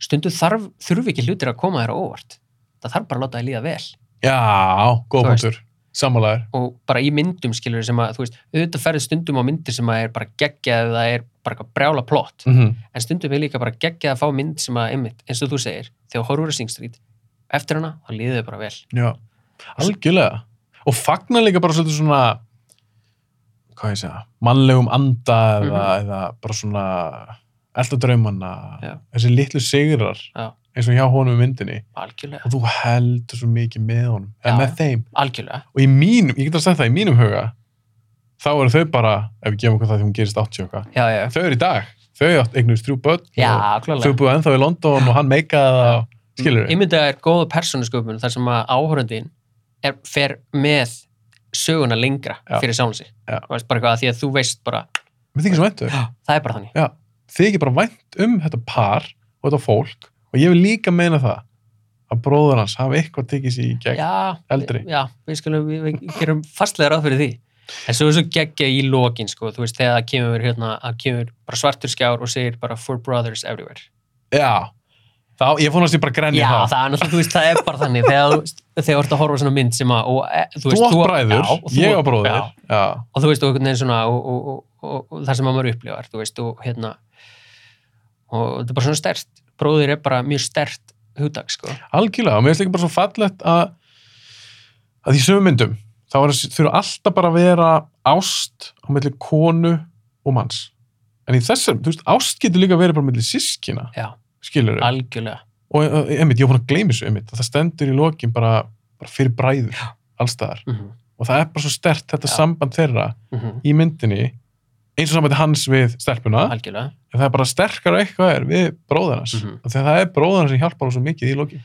S2: stundum þarf, þurfi ekki hlutir að koma þér á óvart það þarf bara að láta það líða vel
S1: já
S2: Þú
S1: góð
S2: veist.
S1: punktur. Sammálaður.
S2: og bara í myndum skilur sem að, þú veist, auðvitað ferði stundum á myndir sem að er bara geggjað eða er bara eitthvað brjála plott,
S1: Mm
S2: en stundum er líka bara geggjað að fá mynd sem að, einmitt, eins og þú segir þegar horfur að Sing Street, eftir hana þá líður þau bara vel,
S1: Já, algjörlega. Og fagnar líka bara svolítið svona, hvað ég segja, mannlegum anda eða, eða bara svona elda draumanna,
S2: Mhm. Já.
S1: þessi litlu sigrar,
S2: Já.
S1: eins og hjá honum í myndinni.
S2: algjörlega
S1: Og þú heldur svo mikið með honum, eða
S2: Já,
S1: með þeim.
S2: algjörlega,
S1: og í mínum, ég get að segja það í mínum huga þá eru þau bara, ef við gefum okkur það því hún gerist 80 og eitthvað,
S2: já, já,
S1: þau eru í dag þau átt eignuðist þrjú börn
S2: já,
S1: og þau
S2: klálega
S1: búið ennþá í London og hann meikaði það, skilur við
S2: Ímyndað er góða persónusköpun þar sem að áhörundin er, fer með söguna lengra
S1: Já.
S2: fyrir sjálfansi,
S1: Já.
S2: þú veist bara eitthvað að því að þú veist bara,
S1: mér þykir svo um væntu,
S2: það er bara þannig
S1: þið ekki bara vænt um þetta par og þetta fólk og ég vil líka meina það að bróður hans hafi eitthvað tekið sér í gegn
S2: já,
S1: eldri.
S2: já, við skulum, við, við gerum fastlega ráð fyrir því en svo er svo geggja í lokin sko, þú veist, þegar það kemur hérna, það kemur bara svartur skjár og segir bara for brothers everywhere
S1: já, þá, ég fór næst ég bara grenni
S2: já,
S1: það,
S2: það er náttúrulega, þú veist, það er bara þannig þegar þú þegar þú ert að horfa á svona mynd sem að og, e, þú
S1: þú átt
S2: já,
S1: bræður,
S2: og þú-
S1: ég á bróður
S2: já,
S1: já, já,
S2: og þú veist, og einhvern veginn svona og, og, og, og, og það sem að maður upplifar, þú veist, og hérna og þetta er bara svona stert bróðir er bara mjög stert hugdag, sko,
S1: algjörlega og mér finnst líka bara svo fallegt að að í sömu myndum þá er, þurfa alltaf bara að vera ást á milli konu og manns en í þessum, þú veist, ást getur líka verið bara milli sískina,
S2: já,
S1: skilur við
S2: algjörlega
S1: og eh, einmitt, ég var búin að gleymi þessu einmitt, að það stendur í lokin bara, bara fyrir bræður allstaðar
S2: mm -hmm.
S1: og það er bara svo stert þetta
S2: Já.
S1: samband þeirra
S2: mhm,
S1: í myndinni eins og sambandi hans við stelpuna
S2: algjörlega
S1: en það er bara sterkara eitthvað er við bróðarnas mm
S2: Mhm.
S1: -hmm. þegar það er bróðarnas sem hjálpar hún svo mikið í lokin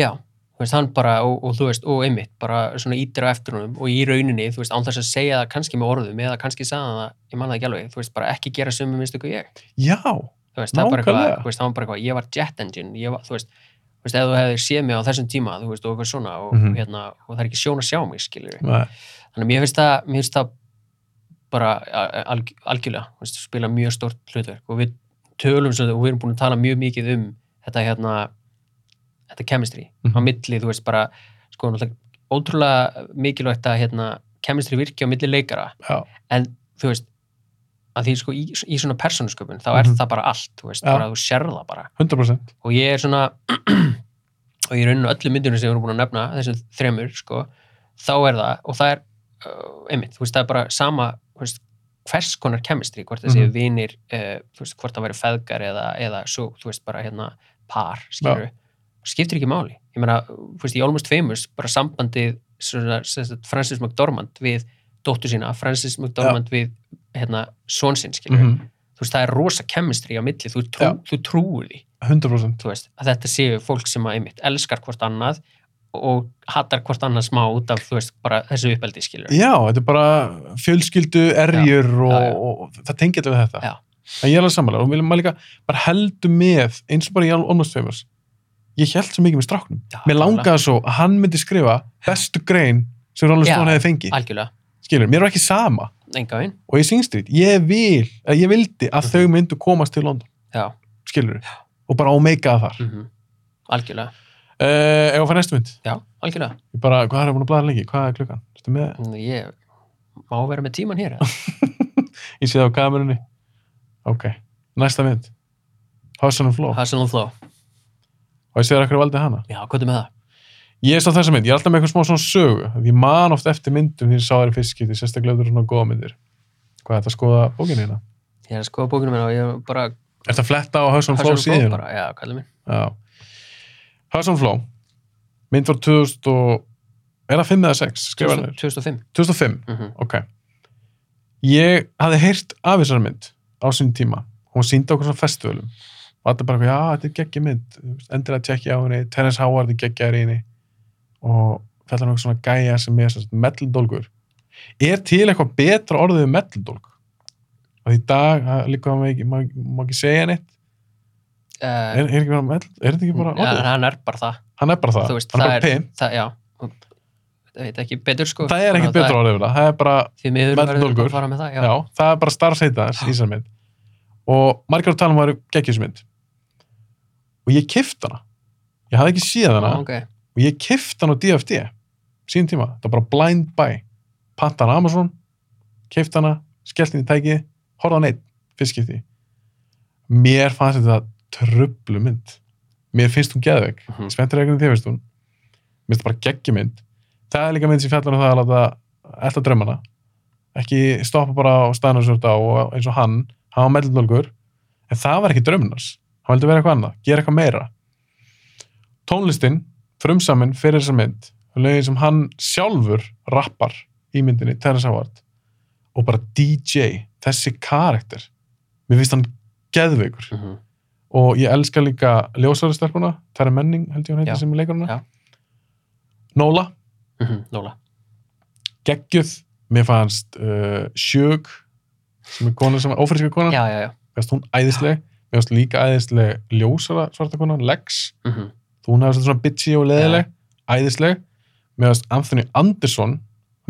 S2: Já, þú veist, hann bara, og, og þú veist, og einmitt, bara svona ítir á eftir honum og í rauninni, þú veist, án þess að segja það kannski með orðum eða kannski sagði hann það, ég manna það ekki alveg, þú veist, bara ekki gera sömu minnst ykkur ég.
S1: Já,
S2: þú veist, það var bara eitthvað,
S1: Nákvæmlega.
S2: þú veist, það var bara eitthvað ég var jet engine, ég var, þú veist þú veist, ef þú hefðir séð mig á þessum tíma, þú veist, og eitthvað svona og,
S1: Mhm.
S2: hérna, og það er ekki sjón að sjá mig, skilur
S1: Nei,
S2: þannig að mér finnst það, mér finnst það bara a- alg, algjörlega þú veist, spila mjög stort hlutverk og við tölum svo og við erum búin að tala mjög mikið um þetta hérna þetta chemistry
S1: Mhm.
S2: á milli, þú veist bara sko, náttúrulega ótrúlega mikilvægt að hérna, chemistry virki á milli leikara
S1: já,
S2: en þú veist að því sko í, í svona persónusköpun þá er
S1: Mhm.
S2: það bara allt, þú veist,
S1: Já.
S2: bara þú sérð það bara
S1: 100%
S2: og ég er svona og ég rauninu öllu myndunum sem við erum búin að nefna þessum þremur, sko þá er það, og það er uh, einmitt, þú veist, það er bara sama þú veist, hvers konar kemistri, hvort það séu
S1: Mhm.
S2: vinir uh, þú veist, hvort það væri feðgar eða, eða svo, þú veist, bara hérna par, skilur skiptir ekki máli, ég meina, þú veist, í Almost Famous bara sambandið svona, sem sagt, Francis McDormand við dóttur sína Francis McDormand við hérna, son sinn, skilur,
S1: Mhm.
S2: þú veist, það er rosa kemistri á milli, þú, trú, þú trúir því
S1: 100%
S2: þú veist, að þetta séu fólk sem að einmitt elskar hvort annað og hattar hvort annað smá út af þú veist, bara þessu uppeldi skilur
S1: Já, þetta er bara fjölskyldu erjur og,
S2: já, já.
S1: og, það tengir þetta við þetta.
S2: Já.
S1: En ég er alveg sammála og viljum maður líka bara heldur með eins og bara í Almost Famous. Ég held svo mikið með stráknum.
S2: Já,
S1: Mér langaði svo að hann myndi skrifa bestu grein sem Rolling
S2: Já.
S1: Stone hefði fengið.
S2: algjörlega,
S1: Skilur, mér var ekki sama.
S2: enga veginn
S1: Og ég syngstrýt, ég vil, eða ég vildi að þau myndu komast til London.
S2: Já.
S1: Skilur, og bara ómeikaða þar. Mm.
S2: mm algjörlega,
S1: Uh, ef að fara næstu mynd,
S2: já, algjörlega
S1: ég bara, hvað er ég búin að blaða lengi? Hvað er klukkan? Ertu með?
S2: Nú, ég má vera með tíman hér eða?
S1: Ég sé það á kamerunni. Ok, næsta mynd. House on the Floor.
S2: Hustle and Flow,
S1: Og ég sé það okkur valdið hana.
S2: já, hvað er með það?
S1: Ég sá þessa mynd, ég er alltaf með eitthvað smá svona sögu. Því ég man oft eftir myndum því ég sá þær í fyrst skipti, sérstaklega ef það eru svona góða myndir. Hvað er þetta að skoða bókinu hérna?
S2: Ég er að skoða bókinu minna og ég er bara
S1: Er þetta að fletta á House on the Floor
S2: Hustle and Flow
S1: síðan?
S2: bara, já, hvað er minn?
S1: Já. House on the Floor. Mynd var 2000 og... Er það 5 eða 6? Skrifa hann
S2: 2005
S1: 2005,
S2: mm
S1: ok. Ég hafði heyrt af þessari mynd á sín tíma. Hún síndi okkur svona festivalum. Og þetta er bara, eitthvað, já, þetta er geggja mynd. Endilega tjekki á henni. Terence Howard er geggjaður í henni. Og fjallar hann svona gæja sem er svona melldólgur. Er til eitthvað betra orðið um melldólg? Og í dag, það- líka maður ekki, maður maður ekki segja neitt. Er,
S2: uh,
S1: er, ekki bara mell, er þetta ekki bara
S2: ja,
S1: orðið?
S2: hann er bara það,
S1: Hann er bara það.
S2: þú veist,
S1: hann er
S2: það
S1: bara pimp.
S2: það, já það veit ekki betur sko
S1: Það er ekkert
S2: Þannig að
S1: betra orðið yfir það. Það er bara,
S2: því miður verður bara
S1: Melldólgur.
S2: að fara með það, já,
S1: já, það er bara starfseita þess
S2: Já.
S1: í þessari mynd og margar á talum var geggjusmynd og ég kift hana ég hafði ekki séð hana
S2: Ah, ok,
S1: og ég kift hana á DFD sín tíma, það var bara blind buy panta hana á Amazon kift hana, skellt henni í tæki horfði hann einn, fyrst skipti mér fannst þetta tröflu mynd mér finnst hún geðveik
S2: Mhm.
S1: spenntir ekkert um því finnst hún mér finnst það bara geggjumynd það er líka mynd sem fjallar um það að láta elda draumana ekki stoppa bara á staðinu sem þú ert á og eins og hann hann var meðlunulgur en það var ekki draumunars hann vildi vera eitthvað annað, gera eitthvað meira tónlistin frumsamin fyrir þessa mynd lögin sem hann sjálfur rappar í myndinni Terrence Howard og bara DJ, þessi karakter mér finnst hann geðveikur
S2: mhm
S1: og ég elska líka ljósarastelpuna, Terra Menning held ég hún heitir
S2: Já,
S1: sem er leikur
S2: já.
S1: hana Nóla,
S2: Mhm, Nóla,
S1: geggjöð mér fannst uh, Sjög sem er kona sem er ófríska kona mér
S2: já, já, já
S1: fannst hún æðisleg, mér fannst líka æðisleg ljósara svarta kona, Lex
S2: Mhm,
S1: þú hún hefði svolítið svona bitchy og leðileg æðisleg, mér fannst Anthony Anderson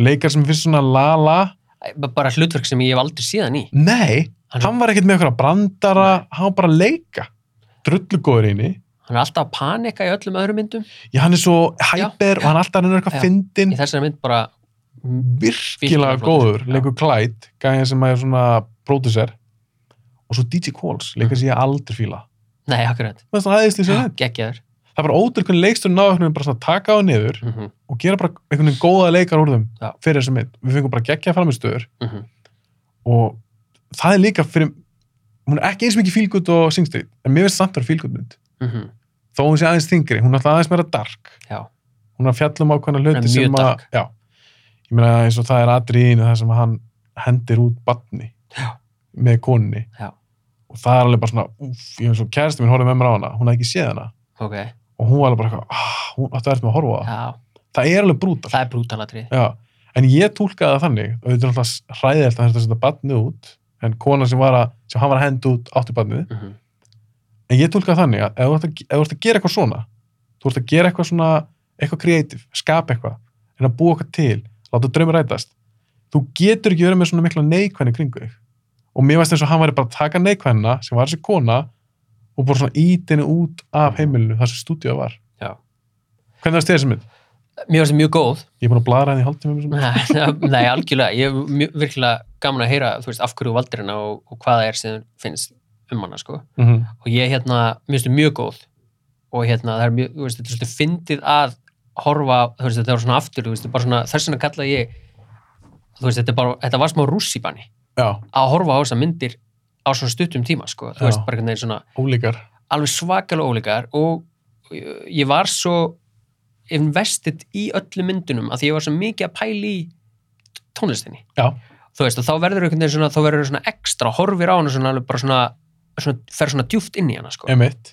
S1: leikar sem mér finnst svona la-la
S2: Æ, ba- bara hlutverk sem ég hef aldrei síðan í
S1: nei,
S2: Hann-
S1: hann var ekkert með eitthvað brandara, hann var bara að leika drullugóður í henni
S2: hann er alltaf að panika í öllum öðrum myndum
S1: Já, hann er svo hæper og hann alltaf er
S2: Já.
S1: eitthvað fyndin
S2: í þessari mynd bara mm,
S1: virkilega
S2: Virkilega flottur,
S1: góður,
S2: já.
S1: leikur Clyde gæðin sem er svona pródusser og svo DJ Qualls,
S2: Mm.
S1: leikar sem ég aldrei fíla
S2: nei, akkurat,
S1: það er svona aðeins því sem þetta
S2: geggjaður
S1: það er bara ótrúlega hvernig leikstur náðu einhvern veginn bara svona að taka á niður
S2: Mhm,
S1: og gera bara einhvern veginn góða leikar úr þeim
S2: Já.
S1: fyrir þessum mynd, við fengum bara geggja framistöður
S2: mhm,
S1: og það er líka fyrir hún er ekki eins mikið fílgut og singstrýt en mér finnst samt að fílgut mynd
S2: mhm,
S1: þó hún sé aðeins þingri, hún er alltaf aðeins meira dark
S2: já,
S1: hún er að fjalla um ákveðna
S2: Hún
S1: hluti
S2: er mjög
S1: sem að
S2: dark.
S1: já, ég meina eins og það er atriðinu það sem hann hendir út batni
S2: Já.
S1: með konunni
S2: Já.
S1: og það er alveg bara svona úf, ég eins og kæristi minn horfði með mér á hana, hún hafði ekki séð hana
S2: ok
S1: og hún var alveg bara eitthvað, ah, hún átti að verða með að horfa á það
S2: já,
S1: það er alveg brútal
S2: það er brútalatrið
S1: já. en ég túlkaði það þannig og þetta er alltaf hræðilt að þetta setja batnið út en kona sem, var að, sem hann var að henda út átti batnið
S2: mhm,
S1: en ég tólka þannig að ef þú ert að, ef þú ert að gera eitthvað svona þú ert að gera eitthvað svona eitthvað kreatív, skapa eitthvað en að búa eitthvað til, láta draumi rætast þú getur ekki verið með svona mikla neikvæðni kringu þig og mér veist eins og hann væri bara að taka neikvæðina sem var þessi kona og bara svona ítinu út af heimilinu þar sem stúdíu var
S2: Já.
S1: hvernig það styrði sem mynd?
S2: Mér finnst það mjög góð.
S1: Ég er búin að blara henni í haldtíma sem
S2: Nei, algjörlega. Ég er mjög- virkilega gaman að heyra, þú veist, af hverju þú valdir hana og, og hvað það er sem þú finnst um hana, sko.
S1: mm -hmm.
S2: Og ég, hérna, mér finnst það mjög góð. Og hérna, það er mjög, þú veist, þetta er svolítið fyndið að horfa, þú veist, þetta er svona aftur, þú veist, þetta er bara svona, þess vegna kalla ég, þú veist, þetta, er bara, þetta var smá rússipanni
S1: Já,
S2: að horfa á þessar myndir á svona stuttum tíma, sko. Þú
S1: Já.
S2: veist, bara hvernig svona,
S1: ólíkar
S2: alveg svakalega ólíkar og uh, ég var svo investið í öllu myndunum að því ég var svo mikið að pæla í tónlistinni
S1: Já.
S2: þú veist og þá verður einhvern veginn svona, þá verður svona ekstra horfir á hana svona alveg bara svona, svona fer svona djúft inn í hana sko
S1: Emitt,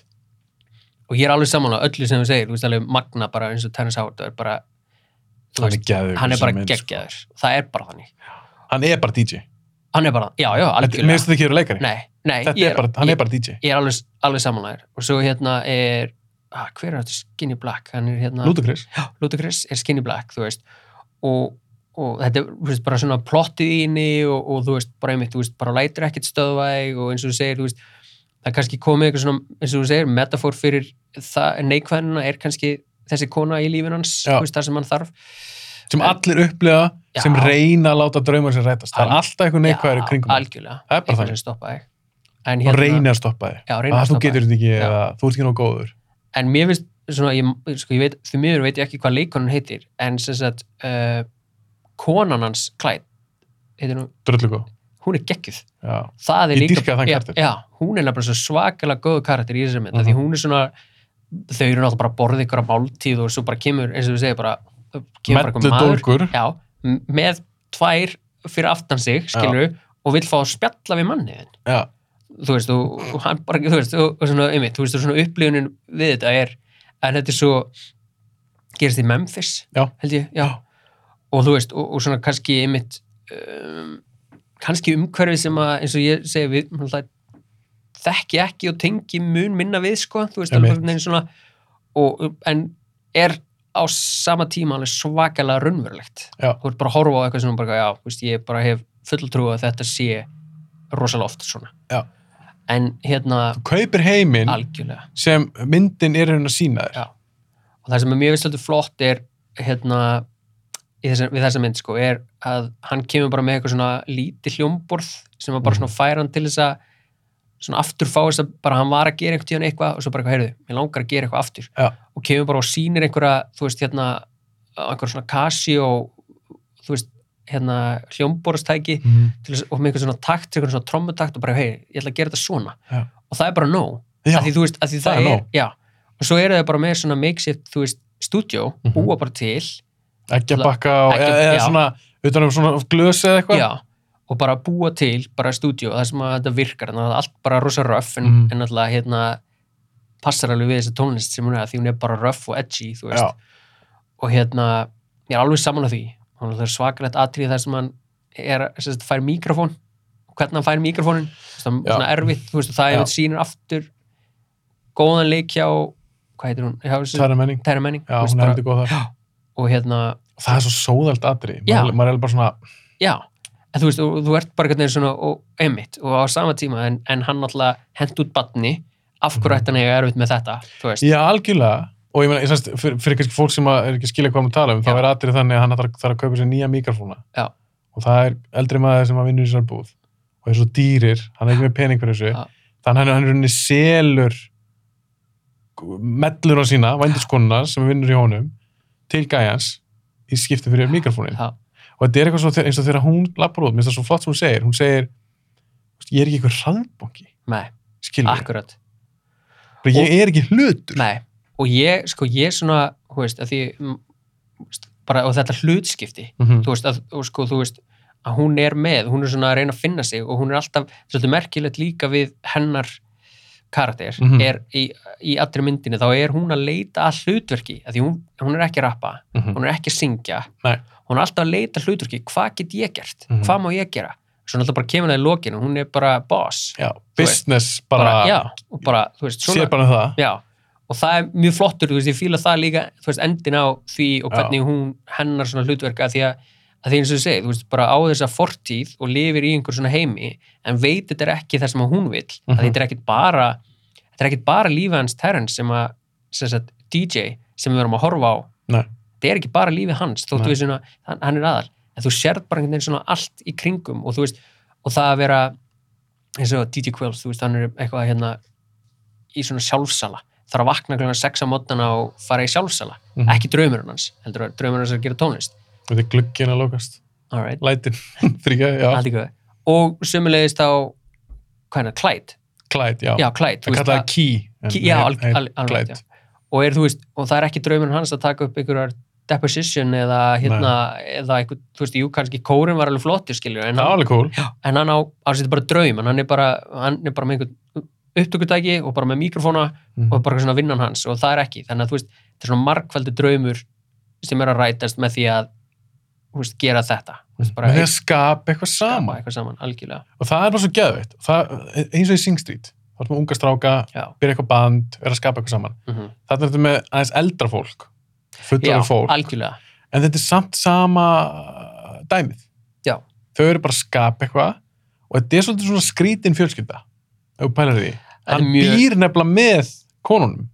S2: og ég er alveg samanlega öllu sem þú segir, þú veist alveg magna bara eins og Terrence Howard það er bara, þú
S1: hann er
S2: veist,
S1: geðugur
S2: hann er
S1: sem
S2: bara
S1: mynd, sko.
S2: geggjaður það er bara þannig,
S1: Hann er bara DJ
S2: hann er bara, já, já,
S1: Þetta- Mér
S2: algjörlega
S1: finnst þetta ekki verið leikari
S2: nei, nei,
S1: Þetta
S2: ég
S1: er bara, hann er bara DJ
S2: ég er alveg, alveg samanlegar og svo hérna er ah, hver er þetta Skinny Black hann er hérna
S1: Ludacris
S2: Ludacris er Skinny Black þú veist og, og þetta er þú veist, bara svona plottið í henni og, og þú veist bara einmitt þú veist bara lætur ekkert stöðvæg og eins og þú segir þú veist það er kannski komið eitthvað svona eins og þú segir metafor fyrir það neikvæðina er kannski þessi kona í lífin hans
S1: Já.
S2: þú veist það sem hann þarf
S1: sem
S2: En-
S1: allir upplifa
S2: Já.
S1: sem reyna að láta draumar sér rætast það er
S2: Al-
S1: alltaf eitthvað neikvæður í
S2: Já,
S1: kringum það
S2: algjörlega
S1: Það er bara
S2: Eitthvað
S1: þannig.
S2: sem stoppar þig. En
S1: og
S2: hérna-
S1: reyna að stoppa þig
S2: já, reyna
S1: að þú
S2: að stoppa þig.
S1: getur þetta ekki
S2: Já.
S1: eða þú ert ekki nóg góður
S2: en mér finnst svona, ég, sko, ég veit, því miður veit ég ekki hvað leikonan heitir, en sem sagt uh, konan hans Clyde heitir hún,
S1: dröllu góð
S2: hún er geggjuð
S1: já,
S2: það er
S1: Ég
S2: líka,
S1: dýrka þann
S2: já,
S1: karakter.
S2: já, hún er nefnilega svo svakalega góðu karakter í þessari mynd, uh
S1: Mhm.
S2: því hún er svona þau eru náttúrulega bara að borða ykkur á máltíð og svo bara kemur, eins og við segja, bara kemur bara
S1: mellu
S2: einhver maður,
S1: dólgur
S2: já, m- með tvær fyrir aftan sig, skilur og vill fá að spjalla við manniðin
S1: já,
S2: þú veist, og, og hann bara, þú veist, og, og svona, einmitt, þú veist, og svona upplifunin við þetta er, en þetta er svo, gerist í Memphis,
S1: Já.
S2: held ég, já, og þú veist, og, og svona kannski einmitt, um, kannski umhverfið sem að, eins og ég segi við, náttúrulega, þekki ekki og tengi mun minna við, sko, þú veist, alveg
S1: Einmitt.
S2: einhvern veginn svona, og, en er á sama tíma alveg svakalega raunverulegt.
S1: Já.
S2: Þú ert bara að horfa á eitthvað sem bara, já, þú veist, ég bara hef fulltrú að þetta sé rosalega oft svona
S1: Já.
S2: en hérna
S1: þú kaupir heiminn
S2: algjörlega
S1: sem myndin er hérna að sína þér
S2: Já. og það sem er mjög visslega flott er hérna í þessa, við þessa mynd sko er að hann kemur bara með eitthvað svona lítið hljómborð sem var bara
S1: Mhm.
S2: svona færan til þess að svona aftur fá þess að bara hann var að gera einhvern tíðan eitthvað og svo bara eitthvað, heyrðu, mér langar að gera eitthvað aftur
S1: Já.
S2: og kemur bara og sýnir einhverja þú veist hérna, einhverja svona kasi og þú veist hérna hljómborðstæki
S1: Mhm.
S2: til þess, og með einhvern svona takt, einhvern svona trommutakt og bara, hei, ég ætla að gera þetta svona
S1: Já.
S2: og það er bara nóg,
S1: já,
S2: að því þú veist, að því
S1: það
S2: það,
S1: er
S2: er,
S1: nóg.
S2: já, og svo eru þau bara með svona makeshift, þú veist, stúdjó
S1: Mhm.
S2: búa bara til,
S1: ekki að bakka og
S2: Ekki-
S1: eða
S2: já.
S1: svona utan um svona glösi eða eitthvað
S2: já og bara búa til, bara stúdjó, það sem að þetta virkar, þannig að allt bara rosa röff en,
S1: Mhm.
S2: en alltaf, hérna passar alveg við þessa tónlist sem hún er, því hún er bara röff og edgy, þú veist,
S1: Já,
S2: og hérna, ég er alveg saman að því þannig að það er svakalegt atrið þar sem hann er, sem sagt, fær mikrofón og hvernig hann fær mikrofónin Þú veist, það
S1: Já.
S2: er svona erfitt, þú veist, og það
S1: Já.
S2: er sýnir aftur góðan leik hjá hvað heitir hún, hjá þessu
S1: það er menning
S2: Tæra menning
S1: já,
S2: þú
S1: hún
S2: veist,
S1: er
S2: bara,
S1: heldur góð þar
S2: og hérna,
S1: Og það er svo sóðalt atri
S2: Já.
S1: maður maður er bara svona
S2: já en þú veist, og, þú ert bara hvernig svona og, einmitt, og á sama tíma, en, en hann alltaf hent út batni, af
S1: Mhm.
S2: hverju ætti hann eiga erfitt með þetta, þú veist,
S1: Já, algjörlega og ég meina, ég sannst, fyrir, fyrir kannski fólk sem að er ekki að skilja hvað maður tala um, þá
S2: Já.
S1: er atrið þannig að hann þarf, þarf að kaupa sér nýja mikrofóna
S2: Já.
S1: og það er eldri maður sem að vinna í sér búð og er svo dýrir, hann er ekki með pening fyrir þessu
S2: Já.
S1: þannig að hann er henni selur mellur á sína, vændiskonuna sem vinnur í honum, til gæjans í skipti fyrir mikrofónin
S2: já,
S1: og þetta er eitthvað svo, eins og þegar hún lappar út, minnst það svo flott sem hún segir, hún segir ég er ekki eitthvað hraðbóki,
S2: nei,
S1: skilur
S2: akkurat
S1: ég er ekki hlutur
S2: nei, og ég, sko, ég svona þú veist, að því mm, þú veist, bara, og þetta hlutskipti
S1: Mhm.
S2: þú veist, að, og sko, þú veist að hún er með, hún er svona að reyna að finna sig og hún er alltaf, svolítið merkilegt líka við hennar karakter
S1: Mhm.
S2: er í, í allri myndinni þá er hún að leita að hlutverki að því hún, hún er ekki að rappa,
S1: Mhm.
S2: hún er ekki að syngja
S1: Nei.
S2: hún er alltaf að leita að hlutverki hvað get ég gert,
S1: Mhm.
S2: hvað má ég gera svo náttúrulega bara kemur það í lokinu hún er bara boss
S1: já,
S2: Þú
S1: business
S2: bara,
S1: bara,
S2: já, og bara, þú veist, svona
S1: sér bara um það
S2: já, og það er mjög flottur, þú veist, ég fíla það líka þú veist, endin á því og hvernig hún hennar svona hlutverka því að, að því eins og þú segir, þú veist, bara á þessa fortíð og lifir í einhver svona heimi en veit þetta er ekki það sem að hún vil mm
S1: Mhm.
S2: -hmm. þetta er ekkit bara þetta er ekkit bara lífið hans Terrence sem að sem sagt, DJ sem við erum að horfa á
S1: Nei.
S2: þetta er ekki bara lífið hans þóttu
S1: Nei.
S2: við svona, hann, hann er aðal en þú sérð bara einhvern veginn svona allt í kringum og þú veist, og það að vera eins og DJ Quills, þú veist, hann er eitthvað hérna í svona sjálfsala þarf að vakna kl. 6 á mótnana og fara í sjálfsala
S1: Mhm.
S2: ekki draumurinn hans, heldur að draumurinn hans er að gera tónlist
S1: þetta er glugginn að lókast,
S2: all right,
S1: lætin þrýkja, já,
S2: allt í góðu og sömulegist á hvað er það, Clyde
S1: klæt, já
S2: já, Clyde, þú
S1: það
S2: veist,
S1: kallaði
S2: að,
S1: key en
S2: Key- já,
S1: heit-
S2: al-
S1: heit
S2: al- alveg,
S1: Clyde.
S2: og, er, þú veist, og það er ekki draumurinn hans að taka upp einhverjar deposition eða hérna, eða einhver, þú veist, jú, kannski kórin var alveg flottir, skilur,
S1: það
S2: en
S1: var
S2: hann,
S1: alveg cool
S2: en hann á, á sér bara draum, en hann er bara, hann er bara með einhvern upptökutæki og bara með mikrofóna og
S1: Mhm.
S2: bara svona vinnan hans og það er ekki þannig að þú veist, þetta er svona margfaldi draumur sem er að rætast með því að þú veist, gera þetta þú veist, bara
S1: með því að
S2: eitt-
S1: skapa eitthvað
S2: skapa
S1: saman
S2: eitthvað saman, algjörlega
S1: og það er bara svo geðveitt það, eins og í Sing Street, þá erum við unga stráka
S2: já,
S1: byrja eitthvað band, vera að skapa eitthvað saman
S2: mm
S1: þarna er þetta með aðeins eldra fólk
S2: já
S1: fullari fólk,
S2: algjörlega
S1: en þetta er samt sama uh, dæmið
S2: Já.
S1: þau eru bara að skapa eitthvað og þetta er svolítið svona skrítin fjölskylda ef þú pælar í því,
S2: Þetta er
S1: hann
S2: mjög-
S1: býr nefnilega með konunum,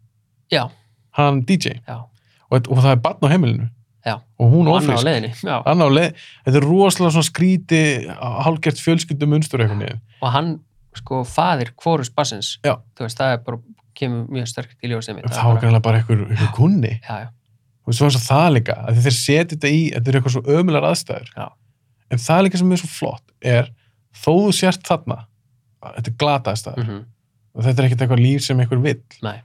S2: já,
S1: hann DJ
S2: já,
S1: og, þetta- og það er barn á heimilinu
S2: Já.
S1: og hún
S2: annar á
S1: ofrisk
S2: leiðinni já.
S1: Anna á leið, þetta er rosalega svona skríti hálgert fjölskyldum unstur eitthvað niður.
S2: og hann, sko, faðir Kvorus Bassins,
S1: Já.
S2: þú veist, það er bara kemur mjög sterkt í ljósið mitt
S1: Það var greinlega bara einhver, einhver kunni.
S2: já, já,
S1: Og svo var svo það líka, af því þeir setja þetta í, þetta er eitthvað svo ömulegar aðstæður.
S2: Já.
S1: En það líka sem er svo flott er, þó þú sért þarna, þetta er glata aðstæður,
S2: mm
S1: og þetta er ekkert eitthvað líf sem einhver vill,
S2: nei,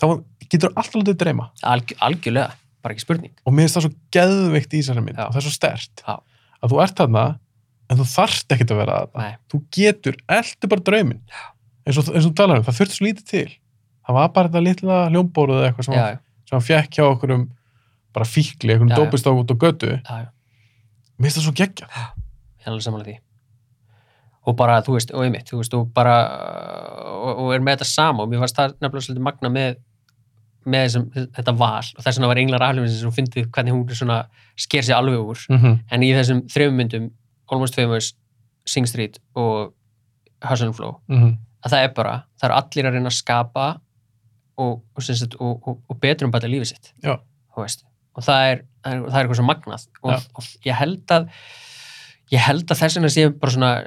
S1: þá getur þú alltaf látið dreyma.
S2: alg, algjörlega bara ekki spurning,
S1: Og mér finnst það svo geðveikt í þessari mynd,
S2: Já.
S1: og það er svo stert.
S2: Já.
S1: Að þú ert þarna, en þú þarft ekkert að vera þarna.
S2: nei,
S1: þú getur, eldu bara drauminn eins og, eins og þú talar um, það þurfti svo lítið til það var bara þetta litla hljómbóruð eða eitthvað sem,
S2: já,
S1: hann,
S2: já,
S1: sem hann fjekk hjá okkur um bara fíkli, einhverjum um
S2: Já, já.
S1: dópist á út og götu mér
S2: já, já
S1: finnst það svo geggja
S2: ég er alveg samanlega því og bara, þú veist, og einmitt, þú veist, og bara og, og er með þetta sama og mér fannst það nefnilega svolítið magna með með þessum, þetta val og þess vegna var Englar Afljóðins sem fyndið hvernig hún er svona sker sig alveg úr,
S1: mm -hmm.
S2: en í þessum þrejum myndum Almost Famous, Sing Street og Hustle and Flow
S1: Mm -hmm.
S2: að það er bara, það er allir að reyna að skapa og, og, sem sagt, og, og, og betur um bara lífið sitt
S1: Já.
S2: Þú veist. og það er, það er, það er eitthvað svo magnað
S1: Já.
S2: og, og ég held að ég held að þess vegna sé bara svona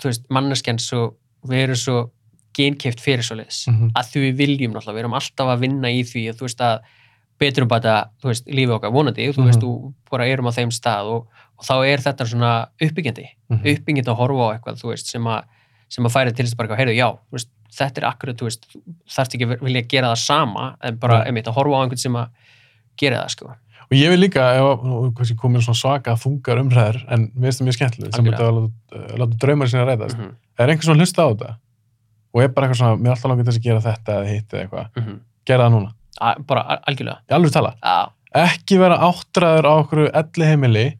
S2: þú veist, manneskjan svo við erum svo genkeift fyrir svo leiðis
S1: Mm -hmm.
S2: að því við viljum náttúrulega, við erum alltaf að vinna í því að þú veist að betrum bara þú veist, lífið okkar vonandi, þú
S1: Mhm.
S2: veist, þú bara erum á þeim stað og, og þá er þetta svona uppbyggjandi,
S1: Mm -hmm.
S2: uppbygging að horfa á eitthvað þú veist, sem, að, sem að færi til þess bara eitthvað, heyrðu, já, þú veist, þetta er akkurat þú veist, þarft ekki að vilja gera það sama en bara,
S1: Nei.
S2: einmitt, að horfa á einhvern sem að gera það, sko,
S1: og ég vil líka, ef að- nú, kannski komið svona svaka þungar umræður, en mér finnst það mjög skemmtileg sem
S2: Algjörlega.
S1: þetta að láta- láta draumar sinna ræðast
S2: mm
S1: mm
S2: -hmm,
S1: er einhver svona hlusta á þetta og er bara eitthvað svona, mér er alltaf langar til þess að gera þetta eða hitt eða eitthvað, gera það núna
S2: Mhm. bara al- algjörlega
S1: í alveg tala,
S2: já,
S1: ekki vera áttræður á okkur elli heimili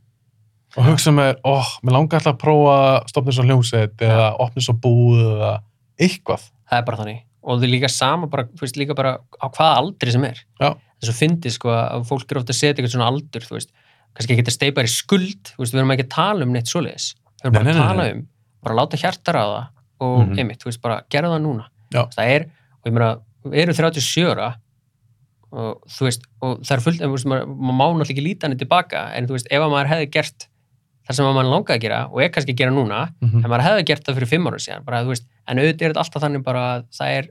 S1: og hugsa með þér, óh, mér langar alltaf að prófa að stopna svo hljómsveit eða opna svo búð eða eitthvað.
S2: það er bara þannig og þau líka sama, bara, þú veist, líka bara á hvaða aldri sem er
S1: Já.
S2: þess að fyndi, sko, að fólk er ofta að setja eitthvað svona aldur, þú veist, kannski ekki að steipa þér í skuld, þú veist, við erum ekki að tala um neitt svoleiðis, við erum
S1: Nei,
S2: bara
S1: nei,
S2: að
S1: nei,
S2: tala
S1: nei.
S2: um bara láta hjartar á það og
S1: Mhm.
S2: einmitt, þú veist, bara gera það núna
S1: Já.
S2: Þú veist, það er, og ég meina, við erum 37 ára og þú veist, og það er fullt, en þú veist, maður, maður má náttúrulega ekki líta henni tilbaka, en þú veist, ef að maður hefði gert það sem að maður langaði að gera og er kannski að gera núna, en maður hefði gert það fyrir fimm ára síðan bara, þú veist, en auðvitað er þetta alltaf þannig bara að það er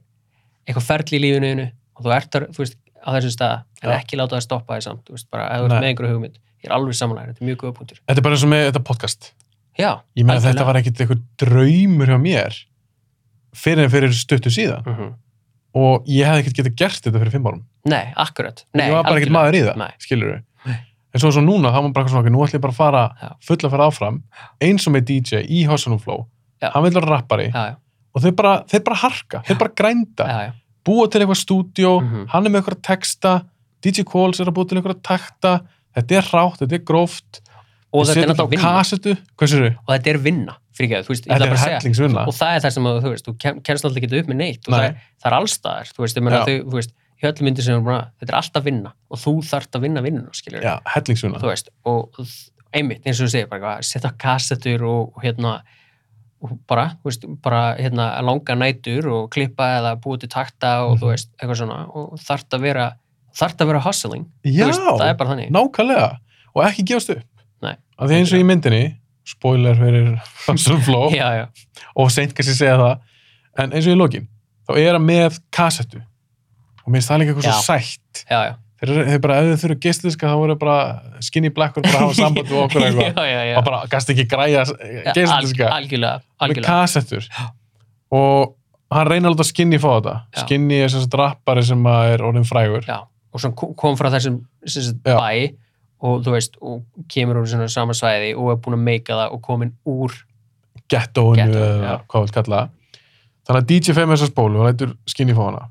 S2: eitthvað ferli í lífinu þínu og þú ert þar, þú veist, á þessum stað en
S1: Já.
S2: ekki láta það stoppa því samt, þú veist, bara ef þú ert
S1: Nei.
S2: með einhverju hugmynd, ég er alveg samanlega þetta er mjög góða punktur,
S1: Þetta er bara eins og með þetta podcast.
S2: já,
S1: Ég meina að
S2: Algjörlega.
S1: þetta var ekkit eitthvað draumur hjá mér fyrir en fyrir stuttu síðan
S2: mm -hmm.
S1: og ég hefði ekkit getið gert þetta fyrir fimm árum.
S2: nei, akkurat nei,
S1: ég var bara ekkit
S2: algjörlega.
S1: maður í það,
S2: Nei.
S1: skilur við.
S2: Nei.
S1: En svo eins og núna, þá var maður bara eitthvað svona, ok, nú ætlum ég bara að
S2: Já.
S1: fara fulla að fara áfram, eins og með DJ í Hossanum Flow,
S2: Já.
S1: hann vil vera rappari
S2: já, já,
S1: og þeir bara, þeir bara harka, þeir bara grænda.
S2: já, já,
S1: búa til eitthvað stúdíó,
S2: Mhm.
S1: hann er með eitthvað texta, DJ Coles er að búa til eitthvað takta, þetta er rátt, þetta er gróft,
S2: og þetta er
S1: þetta á
S2: náttúrulega vinna
S1: kassetu, hvað sér
S2: og þetta er vinna, fyrir ekki að þú veist, ég
S1: þetta
S2: ætla
S1: er
S2: bara að segja
S1: hellingsvinna
S2: og það er það sem að, þú veist, þú kem- kemst alltaf ekki upp með neitt og það
S1: Nei.
S2: er, það er allstaðar, þú veist, ég meina
S1: Já.
S2: þau, þú veist, í öllum myndir sem er bara, þetta er alltaf vinna og þú þarft að vinna vinnuna, skiljur,
S1: já, hellingsvinna
S2: þú veist, og og einmitt, eins og þú segir, bara eitthvað, setja á kassetur og, og hérna, og bara, þú veist, bara, hérna, langa nætur og klippa eða búið til takta og, þú
S1: Mhm.
S2: veist, eitthvað svona, og þarft að vera, þarft að vera hustling,
S1: já,
S2: þú veist, það er bara þannig,
S1: nákvæmlega og ekki gefast upp
S2: Nei.
S1: af því eins og í myndinni spoiler fyrir Hansel Fló
S2: já, já,
S1: og seint kannski segja það en eins og í lokin, þá er hann með kassetu og mér finnst það líka eitthvað svo sætt
S2: já, já,
S1: þeir, eru- þeir bara, ef þeir þurfa geisladiska þá voru bara skinny blackur bara að hafa samband við okkur
S2: já,
S1: eitthvað
S2: já, já,
S1: og bara gast ekki græja
S2: Já,
S1: geisladiska
S2: alg- algjörlega,
S1: með
S2: algjörlega,
S1: kassettur og hann reynir alltaf skinny fá þetta
S2: Já.
S1: skinny er þessi drappari sem að er orðin frægur
S2: já, og svo kom- kom frá þessum sem sagt,
S1: Já.
S2: bæ og þú veist, og kemur úr svona sama svæði og er búin að meika það og komin úr
S1: gettóinu
S2: Ghettóinu,
S1: eða
S2: já.
S1: hvað við kalla það þannig að DJ fer með þessa spólu og lætur skinny fá hana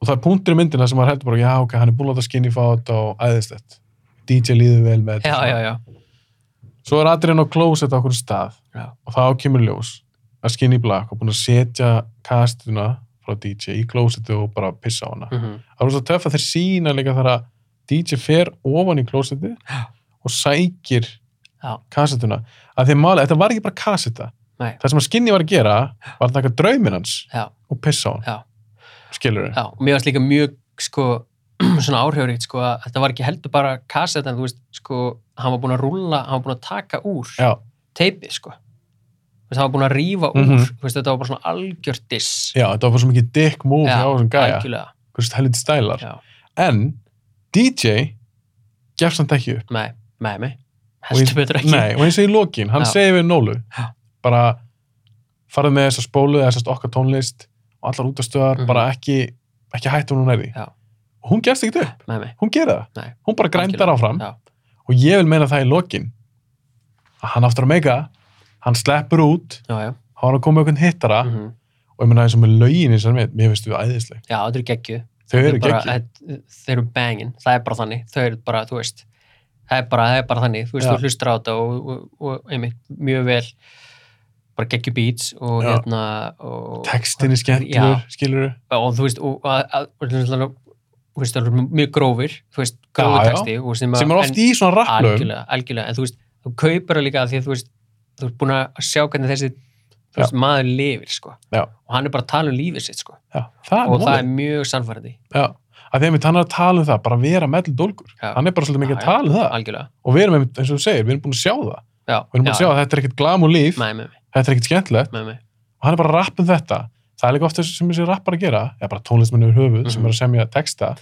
S1: og það er punktur í myndina sem maður heldur bara já ok, hann er búin að láta skinny fá þetta og æðislegt DJ líður vel með
S2: já,
S1: þetta
S2: já, já,
S1: svo er Adrian á klósett á okkur stað
S2: Já.
S1: og þá kemur ljós að skinny black og búin að setja kastuna frá DJ í klósettu og bara pissa á hana
S2: mm
S1: það er svo töff að þeir sína líka þar að DJ fer ofan í klósetti og sækir
S2: Já.
S1: kassetuna að því máli, þetta var ekki bara kasseta
S2: Nei.
S1: það sem að skinni var að gera var að taka drauminn hans
S2: já,
S1: og pissa á hann
S2: Já.
S1: skilur
S2: já og mér varst líka mjög sko, svona áhrifuríkt sko, að þetta var ekki heldur bara kassett en þú veist, sko, hann var búin að rúlla hann var búin að taka úr
S1: Já.
S2: teipið, sko Þú veist, hann var búin að rífa úr,
S1: Mhm.
S2: þú veist, þetta var bara svona algjör diss,
S1: já, þetta var svo mikið dick move
S2: Já,
S1: hjá þessum gæja,
S2: algjörlega
S1: hversu helviti stælar
S2: já,
S1: en DJ gefst hann ekki upp
S2: með, með mig
S1: Og í-
S2: heldur betur ekki
S1: Nei, og eins og í lokin, hann
S2: Já.
S1: segir við Nólu
S2: Já.
S1: bara farið með þessa spólu eða þessast okkar tónlist og allar útastöðar,
S2: Mhm.
S1: bara ekki ekki hættu hún er í
S2: Já.
S1: og hún gefst ekki upp
S2: með mig,
S1: hún gerir það,
S2: Nei,
S1: hún bara grændar
S2: algjörlega.
S1: áfram
S2: Já.
S1: og ég vil meina það í lokin að hann aftur að meika hann sleppur út,
S2: já, já
S1: hann var að koma með einhvern hittara
S2: mm
S1: og ég meina eins og með lögin í sér mitt, mér finnst þú æðisleg
S2: já, þetta er geggju
S1: þau
S2: Þetta
S1: eru
S2: er bara-
S1: geggjum,
S2: þetta- þau eru bangin, það er bara þannig þau eru bara, þú veist það er bara, það er bara þannig, þú veist,
S1: Já.
S2: þú hlustar á þetta og, og, og einmitt, mjög vel bara geggju beats og
S1: Já.
S2: hérna og,
S1: textin er skemmtilegur, skilur
S2: og þú veist, og að, að, og þú veist, alveg- þú veist, það eru mjög grófir þú veist, grófur
S1: Já, já.
S2: texti og sem,
S1: sem er oft í svona rapplögum
S2: algjörlega, algjörlega, en þú veist, þú kaupir það líka af því að þú veist, þú ert búin að sjá hvernig þessi, þú veist, maður lifir sko,
S1: Já.
S2: og hann er bara að tala um lífið sitt sko,
S1: Já, það er
S2: og það
S1: málið
S2: er mjög sannfærandi,
S1: Já, að því að mitt hann er að tala um það, bara vera mellum dólgur
S2: Já.
S1: hann er bara svolítið mikið
S2: Já,
S1: að
S2: já.
S1: tala um það
S2: algjörlega
S1: og við erum, einmitt, eins og þú segir, við erum búin að sjá það
S2: já,
S1: við erum búin að sjá að þetta er ekkert glam og líf
S2: með mig,
S1: þetta er ekkert skemmtilegt
S2: með mig
S1: og hann er bara að rappa um þetta það er líka ofta sem þessi rappar að gera eða bara tónlistmenn yfir höfuð sem
S2: Mhm.
S1: er að semja texta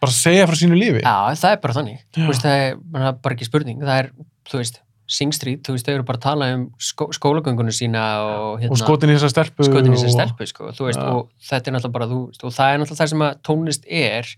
S1: bara að segja frá sínu lífi
S2: já, það er bara þannig,
S1: Já.
S2: þú veist, það er man, það er bara ekki spurning, það er, þú veist Sing Street, þú veist, þau eru bara að tala um skó skólagöngunum sína og hérna
S1: og skotin í þessa stelpu
S2: skotin í sér
S1: og-
S2: stelpu, sko, þú veist
S1: Já.
S2: og þetta er náttúrulega bara, þú veist, og það er náttúrulega það sem að tónlist er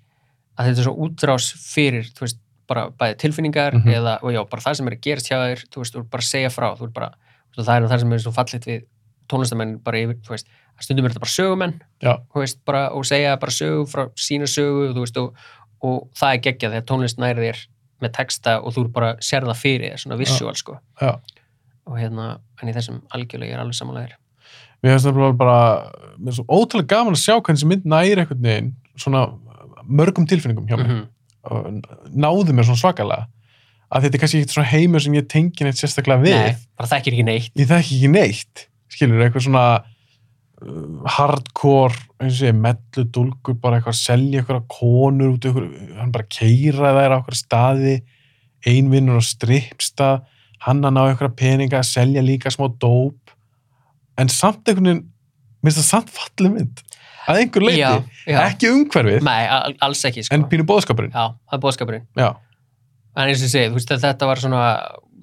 S2: að þetta er svo útrás fyrir, þú veist, bara bæði tilfinningar
S1: Mhm.
S2: eða, og já, bara það sem er að gerast hjá þér, þú veist, þú er bara að segja frá þú veist, bara, þú veist, það er það sem er svo fallit við tónlistamenn bara yfir, þú veist að stundum er þetta bara sögumenn,
S1: Já.
S2: þú veist, bara og segja bara sögu frá sína sögu þú veist, og, og það er geggjað þegar tónlist næri þér með texta og þú er bara sér það fyrir, þér, svona visual, sko
S1: Já.
S2: og hérna, en í þessum algjörlega ég er alveg samanlega
S1: mér finnst það bara mér er svo ótrúlega gaman að sjá hvernig þessi mynd næri einhvern veginn svona mörgum tilfinningum hjá
S2: mm
S1: mér og náði mér svona svakalega að þetta er kannski ekkert svona heimur sem ég tengi neitt sérstaklega við
S2: Nei, bara þekkir ekki neitt
S1: ég þekki ekki neitt skilur, eitthvað svona uh, hardcore, eins og ég mellu dulgur, bara eitthvað að selja eitthvað konur út, eitthvað, hann bara keira þær á eitthvað staði, einvinnur á strippstað, hann að ná eitthvað peninga að selja líka smá dóp en samt einhvern veginn minnst það samt falleg mynd að einhver leiti,
S2: já, já.
S1: ekki umhverfið
S2: Nei, al- alls ekki sko.
S1: en pínu bóðskapurinn
S2: Já, það er bóðskapurinn
S1: já,
S2: En eins og ég segi, þú veist að þetta var svona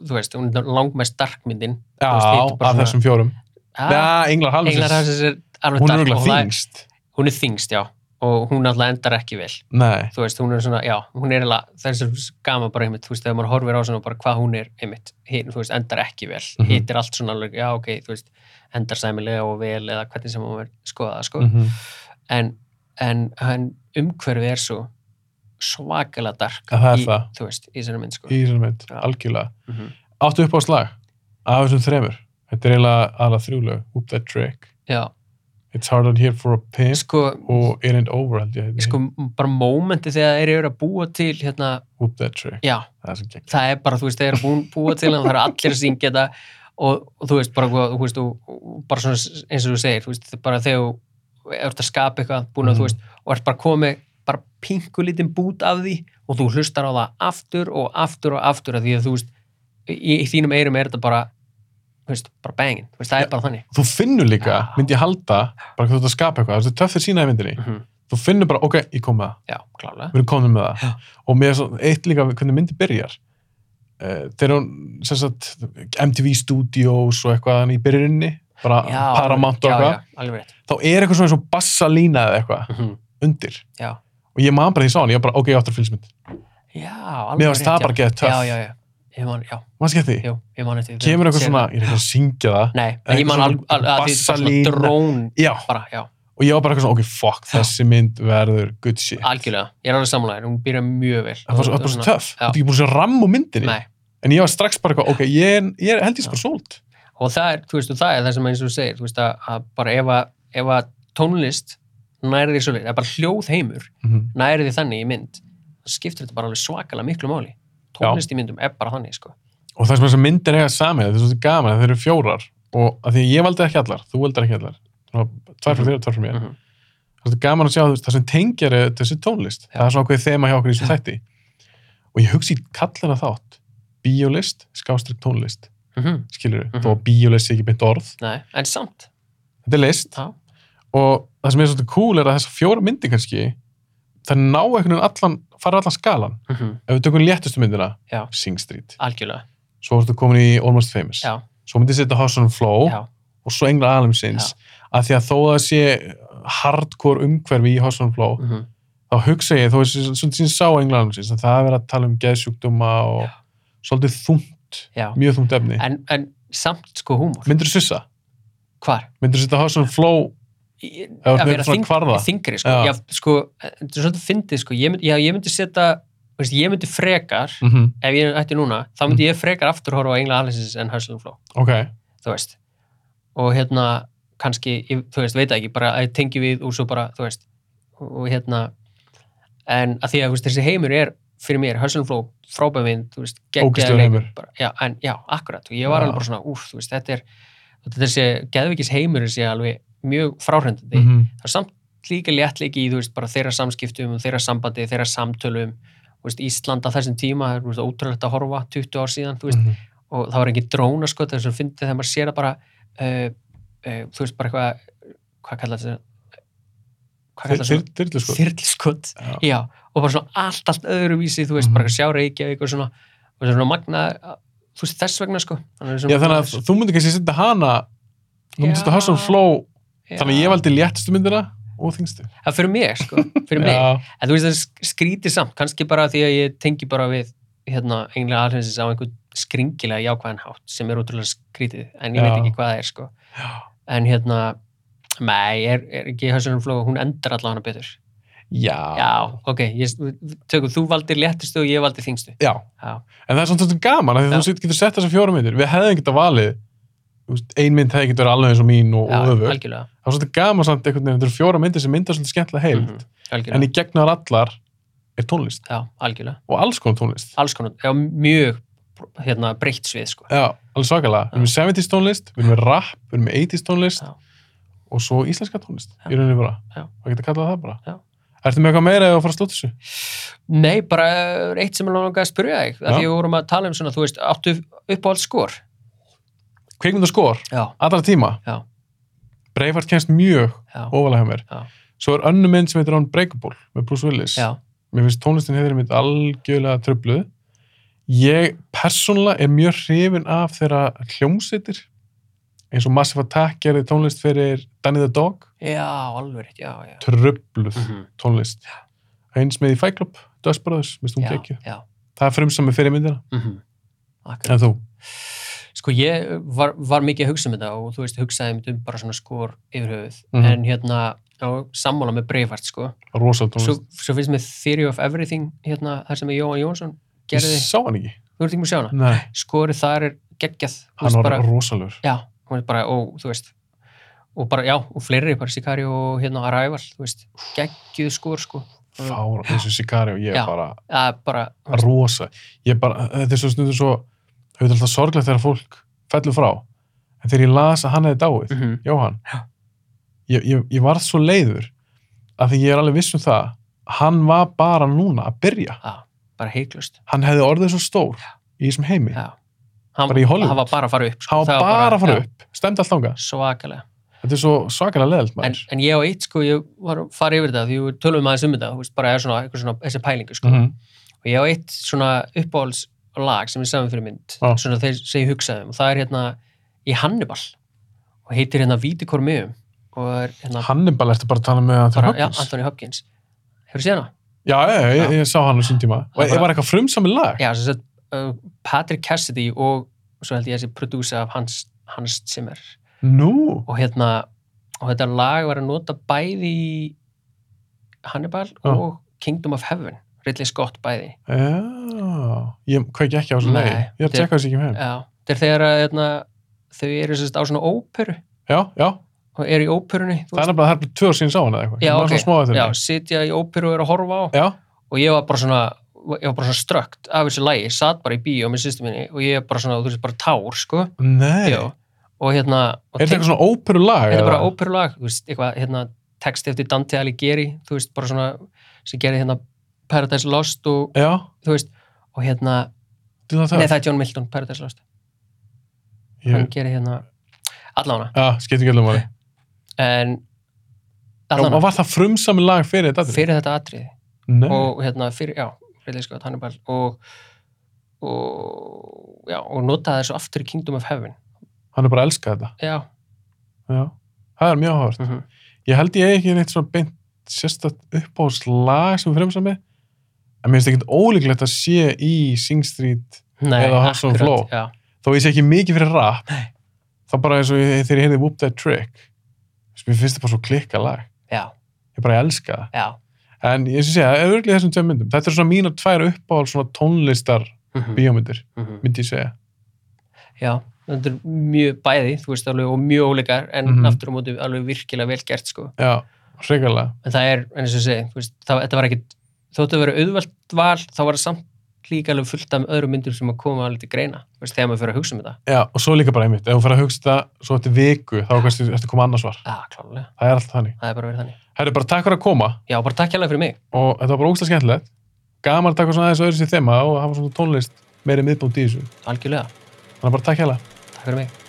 S2: þú veist, hún er langmest darkmyndin
S1: já
S2: veist,
S1: af
S2: hitt bara svona- Ah,
S1: þessum fjórum ja, Englar
S2: Englar
S1: Hallsins,
S2: Hafsins er alveg
S1: hún er
S2: dark
S1: örgulega
S2: og það er-
S1: þingst
S2: Hún er þingst, já og hún alltaf endar ekki vel
S1: nei,
S2: þú veist, hún er svona, já, hún er alveg það er svo gaman bara einmitt, þú veist, þegar maður horfir á svona bara hvað hún er einmitt, hinn, þú veist, endar ekki vel mm
S1: Mhm.
S2: hitt er allt svona alveg, já, ok, þú veist endar sæmilega og vel eða hvernig
S1: Mhm,
S2: sem hún er skoðað, sko
S1: mm -hmm.
S2: en, en, en umhverfið er svo svakalega dark
S1: Að það er
S2: í,
S1: það.
S2: þú veist, í þessari mynd sko.
S1: í þessum mynd,
S2: Já.
S1: algjörlega
S2: Mhm.
S1: áttu upp á slag af þessum þremur þetta er eiginlega aðla þrjúlegu Whoop That Trick,
S2: Já,
S1: It's Hard Out Here for a Pimp
S2: sko,
S1: og In and Over held ég heiti.
S2: sko bara mómenti þegar þeir eru að búa til hérna,
S1: Whoop That Trick,
S2: já,
S1: það er sem gegn
S2: það er bara, þú veist, þeir eru búin búa til hann, það eru allir að syngja þetta og, og þú veist, bara, hvað- þú veist, og, og, bara svona s- eins og þú segir, þú veist, bara þegar þú ert að skapa eitthvað, búin að,
S1: Mhm.
S2: þú veist, og ert bara komið bara pingu lítinn bút af því og þú hlustar á það aftur og aftur og aftur af því að þú veist, í, í þínum eyrum er þetta bara, þú veist, bara bangin, þú veist, það er bara þannig.
S1: þú finnur líka,
S2: Já.
S1: myndi ég halda bara hvað þú ert að skapa eitthvað, þetta er töffir sína í myndinni
S2: Mm -hmm.
S1: þú finnur bara, ok, ég kom með það
S2: Já, klálega.
S1: við erum komin með það
S2: Já.
S1: og með svo, eitt líka hvernig myndi byrjar uh, þegar hún sem sagt, MTV Studios og eitthvað hann í byrjunni bara
S2: Já,
S1: Paramount og
S2: já,
S1: eitthvað
S2: já, alveg rétt.
S1: þá er eitthvað svona eins og bassalína eða eitthvað
S2: Mm -hmm.
S1: undir
S2: Já,
S1: og ég man bara því ég sá hann, ég var bara, ok, ég áttur fylgismynd
S2: já, alveg rétt.
S1: mér varst það
S2: já.
S1: bara geðið
S2: Já,
S1: töff,
S2: já, já, ég man, já,
S1: mannst ekki því
S2: jú, ég man eftir því.
S1: kemur eitthvað
S2: Sér
S1: svona, ég er ekki að syngja það
S2: Nei,
S1: Eða
S2: en ég
S1: eitthvað
S2: man
S1: svona
S2: alveg al, al, að því þetta er bara
S1: bassalína.
S2: svona drón
S1: já,
S2: bara, já,
S1: og ég var bara eitthvað svona, ok, fuck, þessi mynd verður good shit,
S2: algjörlega, ég er alveg samlæðin, hún byrjar mjög vel
S1: það var svo, það var svo töff
S2: já.
S1: þú ert ekki búin að sjá ramm úr myndinni
S2: Nei,
S1: en ég var strax bara eitthvað, ok, ég, er- ég er- held ég sko sólt
S2: og það er, þú veist, og það er það sem eins og þú segir, þú veist, að, að bara ef að, ef að tónlist næri því svo leið, bara hljóðheimur
S1: Mhm.
S2: næri því þannig í mynd, það skiptir þetta bara alveg svakalega miklu máli tónlist í myndum er bara þannig, sko
S1: og það sem þessar myndir eiga samið, það er svolítið gaman að þeir eru fjórar og að því að ég valdi ekki allar, þú valdi ekki allar Svona tvær frá þér og tvær frá mér
S2: Mhm.
S1: það er svolítið gaman að sjá þú veist, það sem tengjar er þessi tónlist, það er svona okkur þema hjá okkur í þessu
S2: Já.
S1: þætti og ég hugsi kallana þátt bíólist, skástrík tónlist
S2: mm
S1: skilur við,
S2: Mhm.
S1: þó að bíólist sé ekki beint orð
S2: Nei, en samt,
S1: þetta er list
S2: já,
S1: og það sem er svolítið cool er að þessar fjóra myndi kannski það ná einhvern veginn allan, fara allan skalan
S2: mm
S1: ef við tökum léttustu myndina,
S2: Já.
S1: Sing Street
S2: algjörlega
S1: svo ertu komin í Almost Famous
S2: já,
S1: svo myndi ég setja House on Flow
S2: já,
S1: og svo Engla Alimsins að því að þó að það sé hardcore umhverfi í House on Flow
S2: mm
S1: þá hugsa ég, þó að ég svolítið sín sá Engla Alimsins að það er verið að tala um geðsjúkdóma og
S2: Já.
S1: svolítið þungt,
S2: já.
S1: mjög þungt efni
S2: En, en samt, sko, húmor
S1: myndir þú sussa?
S2: hvar?
S1: Myndir þú setja House on Flow?
S2: Í-
S1: ert
S2: að
S1: með
S2: vera
S1: svona
S2: þyng,
S1: kvarða.
S2: þingri sko.
S1: Já.
S2: Já. sko, þetta er svolítið fyndið sko. ég, mynd, já, ég myndi setja veist, ég myndi frekar,
S1: Mm
S2: ef ég ætti núna þá myndi ég frekar aftur horfa á Engla Alice's en Hustle and Flow,
S1: Ok,
S2: þú veist og hérna, kannski ég, þú veist, veit það ekki, bara að ég tengi við og svo bara, þú veist, og hérna en að því að þú veist, þessi heimur er fyrir mér, Hustle and Flow, frábæðvind þú veist,
S1: Ógeðslegur
S2: leikur,
S1: heimur.
S2: bara, já, en, já, akkurat, og ég var
S1: Já.
S2: alveg bara svona úf, þú veist, þetta er, þetta er þessi geðvikis heimur þessi alveg mjög fráhrendandi
S1: mm
S2: það er samt líka léttleiki í þú veist, bara þeirra samskiptum og þeirra sambandi, þeirra samtölum Þú veist, Ísland á þessum tíma það er þú veist, ótrúlegt að horfa 20 ár síðan þú veist, og það var engin dróna sko þess að fyndi þegar maður sér að bara uh, uh, þú veist bara eitthvað hvað kallar þetta hvað kallar þetta
S1: þyrlu sko
S2: þyrliskot já, og bara svona allt, allt öðruvísi þú veist,
S1: Mhm.
S2: bara eitthvað sjá Reykjavík og svona, og svona magna, þú veist, þess vegna sko þannig,
S1: Já, þannig að þú myndir kannski setja hana þú myndir
S2: Já.
S1: setja House on Flow þannig að ég valdi léttustu myndina og þingstu
S2: það fyrir mig sko, fyrir mig
S1: Já,
S2: En þú veist það er skrítið samt, kannski bara því að ég tengi bara við hérna englega alheimsins á einhvern skringilega jákvæðan hátt sem er ótrúlega skrítið, en ég
S1: Já.
S2: veit ekki hvað það er sko.
S1: Já.
S2: En hérna, nei, er, er ekki Hörsunum Flóa, hún endar allavega hana betur.
S1: já,
S2: Já, ok, ég, tökum, þú valdir léttistu og ég valdi þingstu.
S1: já.
S2: Já,
S1: En það er svona svolítið gaman að
S2: Já.
S1: þú set- getur sett þessar fjóra myndir. Við hefðum getað valið, þú veist, ein mynd hefði getað verið alveg eins og mín og,
S2: já
S1: og öfug.
S2: algjörlega.
S1: Það er svolítið gaman samt einhvern veginn, þetta eru fjóra myndir sem myndar svolítið skemmtilega heild.
S2: Mhm, algjörlega.
S1: En í gegnaðar allar er tónlist
S2: Já, algjörlega.
S1: og alls konar tónlist.
S2: Alls konar, já, mjög hérna, breytt svið sko.
S1: Já, alveg svakalega. Við erum með 70s tónlist, við erum með rap, við erum með 80s tónlist
S2: Já.
S1: og svo íslenska tónlist
S2: Já.
S1: í rauninni bara.
S2: Já.
S1: Það getur kallað það bara.
S2: Já.
S1: Ertu með eitthvað meira eða að fara að slúta þessu?
S2: Nei, bara er eitt sem er langaði að spyrja þig, að
S1: Já.
S2: því við vorum að tala um svona, þú veist, áttu uppáhald skor?
S1: Kveikmynd og skor,
S2: Já,
S1: allra tíma.
S2: Já.
S1: Breifart kennst mjög
S2: já,
S1: ofalega hjá mér.
S2: Já.
S1: Svo er önnu mynd sem heitir Unbreakable með Bruce Willis.
S2: já,
S1: mér finnst tónlistin heiðri mitt algjörlega tröfluð ég persónulega er mjög hrifin af þeirra hljómsveitir eins og Massive Attack gerði tónlist fyrir Danny the Dog,
S2: já, alveg rétt, já, já.
S1: tröfluð
S2: Mhm.
S1: tónlist eins með í Fight Club, Dust Brothers minnst hún
S2: Já,
S1: ekki,
S2: já.
S1: það er frumsamið fyrir myndina
S2: mhm. Akkurat.
S1: en þú,
S2: Sko, ég var, var mikið að hugsa um þetta og þú veist, hugsaði um þetta um bara svona skor yfir höfuð,
S1: Mhm.
S2: en hérna, á sammála með Breifart sko.
S1: rosa
S2: svo,
S1: tónlist
S2: svo finnst mér Theory of Everything hérna, þar sem Jóhann Jónsson
S1: ég
S2: gerði,
S1: sá hann ekki
S2: þú ert ekki með að sjá hana
S1: Nei,
S2: skorið þar er geggjað
S1: Mm.
S2: þú
S1: hann
S2: veist,
S1: var rosalur
S2: já, hún er bara, og þú veist og bara, já, og fleiri, bara Sikari og hérna Arrival, þú veist, geggjuð skor sko,
S1: fár, þessu sikari og ég
S2: Já.
S1: er bara
S2: það er bara
S1: rosa ég bara, þetta er svo stundur svo það er alltaf sorglegt þegar fólk fellur frá en þegar ég las að hann hefði dáið
S2: mm -hmm.
S1: Jóhann
S2: Já.
S1: ég, ég, ég varð svo leiður af því ég er alveg viss um það hann var bara núna að byrja
S2: bara heiklust
S1: hann hefði orðið svo stór í þessum heimi
S2: já. Hann,
S1: Bara í Hollywood.
S2: hann var bara að fara upp sko.
S1: hann
S2: Það
S1: var bara að fara
S2: já,
S1: upp, stemdi allt ánga
S2: svakalega
S1: þetta er svo svakalega leðalt
S2: en,
S1: maður
S2: en ég og eitt, sko, ég var að fara yfir þetta því við tölum aðeins um þetta, þú veist, bara er svona, eitthvað svona þessi pælingu, sko,
S1: Mhm.
S2: og ég á eitt svona uppáhalds lag sem ég saman fyrir mynd
S1: Já.
S2: svona þeir sem ég hugsaði um, og það er hérna í Hannibal og heitir hérna Vítikor Mjöum og er hérna
S1: Hannibal ertu bara að tala með Anthony
S2: bara, já,
S1: Hopkins
S2: Anthony Hopkins hefur séð hana?
S1: já, já, já, ég, ég sá hann á sín tíma og
S2: Hann
S1: ég
S2: bara-
S1: var eitthvað frumsami lag
S2: Já, sem sagt, uh, Patrick Cassidy og svo held ég að þessi prodúsa af Hans, Hans Zimmer
S1: nú,
S2: og hérna og þetta lag var að nota bæði í Hannibal
S1: Já.
S2: og Kingdom of Heaven Ridley Scott bæði
S1: já ég kveiki ekki á þessu
S2: Nei,
S1: lagi ég er að
S2: þetta er-
S1: tjekka þessu ekki með heim
S2: já, þetta er þegar að hérna, þau eru sérst á svona óperu
S1: já, já,
S2: og eru í óperunni þú
S1: það er nefnilega það er bara tvö ár síðan ég sá hann eða eitthvað
S2: Já,
S1: Ég var
S2: ok.
S1: svona smá eftir
S2: já,
S1: henni.
S2: sitja í óperu og eru að horfa á
S1: já,
S2: og ég var bara svona ég var bara svona strökt af þessu lagi, ég satt bara í bíó með sýstu minni og ég bara svona, þú veist, bara tár sko,
S1: nei
S2: já, og hérna og
S1: er þetta eitthvað svona óperu lag?
S2: þetta er bara óperulag, þú veist, eitthvað hérna, texti eftir Dante Alighieri, þú veist, bara svona sem gerir hérna Paradise Lost og,
S1: já,
S2: þú veist, og hérna
S1: til það
S2: nei,
S1: það
S2: það er John Milton, Paradise Lost hann
S1: Ég-
S2: gerir hérna allána,
S1: já, skipt ekki alveg máli
S2: en
S1: Já, og
S2: allána,
S1: var það frumsami lag fyrir þetta? atriði?
S2: fyrir þetta atriði
S1: Nei.
S2: og hérna, fyrir, já, Ridley Scott Hannibal og, og já, og notaði þessu aftur í Kingdom of Heaven,
S1: hann er bara að elska þetta
S2: já
S1: já. það er mjög áhört
S2: mm -hmm.
S1: ég held ég eigi ekki neitt svona beint sérstætt uppáhaldslag sem fremsami en mér finnst ekkert ólíklegt að sé í Sing Street
S2: nei,
S1: Eða House on the Floor.
S2: já,
S1: þó ég sé ekki mikið fyrir rap
S2: Nei.
S1: þá bara eins og ég, þegar ég heyrði Whoop That Trick þess, mér finnst það bara svo klikka lag
S2: já,
S1: ég bara elska það
S2: já
S1: en ég sé að örglega þessum tveim myndum þetta eru svona mínar tvær uppáhald svona tónlistar
S2: Mhm,
S1: bíómyndir
S2: mhm.
S1: myndi ég segja
S2: Já, þetta er mjög bæði, þú veist, alveg, og mjög óleikar, en
S1: Mhm.
S2: aftur á móti alveg virkilega vel gert, sko.
S1: já, hrigalega
S2: En það er, en eins og ég segi, þú veist, það, þetta var ekkit, þóttu að vera auðvelt val, þá var það samt líka alveg fullt af öðrum myndum sem að koma alveg til greina, þú veist, þegar maður fyrir að hugsa um þetta.
S1: já, og svo líka bara einmitt ef þú fer að hugsa þetta svo eftir viku þá kannski eftir koma annars var
S2: Já, klálega,
S1: það er alltaf þannig
S2: það er bara verið þannig.
S1: Herri, bara takk fyrir að koma
S2: Já, bara takk hérlega fyrir mig.
S1: og þetta var bara ógstlega skemmtilegt gaman að taka svona aðeins öðru sér þema og hafa svona tónlist meiri miðbúnd í þessu
S2: Algjörlega,
S1: þannig að bara takk hella
S2: takk fyrir mig.